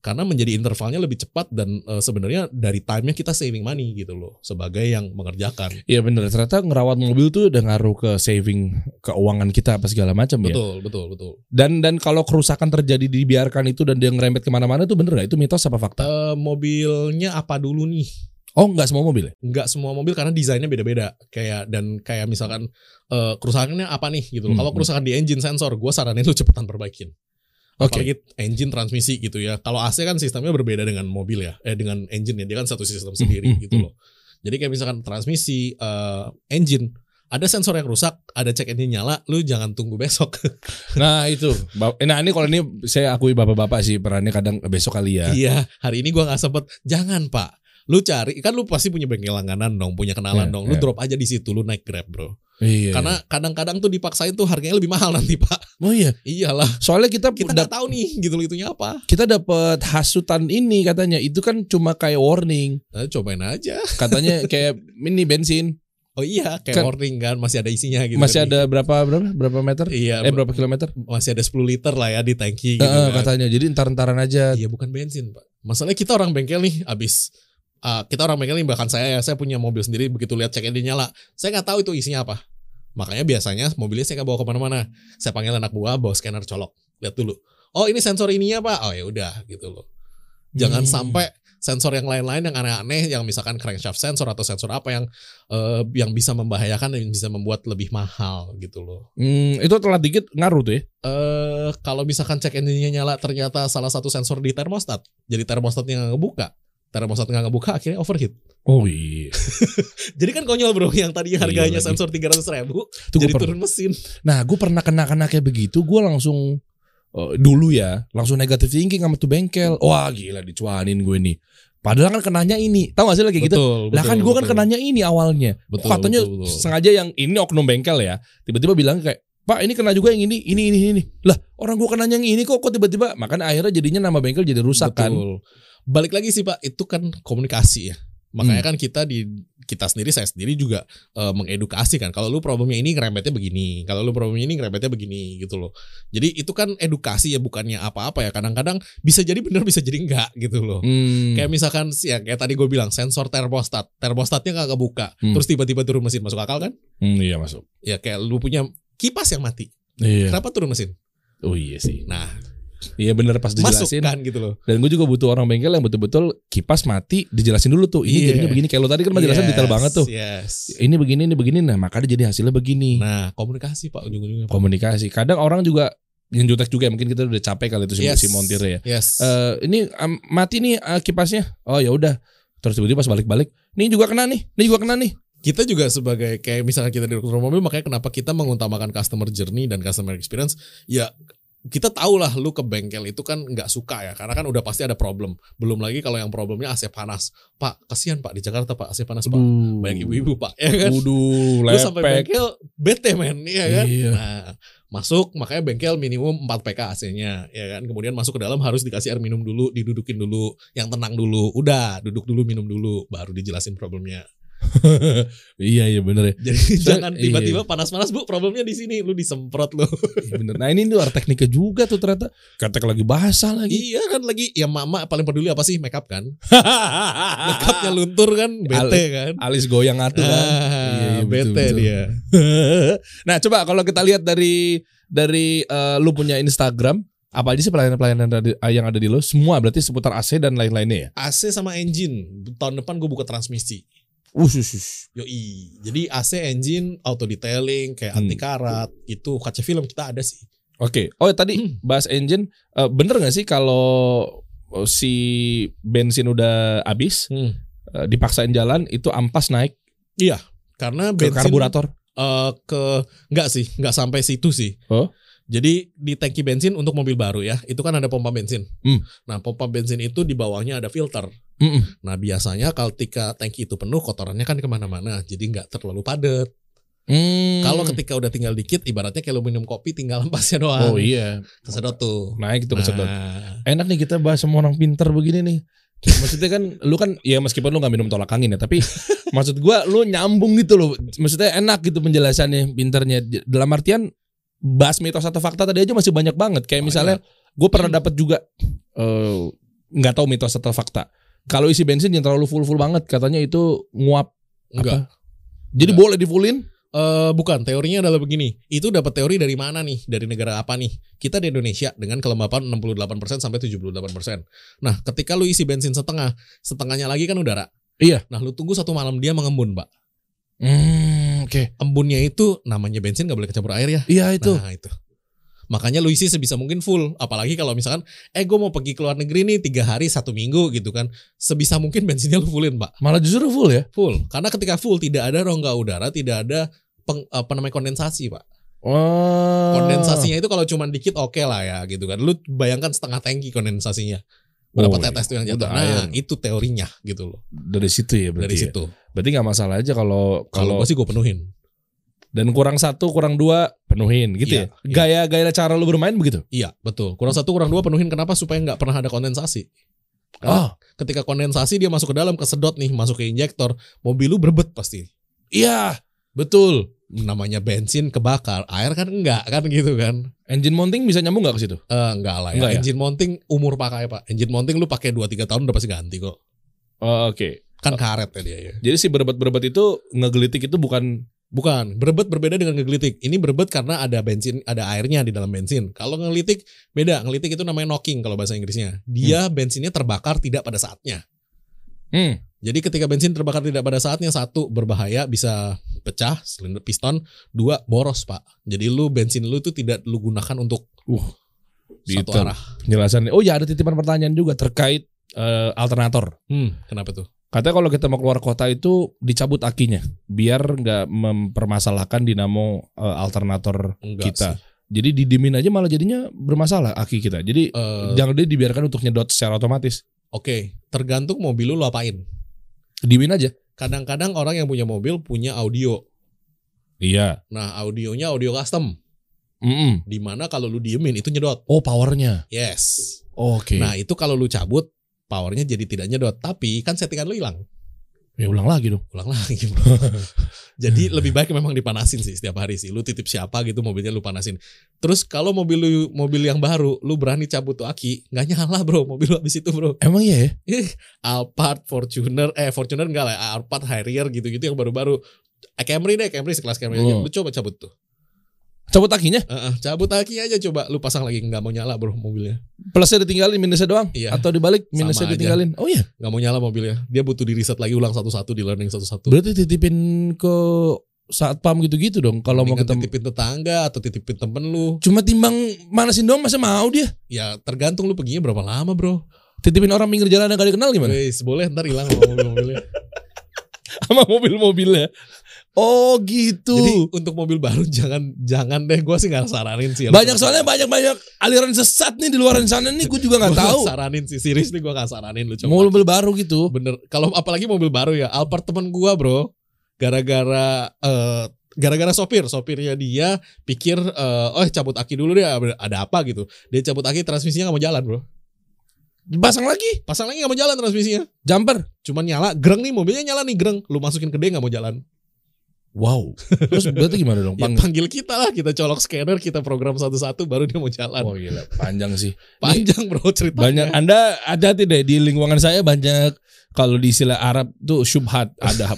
[SPEAKER 2] Karena menjadi intervalnya lebih cepat dan eh, sebenarnya dari time-nya kita saving money gitu loh sebagai yang mengerjakan.
[SPEAKER 1] Iya bener ternyata ngerawat mobil tuh udah ngaruh ke saving keuangan kita apa segala macam ya.
[SPEAKER 2] Betul, betul, betul.
[SPEAKER 1] Dan dan kalau kerusakan terjadi dibiarkan itu dan dia ngerembet kemana-mana itu bener gak? Itu mitos apa fakta?
[SPEAKER 2] Eh, mobilnya apa dulu nih?
[SPEAKER 1] Oh nggak semua mobil ya?
[SPEAKER 2] nggak semua mobil karena desainnya beda-beda kayak dan kayak misalkan eh, kerusakannya apa nih gitu loh.
[SPEAKER 1] Hmm,
[SPEAKER 2] Kalau kerusakan di engine sensor, gue saranin lu cepetan perbaikin.
[SPEAKER 1] Oke.
[SPEAKER 2] Apalagi engine transmisi gitu ya. Kalau AC kan sistemnya berbeda dengan mobil ya, eh dengan engine ya dia kan satu sistem sendiri
[SPEAKER 1] hmm,
[SPEAKER 2] gitu
[SPEAKER 1] hmm.
[SPEAKER 2] loh. Jadi kayak misalkan transmisi, eh, engine, ada sensor yang rusak, ada cek engine nyala, lu jangan tunggu besok.
[SPEAKER 1] Nah itu. Ba- Nah ini kalau ini saya akui bapak-bapak sih perannya kadang besok kali (laughs) ya.
[SPEAKER 2] Iya, hari ini gua nggak sempet. Jangan pak, lu cari kan lu pasti punya bengkel langganan dong, punya kenalan
[SPEAKER 1] Iya,
[SPEAKER 2] dong. Lu
[SPEAKER 1] iya.
[SPEAKER 2] drop aja di situ, lu naik grab bro.
[SPEAKER 1] Iya.
[SPEAKER 2] Karena kadang-kadang tuh dipaksain tuh harganya lebih mahal nanti (laughs) pak.
[SPEAKER 1] oh iya.
[SPEAKER 2] Iyalah,
[SPEAKER 1] Soalnya kita
[SPEAKER 2] kita
[SPEAKER 1] dap-
[SPEAKER 2] nggak tahu nih gitu loh itunya apa.
[SPEAKER 1] kita dapat hasutan ini katanya itu kan cuma kayak warning.
[SPEAKER 2] Nah, cobain aja. (laughs)
[SPEAKER 1] Katanya kayak ini bensin
[SPEAKER 2] Oh iya, kayak
[SPEAKER 1] Kan-
[SPEAKER 2] warning kan masih ada isinya gitu.
[SPEAKER 1] masih
[SPEAKER 2] kan.
[SPEAKER 1] ada berapa berapa berapa meter?
[SPEAKER 2] Iya,
[SPEAKER 1] Eh berapa kilometer?
[SPEAKER 2] masih ada 10 liter lah ya di tangki gitu.
[SPEAKER 1] Eh,
[SPEAKER 2] kan.
[SPEAKER 1] katanya. Jadi entar-entaran aja.
[SPEAKER 2] Iya, bukan bensin pak. Masalahnya kita orang bengkel nih abis. Ah, kita orang bengkel nih bahkan saya ya, saya punya mobil sendiri begitu lihat cek engine nyala, saya nggak tahu itu isinya apa. Makanya biasanya mobilnya saya nggak bawa kemana-mana. Saya panggil anak buah bawa scanner colok, lihat dulu. Oh ini sensor ininya pak. Oh ya udah gitu loh. Jangan
[SPEAKER 1] Hmm.
[SPEAKER 2] sampai sensor yang lain-lain yang aneh-aneh yang misalkan crankshaft sensor atau sensor apa yang eh, yang bisa membahayakan dan bisa membuat lebih mahal gitu loh.
[SPEAKER 1] Hmm, itu telat dikit ngaruh tuh ya.
[SPEAKER 2] Eh kalau misalkan cek engine nyala ternyata salah satu sensor di termostat. Jadi termostatnya nggak ngebuka. Termostat nggak ngebuka akhirnya overheat.
[SPEAKER 1] Oh iya.
[SPEAKER 2] Jadi kan konyol bro yang tadi
[SPEAKER 1] Iya
[SPEAKER 2] harganya
[SPEAKER 1] lagi.
[SPEAKER 2] sensor 300 ribu
[SPEAKER 1] Itu gua
[SPEAKER 2] jadi
[SPEAKER 1] pernah-
[SPEAKER 2] turun mesin.
[SPEAKER 1] Nah, gue pernah kena-kena kayak begitu, gue langsung eh, dulu ya, langsung negatif thinking sama tuh bengkel. Wah, gila dicuanin gue nih. Padahal kan kenanya ini. Tahu gak sih lagi gitu?
[SPEAKER 2] Betul.
[SPEAKER 1] Lah kan gue kan kenanya ini awalnya.
[SPEAKER 2] Betul,
[SPEAKER 1] Katanya
[SPEAKER 2] betul, betul.
[SPEAKER 1] sengaja yang ini oknum bengkel ya. Tiba-tiba bilang kayak, "Pak, ini kena juga yang ini, ini ini ini." Lah, orang gue kenanya yang ini kok kok tiba-tiba makanya akhirnya jadinya nama bengkel jadi rusak kan.
[SPEAKER 2] Betul. Balik lagi sih Pak, itu kan komunikasi ya.
[SPEAKER 1] Hmm.
[SPEAKER 2] Makanya kan kita di kita sendiri saya sendiri juga eh, mengedukasi kan. Kalau lu problemnya ini ngerempetnya begini, kalau lu problemnya ini ngerempetnya begini gitu loh. Jadi itu kan edukasi ya bukannya apa-apa ya. Kadang-kadang bisa jadi benar bisa jadi enggak gitu loh.
[SPEAKER 1] Hmm.
[SPEAKER 2] Kayak misalkan sih ya kayak tadi gue bilang sensor termostat, termostatnya nggak kebuka,
[SPEAKER 1] Hmm.
[SPEAKER 2] terus tiba-tiba turun mesin masuk akal kan?
[SPEAKER 1] Hmm, iya masuk.
[SPEAKER 2] Ya kayak lu punya kipas yang mati,
[SPEAKER 1] Iya.
[SPEAKER 2] kenapa turun mesin?
[SPEAKER 1] Oh iya sih.
[SPEAKER 2] Nah
[SPEAKER 1] Iya bener pas
[SPEAKER 2] masuk
[SPEAKER 1] dijelasin.
[SPEAKER 2] kan gitu loh.
[SPEAKER 1] Dan gue juga butuh orang bengkel yang betul-betul kipas mati dijelasin dulu tuh. Ini
[SPEAKER 2] Iya.
[SPEAKER 1] jadinya begini. Kayak lo tadi kan menjelaskan
[SPEAKER 2] Yes,
[SPEAKER 1] detail banget tuh.
[SPEAKER 2] Yes.
[SPEAKER 1] Ini begini, ini begini. Nah makanya jadi hasilnya begini.
[SPEAKER 2] Nah komunikasi Pak ujung-ujungnya. Pak.
[SPEAKER 1] Komunikasi. Kadang orang juga yang jutek juga ya, mungkin kita udah capek kali itu si,
[SPEAKER 2] Yes.
[SPEAKER 1] si montir ya.
[SPEAKER 2] Yes.
[SPEAKER 1] Eh, ini em, mati nih eh, kipasnya. Oh ya udah. Terus tiba-tiba pas balik-balik, ini juga kena nih, ini juga kena nih.
[SPEAKER 2] kita juga sebagai kayak misalnya kita di dokter mobil makanya kenapa kita mengutamakan customer journey dan customer experience ya kita tahu lah lu ke bengkel itu kan nggak suka ya karena kan udah pasti ada problem belum lagi kalau yang problemnya AC panas pak kasihan pak di Jakarta pak AC panas pak banyak ibu-ibu pak ya kan
[SPEAKER 1] Waduh,
[SPEAKER 2] lu sampai
[SPEAKER 1] lepek.
[SPEAKER 2] bengkel bete men ya kan
[SPEAKER 1] Iya.
[SPEAKER 2] nah masuk makanya bengkel minimum 4 PK AC-nya ya kan kemudian masuk ke dalam harus dikasih air minum dulu didudukin dulu yang tenang dulu udah duduk dulu minum dulu baru dijelasin problemnya (laughs)
[SPEAKER 1] iya iya bener ya.
[SPEAKER 2] Jadi
[SPEAKER 1] So,
[SPEAKER 2] jangan
[SPEAKER 1] iya.
[SPEAKER 2] tiba-tiba panas-panas bu, problemnya di sini, lu disemprot lu.
[SPEAKER 1] Iya, bener. Nah ini luar tekniknya juga tuh ternyata. Ketek lagi bahasa lagi.
[SPEAKER 2] iya kan lagi, ya mama paling peduli apa sih makeup kan? Makeupnya luntur kan, bete kan?
[SPEAKER 1] Alis goyang atuh Ah. kan. Iya,
[SPEAKER 2] Ah,
[SPEAKER 1] iya, betul,
[SPEAKER 2] bete
[SPEAKER 1] betul.
[SPEAKER 2] dia. Eh.
[SPEAKER 1] (laughs) nah coba kalau kita lihat dari dari eh, lu punya Instagram apa aja sih pelayanan-pelayanan dari- yang ada di lu semua berarti seputar AC dan lain-lainnya ya
[SPEAKER 2] AC sama engine, tahun depan gue buka transmisi.
[SPEAKER 1] usus
[SPEAKER 2] Yoi, jadi AC engine, auto detailing, kayak
[SPEAKER 1] Hmm.
[SPEAKER 2] anti karat, itu kaca film kita ada sih.
[SPEAKER 1] oke oh
[SPEAKER 2] Hmm.
[SPEAKER 1] tadi bahas engine eh, bener nggak sih kalau eh, si bensin udah habis eh, dipaksain jalan itu ampas naik
[SPEAKER 2] Karena
[SPEAKER 1] ke
[SPEAKER 2] bensin
[SPEAKER 1] karburator
[SPEAKER 2] eh, ke nggak sih, nggak sampai situ sih.
[SPEAKER 1] Oh.
[SPEAKER 2] Jadi di tangki bensin untuk mobil baru ya, itu kan ada pompa bensin.
[SPEAKER 1] Hmm.
[SPEAKER 2] Nah, pompa bensin itu di bawahnya ada filter.
[SPEAKER 1] Mm-mm.
[SPEAKER 2] Nah biasanya kalau ketika tangki itu penuh kotorannya kan kemana-mana jadi nggak terlalu padat.
[SPEAKER 1] Hmm.
[SPEAKER 2] Kalau ketika udah tinggal dikit ibaratnya kayak lu minum kopi tinggal (laughs) lempasnya doang.
[SPEAKER 1] oh iya
[SPEAKER 2] Kesedot tuh.
[SPEAKER 1] naik itu
[SPEAKER 2] Nah,
[SPEAKER 1] kesedot enak nih kita bahas sama orang pinter begini nih Maksudnya kan lu kan ya meskipun lu nggak minum tolak angin ya,
[SPEAKER 2] (laughs)
[SPEAKER 1] tapi maksud gua lu nyambung gitu loh. Maksudnya enak gitu penjelasannya, pinternya. Dalam artian bahas mitos atau fakta tadi aja masih banyak banget. Kayak misalnya gue pernah dapat juga eh, nggak tahu mitos atau fakta. Kalau isi bensin yang terlalu full full banget, katanya itu nguap.
[SPEAKER 2] Enggak.
[SPEAKER 1] Jadi
[SPEAKER 2] Nggak.
[SPEAKER 1] boleh difullin?
[SPEAKER 2] Eh bukan, teorinya adalah begini. Itu dapat teori dari mana nih? Dari negara apa nih? Kita di Indonesia dengan kelembapan 68% sampai 78%. Nah, ketika lu isi bensin setengah, setengahnya lagi kan udara.
[SPEAKER 1] Iya.
[SPEAKER 2] Nah, lu tunggu satu malam dia mengembun, Pak.
[SPEAKER 1] Hmm, oke.
[SPEAKER 2] Embunnya itu namanya bensin nggak boleh kecampur air ya.
[SPEAKER 1] Iya itu.
[SPEAKER 2] Nah, itu. Makanya lu isi sebisa mungkin full. Apalagi kalau misalkan, eh gue mau pergi ke luar negeri nih tiga hari satu minggu gitu kan. Sebisa mungkin bensinnya lu fullin, Pak.
[SPEAKER 1] Malah justru full ya.
[SPEAKER 2] full karena ketika full tidak ada rongga udara tidak ada peng, apa namanya kondensasi pak
[SPEAKER 1] Wah. Oh.
[SPEAKER 2] kondensasinya itu kalau cuma dikit oke lah ya gitu kan lu bayangkan setengah tangki kondensasinya berapa
[SPEAKER 1] Oh,
[SPEAKER 2] tetes tuh yang jatuh
[SPEAKER 1] udah
[SPEAKER 2] nah
[SPEAKER 1] iron.
[SPEAKER 2] itu teorinya gitu loh
[SPEAKER 1] dari situ ya berarti.
[SPEAKER 2] dari
[SPEAKER 1] ya?
[SPEAKER 2] situ
[SPEAKER 1] Berarti nggak masalah aja kalau
[SPEAKER 2] kalau
[SPEAKER 1] kalau
[SPEAKER 2] gua sih gue penuhin
[SPEAKER 1] dan kurang satu kurang dua penuhin gitu
[SPEAKER 2] Iya,
[SPEAKER 1] ya. Gaya gaya cara lu bermain begitu.
[SPEAKER 2] iya betul kurang satu kurang dua penuhin kenapa supaya nggak pernah ada kondensasi
[SPEAKER 1] Oh
[SPEAKER 2] Karena ketika kondensasi dia masuk ke dalam kesedot nih masuk ke injektor mobil lu berbet pasti
[SPEAKER 1] iya
[SPEAKER 2] betul namanya bensin kebakar air kan enggak kan gitu kan
[SPEAKER 1] engine mounting bisa nyambung nggak ke situ?
[SPEAKER 2] Eh, enggak lah ya.
[SPEAKER 1] Enggak ya?
[SPEAKER 2] Engine mounting umur pakai pak. Engine mounting lu pakai 2-3 tahun udah pasti ganti kok.
[SPEAKER 1] Oh, Oke.
[SPEAKER 2] Kan karet ya dia ya.
[SPEAKER 1] Jadi si berebet-berebet itu ngegelitik itu bukan
[SPEAKER 2] Bukan, berebet berbeda dengan ngegelitik. Ini berebet karena ada bensin, ada airnya di dalam bensin. Kalau ngelitik beda, ngelitik itu namanya knocking kalau bahasa Inggrisnya. Dia bensinnya terbakar tidak pada saatnya.
[SPEAKER 1] hmm,
[SPEAKER 2] Jadi ketika bensin terbakar tidak pada saatnya satu berbahaya bisa pecah silinder piston, dua boros pak. Jadi lu bensin lu tuh tidak lu gunakan untuk
[SPEAKER 1] gitu.
[SPEAKER 2] satu arah.
[SPEAKER 1] penjelasannya. Oh ya ada titipan pertanyaan juga terkait eh, alternator.
[SPEAKER 2] Hmm, kenapa tuh?
[SPEAKER 1] Katanya kalau kita mau keluar kota itu dicabut akinya biar nggak mempermasalahkan dinamo eh, alternator
[SPEAKER 2] Enggak
[SPEAKER 1] kita.
[SPEAKER 2] sih.
[SPEAKER 1] Jadi didimin aja malah jadinya bermasalah aki kita. Jadi
[SPEAKER 2] Eh,
[SPEAKER 1] jangan dia dibiarkan untuk nyedot secara otomatis.
[SPEAKER 2] Oke, tergantung mobil lu lu apain.
[SPEAKER 1] Dimin aja.
[SPEAKER 2] kadang-kadang orang yang punya mobil punya audio.
[SPEAKER 1] Iya.
[SPEAKER 2] Nah, audionya audio custom.
[SPEAKER 1] Mm-mm.
[SPEAKER 2] Dimana kalau lu diemin itu nyedot.
[SPEAKER 1] Oh powernya.
[SPEAKER 2] Yes.
[SPEAKER 1] Oke.
[SPEAKER 2] Nah, itu kalau lu cabut, powernya jadi tidak nyedot. Tapi kan settingan lu hilang.
[SPEAKER 1] ya ulang lagi dong.
[SPEAKER 2] Ulang lagi. bro. jadi lebih baik memang dipanasin sih setiap hari sih. Lu titip siapa gitu mobilnya lu panasin. Terus kalau mobil lu mobil yang baru, lu berani cabut tuh aki, nggak nyala bro mobil lu habis itu bro.
[SPEAKER 1] Emang iya ya?
[SPEAKER 2] Alphard, Fortuner, eh Fortuner enggak lah, Alphard, Harrier gitu-gitu yang baru-baru. Eh, Camry deh, Camry sekelas Camry aja.
[SPEAKER 1] Oh.
[SPEAKER 2] Lu coba cabut tuh.
[SPEAKER 1] Cabut akinya?
[SPEAKER 2] Heeh, cabut aki aja coba lu pasang lagi nggak mau nyala bro mobilnya
[SPEAKER 1] Plusnya ditinggalin, minusnya doang?
[SPEAKER 2] Iya.
[SPEAKER 1] Atau dibalik,
[SPEAKER 2] Sama
[SPEAKER 1] minusnya
[SPEAKER 2] aja.
[SPEAKER 1] ditinggalin? Oh iya.
[SPEAKER 2] nggak mau nyala mobilnya dia butuh di reset lagi ulang satu-satu di learning satu-satu
[SPEAKER 1] Berarti titipin ke satpam gitu-gitu dong kalau mau
[SPEAKER 2] Mendingan
[SPEAKER 1] ketemu.
[SPEAKER 2] titipin tetangga atau titipin temen lu
[SPEAKER 1] Cuma timbang manasin doang masa mau dia?
[SPEAKER 2] ya tergantung lu perginya berapa lama bro
[SPEAKER 1] Titipin orang pinggir jalan yang gak dikenal gimana?
[SPEAKER 2] Wes, boleh ntar hilang sama mobil-mobilnya
[SPEAKER 1] (laughs) Sama mobil-mobilnya. Oh gitu.
[SPEAKER 2] jadi untuk mobil baru jangan jangan deh gue sih nggak saranin sih
[SPEAKER 1] banyak soalnya banyak-banyak aliran sesat nih di luar sana nih gue juga nggak tahu.
[SPEAKER 2] saranin sih serius nih gue nggak saranin lu coba
[SPEAKER 1] Mobil baru gitu.
[SPEAKER 2] bener kalau apalagi mobil baru ya Alphard temen gua bro gara-gara eh, gara-gara sopir sopirnya dia pikir eh, oh cabut aki dulu deh ada apa gitu dia cabut aki transmisinya nggak mau jalan bro
[SPEAKER 1] Pasang lagi
[SPEAKER 2] pasang lagi nggak mau jalan transmisinya
[SPEAKER 1] jumper.
[SPEAKER 2] cuman nyala greng nih mobilnya nyala nih greng lu masukin ke dia nggak mau jalan (laughs)
[SPEAKER 1] Wow. Terus berarti gimana dong?
[SPEAKER 2] ya,
[SPEAKER 1] Pang-
[SPEAKER 2] panggil kita lah kita colok scanner kita program satu-satu baru dia mau jalan
[SPEAKER 1] Oh gila, panjang sih.
[SPEAKER 2] panjang bro cerita
[SPEAKER 1] Banyak Anda hati-hati deh di lingkungan saya banyak kalau di istilah Arab tuh syubhat, ada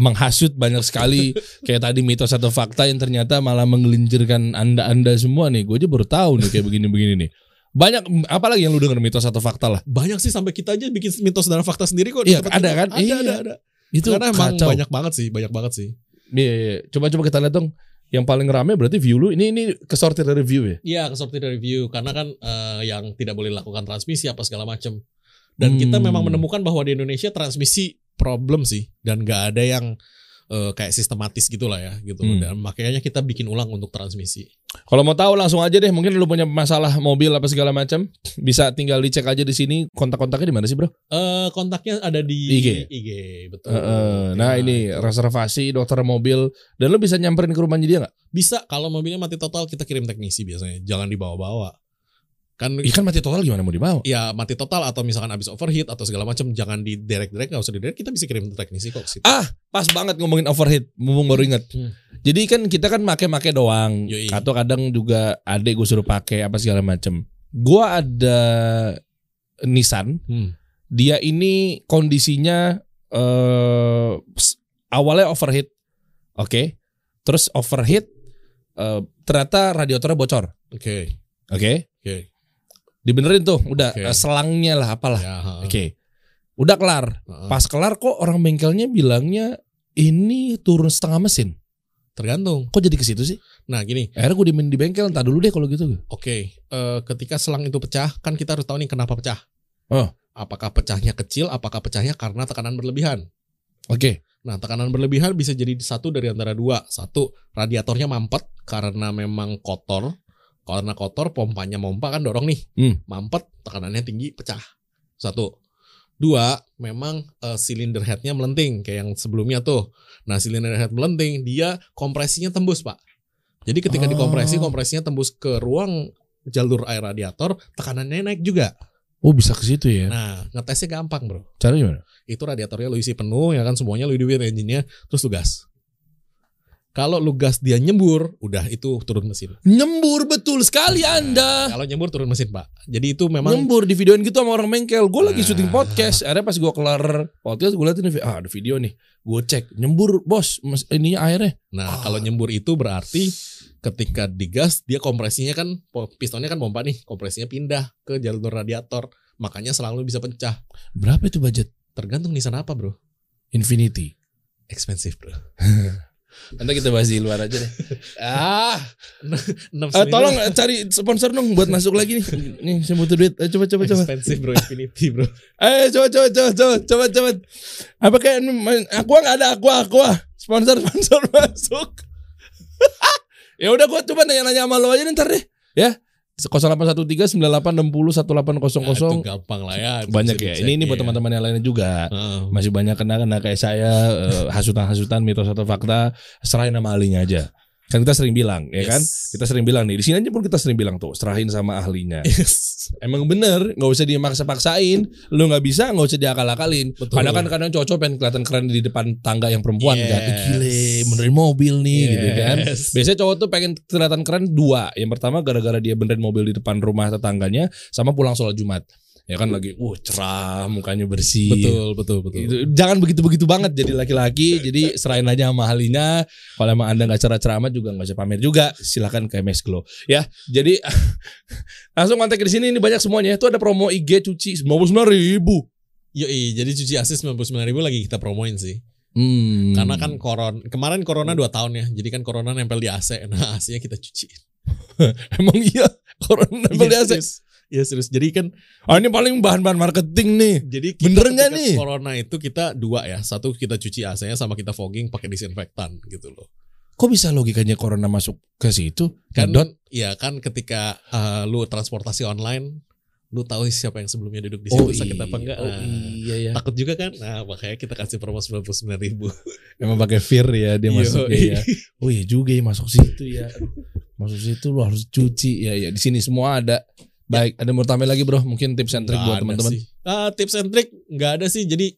[SPEAKER 1] menghasut banyak (laughs) sekali kayak tadi mitos atau fakta yang ternyata malah menggelincirkan Anda-anda semua nih. Gue aja baru tahu nih kayak begini-begini nih. Banyak apalagi yang lu denger mitos atau fakta lah.
[SPEAKER 2] banyak sih sampai kita aja bikin mitos dan fakta sendiri kok di
[SPEAKER 1] Iya,
[SPEAKER 2] tempat
[SPEAKER 1] ada
[SPEAKER 2] kita.
[SPEAKER 1] kan?
[SPEAKER 2] ada,
[SPEAKER 1] Iya.
[SPEAKER 2] ada, ada.
[SPEAKER 1] Itu
[SPEAKER 2] karena emang
[SPEAKER 1] kacau.
[SPEAKER 2] banyak banget sih banyak banget sih
[SPEAKER 1] Iya, iya, iya. Coba-coba kita lihat dong yang paling rame berarti view lu ini ini kesortir dari view ya.
[SPEAKER 2] Iya, kesortir dari view karena kan eh, yang tidak boleh dilakukan transmisi apa segala macam. Dan kita
[SPEAKER 1] Hmm.
[SPEAKER 2] memang menemukan bahwa di Indonesia transmisi problem sih dan nggak ada yang eh, kayak sistematis gitulah ya gitu.
[SPEAKER 1] Hmm.
[SPEAKER 2] Dan makanya kita bikin ulang untuk transmisi.
[SPEAKER 1] Kalau mau tahu langsung aja deh, mungkin lu punya masalah mobil apa segala macam, bisa tinggal dicek aja di sini. Kontak-kontaknya di mana sih, Bro?
[SPEAKER 2] Eh kontaknya ada di
[SPEAKER 1] IG.
[SPEAKER 2] betul.
[SPEAKER 1] Heeh. nah,
[SPEAKER 2] Ya,
[SPEAKER 1] ini
[SPEAKER 2] itu.
[SPEAKER 1] reservasi dokter mobil dan lu bisa nyamperin ke rumahnya dia nggak?
[SPEAKER 2] bisa kalau mobilnya mati total kita kirim teknisi biasanya, jangan dibawa-bawa. Kan
[SPEAKER 1] Ikan mati total gimana mau dibawa?
[SPEAKER 2] ya mati total atau misalkan habis overheat atau segala macam jangan di direct-direct nggak usah di direct kita bisa kirim ke teknisi kok ke situ.
[SPEAKER 1] Ah, Pas banget ngomongin overheat, mumpung baru inget.
[SPEAKER 2] Hmm.
[SPEAKER 1] Jadi kan kita kan make-make doang.
[SPEAKER 2] Yoi.
[SPEAKER 1] Atau kadang juga adek gue suruh pakai apa segala macem. Gua ada Nissan.
[SPEAKER 2] Hmm.
[SPEAKER 1] Dia ini kondisinya eh s- awalnya overheat, oke. Terus overheat, eh, ternyata radiatornya bocor,
[SPEAKER 2] Oke.
[SPEAKER 1] oke.
[SPEAKER 2] Oke.
[SPEAKER 1] Dibenerin tuh, udah
[SPEAKER 2] Oke.
[SPEAKER 1] eh, selangnya lah, apalah,
[SPEAKER 2] Ya, ha, ha.
[SPEAKER 1] oke. Udah kelar.
[SPEAKER 2] Ha, ha.
[SPEAKER 1] Pas kelar kok orang bengkelnya bilangnya ini turun setengah mesin.
[SPEAKER 2] tergantung.
[SPEAKER 1] Kok jadi ke situ sih?
[SPEAKER 2] Nah, gini.
[SPEAKER 1] Akhirnya gue dimin di bengkel, entar dulu deh kalau gitu.
[SPEAKER 2] Oke, eh, ketika selang itu pecah, kan kita harus tahu nih kenapa pecah.
[SPEAKER 1] Oh.
[SPEAKER 2] Apakah pecahnya kecil, apakah pecahnya karena tekanan berlebihan?
[SPEAKER 1] Oke.
[SPEAKER 2] Nah, tekanan berlebihan bisa jadi satu dari antara dua. Satu, radiatornya mampet karena memang kotor. Karena kotor, pompanya mompa kan dorong nih.
[SPEAKER 1] Hmm.
[SPEAKER 2] Mampet, tekanannya tinggi, pecah. Satu. Dua, memang eh, silinder headnya melenting kayak yang sebelumnya tuh. Nah, silinder head melenting, dia kompresinya tembus, Pak. Jadi ketika
[SPEAKER 1] Oh.
[SPEAKER 2] dikompresi, kompresinya tembus ke ruang jalur air radiator, tekanannya naik juga.
[SPEAKER 1] Oh bisa ke situ ya?
[SPEAKER 2] Nah, ngetesnya gampang, Bro
[SPEAKER 1] Caranya gimana?
[SPEAKER 2] itu radiatornya lu isi penuh ya kan semuanya lu hidupin engine-nya terus lu gas. Kalau lu gas dia nyembur, udah itu turun mesin.
[SPEAKER 1] Nyembur betul sekali anda.
[SPEAKER 2] Kalau nyembur turun mesin, Pak. Jadi itu
[SPEAKER 1] Ah.
[SPEAKER 2] memang
[SPEAKER 1] Nyembur di videoin gitu sama orang bengkel. Gue lagi
[SPEAKER 2] Nah.
[SPEAKER 1] syuting podcast. Akhirnya pas gue kelar podcast gue liatin ah ada video nih. Gue cek nyembur bos mes- ininya airnya.
[SPEAKER 2] nah,
[SPEAKER 1] Ah.
[SPEAKER 2] kalau nyembur itu berarti ketika digas dia kompresinya kan po- pistonnya kan pompa nih, kompresinya pindah ke jalur radiator. Makanya selalu bisa pecah.
[SPEAKER 1] Berapa itu budget?
[SPEAKER 2] Tergantung nisan apa, Bro.
[SPEAKER 1] Infinity.
[SPEAKER 2] Expensive, Bro.
[SPEAKER 1] Nanti kita bahas di luar aja (laughs) deh. ah, eh,
[SPEAKER 2] Enam silinder
[SPEAKER 1] tolong eh, cari sponsor dong buat masuk
[SPEAKER 2] (laughs)
[SPEAKER 1] lagi nih. Nih saya butuh duit. Eh, coba coba coba.
[SPEAKER 2] expensive, Bro, infinity, Bro.
[SPEAKER 1] Eh coba coba coba coba coba coba. Apa kayak aku nggak ada aku aku sponsor (laughs) sponsor masuk. (laughs) ya udah gua coba nanya-nanya sama lo aja nih, ntar deh ya. 0813 9860
[SPEAKER 2] Nah, itu
[SPEAKER 1] 1800
[SPEAKER 2] gampang lah ya. itu
[SPEAKER 1] banyak
[SPEAKER 2] bisa Ah.
[SPEAKER 1] ya.
[SPEAKER 2] dicek,
[SPEAKER 1] Ini ini buat
[SPEAKER 2] iya.
[SPEAKER 1] teman-teman yang lainnya juga.
[SPEAKER 2] Heeh.
[SPEAKER 1] Masih banyak kena-kena kayak saya eh, hasutan-hasutan mitos atau fakta serahin sama ahlinya aja. Kan kita sering bilang ya kan?
[SPEAKER 2] Yes.
[SPEAKER 1] Kita sering bilang nih di sini aja pun kita sering bilang tuh serahin sama ahlinya. Emang bener, nggak usah dimaksa-paksain. Lu nggak bisa, nggak usah diakal-akalin.
[SPEAKER 2] Betul.
[SPEAKER 1] Padahal kan kadang cocok pengen kelihatan keren di depan tangga yang perempuan
[SPEAKER 2] Yes.
[SPEAKER 1] kan. Ih, Gile, benerin mobil nih gitu kan.
[SPEAKER 2] Yes.
[SPEAKER 1] Biasanya cowok tuh pengen kelihatan keren dua. Yang pertama gara-gara dia benerin mobil di depan rumah tetangganya sama pulang sholat Jumat. Ya kan lagi, uh cerah, mukanya bersih.
[SPEAKER 2] Betul, betul, betul.
[SPEAKER 1] Gitu. Jangan begitu-begitu banget jadi laki-laki.
[SPEAKER 2] Iya,
[SPEAKER 1] jadi serain aja sama ahlinya. Kalau emang anda nggak cerah-cerah amat juga nggak usah pamer juga. Silahkan ke MS Glow ya. Jadi (laughs) langsung kontak di sini. Ini banyak semuanya. Itu ada promo IG cuci 99 ribu.
[SPEAKER 2] Yoi, jadi cuci asis 99.000 lagi kita promoin sih.
[SPEAKER 1] Hmm.
[SPEAKER 2] Karena kan koron, kemarin corona 2 tahun ya. Jadi kan corona nempel di AC. Nah, (laughs) AC-nya kita cuci.
[SPEAKER 1] (laughs) emang iya corona beli
[SPEAKER 2] Iya,
[SPEAKER 1] AC.
[SPEAKER 2] serius. Iya, serius. Jadi kan
[SPEAKER 1] Ah, ini paling bahan-bahan marketing nih.
[SPEAKER 2] jadi kita
[SPEAKER 1] Bener nggak
[SPEAKER 2] ketika
[SPEAKER 1] nih?
[SPEAKER 2] Corona itu kita dua ya. Satu kita cuci AC-nya sama kita fogging pakai disinfektan gitu loh.
[SPEAKER 1] Kok bisa logikanya corona masuk ke situ?
[SPEAKER 2] Kan
[SPEAKER 1] Dot.
[SPEAKER 2] ya kan ketika eh, lu transportasi online, lu tahu siapa yang sebelumnya duduk di situ
[SPEAKER 1] Oh,
[SPEAKER 2] sakit
[SPEAKER 1] iya.
[SPEAKER 2] apa enggak.
[SPEAKER 1] Oh,
[SPEAKER 2] Nah,
[SPEAKER 1] iya ya.
[SPEAKER 2] Takut juga kan? Nah, makanya kita kasih promo 99.000 ribu.
[SPEAKER 1] Emang pakai fear ya dia masuk ya. Oh iya juga ya masuk situ ya. Aduh, masuk situ lu harus cuci ya ya. Di sini semua ada. Baik, ada mau tambahin lagi bro? Mungkin tips and trick
[SPEAKER 2] Nggak
[SPEAKER 1] buat
[SPEAKER 2] ada
[SPEAKER 1] teman-teman.
[SPEAKER 2] sih. Ah, tips and trick nggak ada sih. Jadi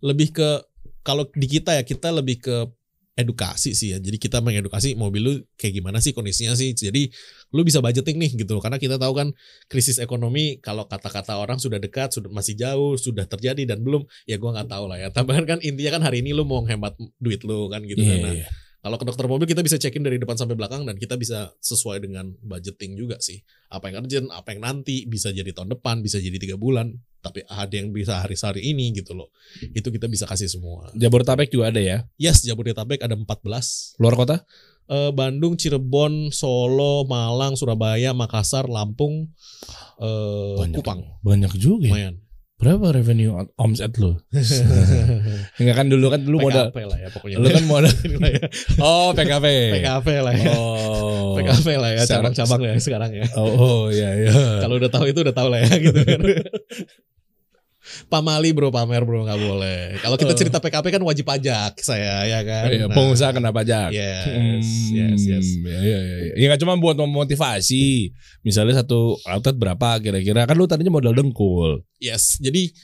[SPEAKER 2] lebih ke kalau di kita ya kita lebih ke edukasi sih ya. Jadi kita mengedukasi mobil lu kayak gimana sih kondisinya sih. Jadi lu bisa budgeting nih gitu. Karena kita tahu kan krisis ekonomi kalau kata-kata orang sudah dekat, sudah masih jauh, sudah terjadi dan belum ya gua nggak tahu lah ya. Tambahan kan intinya kan hari ini lu mau hemat duit lu kan gitu.
[SPEAKER 1] Iya,
[SPEAKER 2] Nah,
[SPEAKER 1] iya.
[SPEAKER 2] kalau ke dokter mobil kita bisa cekin dari depan sampai belakang dan kita bisa sesuai dengan budgeting juga sih. Apa yang urgent, apa yang nanti, bisa jadi tahun depan, bisa jadi tiga bulan. Tapi ada yang bisa hari-hari ini gitu loh. Itu kita bisa kasih semua.
[SPEAKER 1] Jabodetabek juga ada ya.
[SPEAKER 2] Yes, Jabodetabek ada 14.
[SPEAKER 1] Luar kota?
[SPEAKER 2] Eh, Bandung, Cirebon, Solo, Malang, Surabaya, Makassar, Lampung, eh,
[SPEAKER 1] Banyak.
[SPEAKER 2] Kupang.
[SPEAKER 1] Banyak juga. ya.
[SPEAKER 2] Lumayan.
[SPEAKER 1] Berapa revenue omset
[SPEAKER 2] (laughs)
[SPEAKER 1] lu? Enggak kan dulu kan dulu modal
[SPEAKER 2] PKP lah ya pokoknya.
[SPEAKER 1] lu kan modal
[SPEAKER 2] Ini lah ya.
[SPEAKER 1] (laughs) Oh, PKP.
[SPEAKER 2] PKP lah ya.
[SPEAKER 1] Oh.
[SPEAKER 2] PKP lah ya,
[SPEAKER 1] Secara-
[SPEAKER 2] cabang-cabang ya sekarang ya.
[SPEAKER 1] Oh, oh iya iya.
[SPEAKER 2] (laughs) Kalau udah tahu itu udah tahu lah ya gitu kan. Pamali bro, pamer bro nggak boleh. Kalau kita
[SPEAKER 1] Eh.
[SPEAKER 2] cerita PKP kan wajib pajak saya ya kan.
[SPEAKER 1] Iya,
[SPEAKER 2] Nah,
[SPEAKER 1] pengusaha kena pajak.
[SPEAKER 2] Yes,
[SPEAKER 1] Hmm,
[SPEAKER 2] yes, yes.
[SPEAKER 1] Ya, ya, ya, ya. Ya, nggak cuma buat memotivasi. Misalnya satu outlet berapa kira-kira? Kan lu tadinya modal dengkul.
[SPEAKER 2] Yes, jadi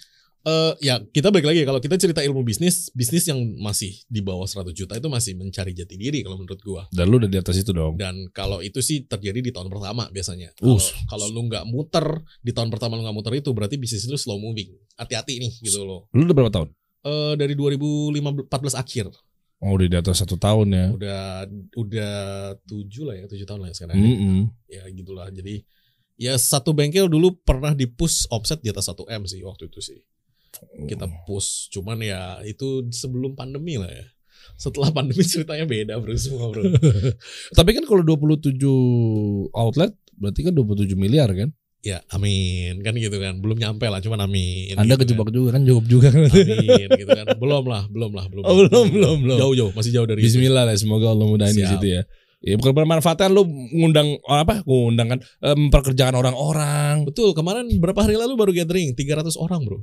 [SPEAKER 2] eh ya kita balik lagi kalau kita cerita ilmu bisnis, bisnis yang masih di bawah 100 juta itu masih mencari jati diri kalau menurut gua.
[SPEAKER 1] Dan lu udah di atas itu dong.
[SPEAKER 2] Dan kalau itu sih terjadi di tahun pertama biasanya. Kalau,
[SPEAKER 1] Us.
[SPEAKER 2] kalau lu nggak muter di tahun pertama lu nggak muter itu berarti bisnis lu slow moving. Hati-hati nih gitu loh.
[SPEAKER 1] Lu udah berapa tahun?
[SPEAKER 2] Eh dari 2014 akhir
[SPEAKER 1] Oh, udah di atas satu tahun ya.
[SPEAKER 2] udah udah tujuh lah ya tujuh tahun lah ya sekarang.
[SPEAKER 1] Mm-mm.
[SPEAKER 2] Ya gitulah. Jadi ya satu bengkel dulu pernah dipush offset di atas 1 m sih waktu itu sih. kita
[SPEAKER 1] Oh.
[SPEAKER 2] push cuman ya itu sebelum pandemi lah ya setelah pandemi (laughs) ceritanya beda bro semua bro
[SPEAKER 1] Tapi kan kalau 27 outlet berarti kan 27 miliar kan?
[SPEAKER 2] ya amin kan gitu kan belum nyampe lah cuman amin
[SPEAKER 1] Anda
[SPEAKER 2] gitu
[SPEAKER 1] kejebak juga kan, jawab juga kan.
[SPEAKER 2] kan. amin gitu kan belum lah belum lah belum
[SPEAKER 1] Oh, belum, belum, belum.
[SPEAKER 2] jauh jauh masih jauh dari itu.
[SPEAKER 1] Bismillah lah, semoga Allah mudahin di
[SPEAKER 2] Siap.
[SPEAKER 1] situ ya. Ya bukan bermanfaatnya lu ngundang apa? Ngundang kan eh, memperkerjakan orang-orang.
[SPEAKER 2] betul kemarin berapa hari lalu baru gathering 300 orang bro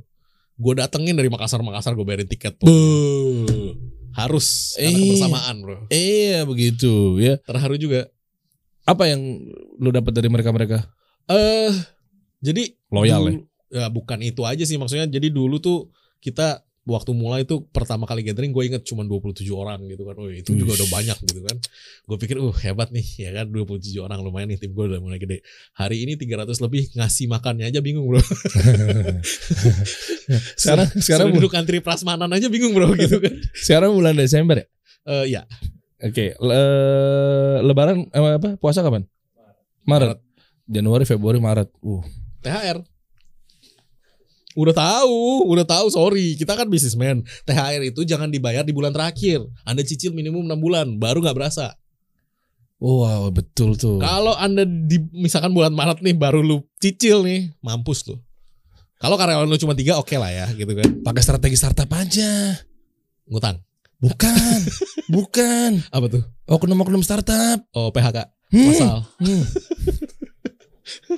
[SPEAKER 2] gue datengin dari Makassar Makassar gue bayarin tiket tuh. harus karena
[SPEAKER 1] Iya.
[SPEAKER 2] kebersamaan bro
[SPEAKER 1] Iya begitu ya.
[SPEAKER 2] terharu juga
[SPEAKER 1] Apa yang lu dapat dari mereka-mereka?
[SPEAKER 2] eh jadi
[SPEAKER 1] Loyal ya.
[SPEAKER 2] Dulu- ya, bukan itu aja sih maksudnya. Jadi dulu tuh kita waktu mulai itu pertama kali gathering gue inget cuma 27 orang gitu kan. Oh, itu
[SPEAKER 1] Wih.
[SPEAKER 2] juga udah banyak gitu kan. Gue pikir uh hebat nih ya kan 27 orang lumayan nih tim gue udah mulai gede. Hari ini 300 lebih ngasih makannya aja bingung bro.
[SPEAKER 1] (laughs) sekarang sekarang
[SPEAKER 2] Suruh
[SPEAKER 1] bul-
[SPEAKER 2] duduk antri prasmanan aja bingung bro gitu kan.
[SPEAKER 1] sekarang bulan Desember ya.
[SPEAKER 2] Eh ya
[SPEAKER 1] Oke, le- lebaran eh, apa puasa kapan? Maret. Januari, Februari, Maret. Uh.
[SPEAKER 2] THR. Udah tahu, udah tahu sorry. Kita kan bisnismen. THR itu jangan dibayar di bulan terakhir. Anda cicil minimum 6 bulan baru nggak berasa.
[SPEAKER 1] Wah, betul tuh.
[SPEAKER 2] Kalau Anda di misalkan bulan Maret nih baru lu cicil nih, mampus lu. Kalau karyawan lu cuma tiga oke lah ya gitu kan.
[SPEAKER 1] Pakai strategi startup aja.
[SPEAKER 2] Ngutang.
[SPEAKER 1] Bukan. (laughs) bukan.
[SPEAKER 2] Apa tuh?
[SPEAKER 1] Oknum-oknum startup.
[SPEAKER 2] Oh, PHK.
[SPEAKER 1] Hmm.
[SPEAKER 2] Masal. (laughs)
[SPEAKER 1] Hmm.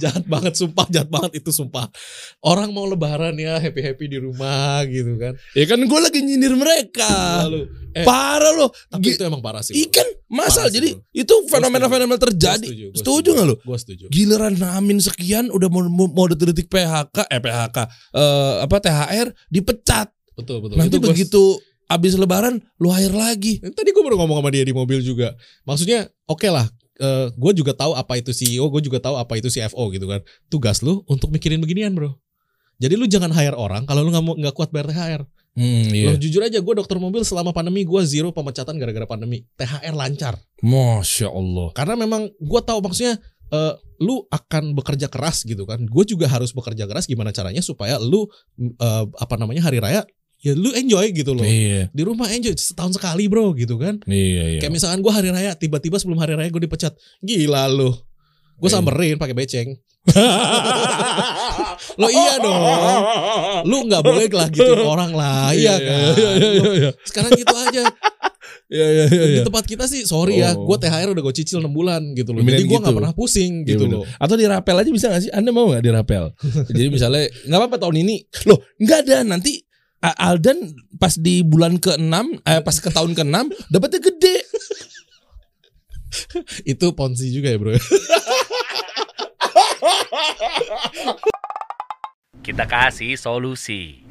[SPEAKER 2] Jahat banget sumpah, jahat banget itu sumpah. Orang mau lebaran ya, happy-happy di rumah gitu kan.
[SPEAKER 1] Ya kan gue lagi nyindir mereka.
[SPEAKER 2] Lalu Eh.
[SPEAKER 1] Parah loh.
[SPEAKER 2] tapi itu emang parah sih. bro.
[SPEAKER 1] Ikan masal
[SPEAKER 2] Parah sih,
[SPEAKER 1] jadi
[SPEAKER 2] bro.
[SPEAKER 1] itu fenomena-fenomena terjadi.
[SPEAKER 2] Gua
[SPEAKER 1] Setuju,
[SPEAKER 2] gua
[SPEAKER 1] nggak lo?
[SPEAKER 2] Gua setuju.
[SPEAKER 1] Giliran Amin sekian udah mau mau, mau detik-detik PHK eh PHK eh, apa THR dipecat.
[SPEAKER 2] Betul, betul.
[SPEAKER 1] Nanti
[SPEAKER 2] Itu gua-
[SPEAKER 1] begitu abis lebaran lu hire lagi.
[SPEAKER 2] Tadi gue baru ngomong sama dia di mobil juga. Maksudnya oke lah. gue juga tahu apa itu CEO, gue juga tahu apa itu CFO gitu kan. Tugas lu untuk mikirin beginian bro. Jadi lu jangan hire orang kalau lu nggak mau nggak kuat bayar THR.
[SPEAKER 1] Hmm,
[SPEAKER 2] Loh, jujur aja gue dokter mobil selama pandemi gue zero pemecatan gara-gara pandemi. THR lancar.
[SPEAKER 1] Masya Allah.
[SPEAKER 2] Karena memang gue tahu maksudnya eh, lu akan bekerja keras gitu kan. Gue juga harus bekerja keras gimana caranya supaya lu eh, apa namanya hari raya ya lu enjoy gitu loh.
[SPEAKER 1] Iya,
[SPEAKER 2] Di rumah enjoy setahun sekali bro gitu kan.
[SPEAKER 1] iya, iya. (laughs)
[SPEAKER 2] Kayak misalkan gue hari raya, tiba-tiba sebelum hari raya gue dipecat. Gila lu. Gue
[SPEAKER 1] Eh.
[SPEAKER 2] samperin pakai beceng. lo iya dong. Lu nggak boleh lah gitu
[SPEAKER 1] (laughs)
[SPEAKER 2] orang lah. Iya kan.
[SPEAKER 1] Iya, iya, iya, iya.
[SPEAKER 2] Sekarang gitu aja.
[SPEAKER 1] Iya, iya, (laughs) iya,
[SPEAKER 2] Di
[SPEAKER 1] iya.
[SPEAKER 2] tempat kita sih sorry ya.
[SPEAKER 1] Oh.
[SPEAKER 2] Gue THR udah gue cicil 6 bulan gitu loh.
[SPEAKER 1] Mendingan
[SPEAKER 2] Jadi gue nggak
[SPEAKER 1] gitu.
[SPEAKER 2] pernah pusing
[SPEAKER 1] Iya,
[SPEAKER 2] gitu
[SPEAKER 1] bener.
[SPEAKER 2] loh.
[SPEAKER 1] (laughs) Atau dirapel aja bisa gak sih? Anda mau gak (laughs) dirapel? Jadi misalnya nggak apa-apa tahun ini. Loh, nggak ada nanti A- Aldan pas di bulan ke-6 eh, pas ke tahun ke-6 dapatnya gede.
[SPEAKER 2] Itu ponzi juga ya bro.
[SPEAKER 3] Kita kasih solusi.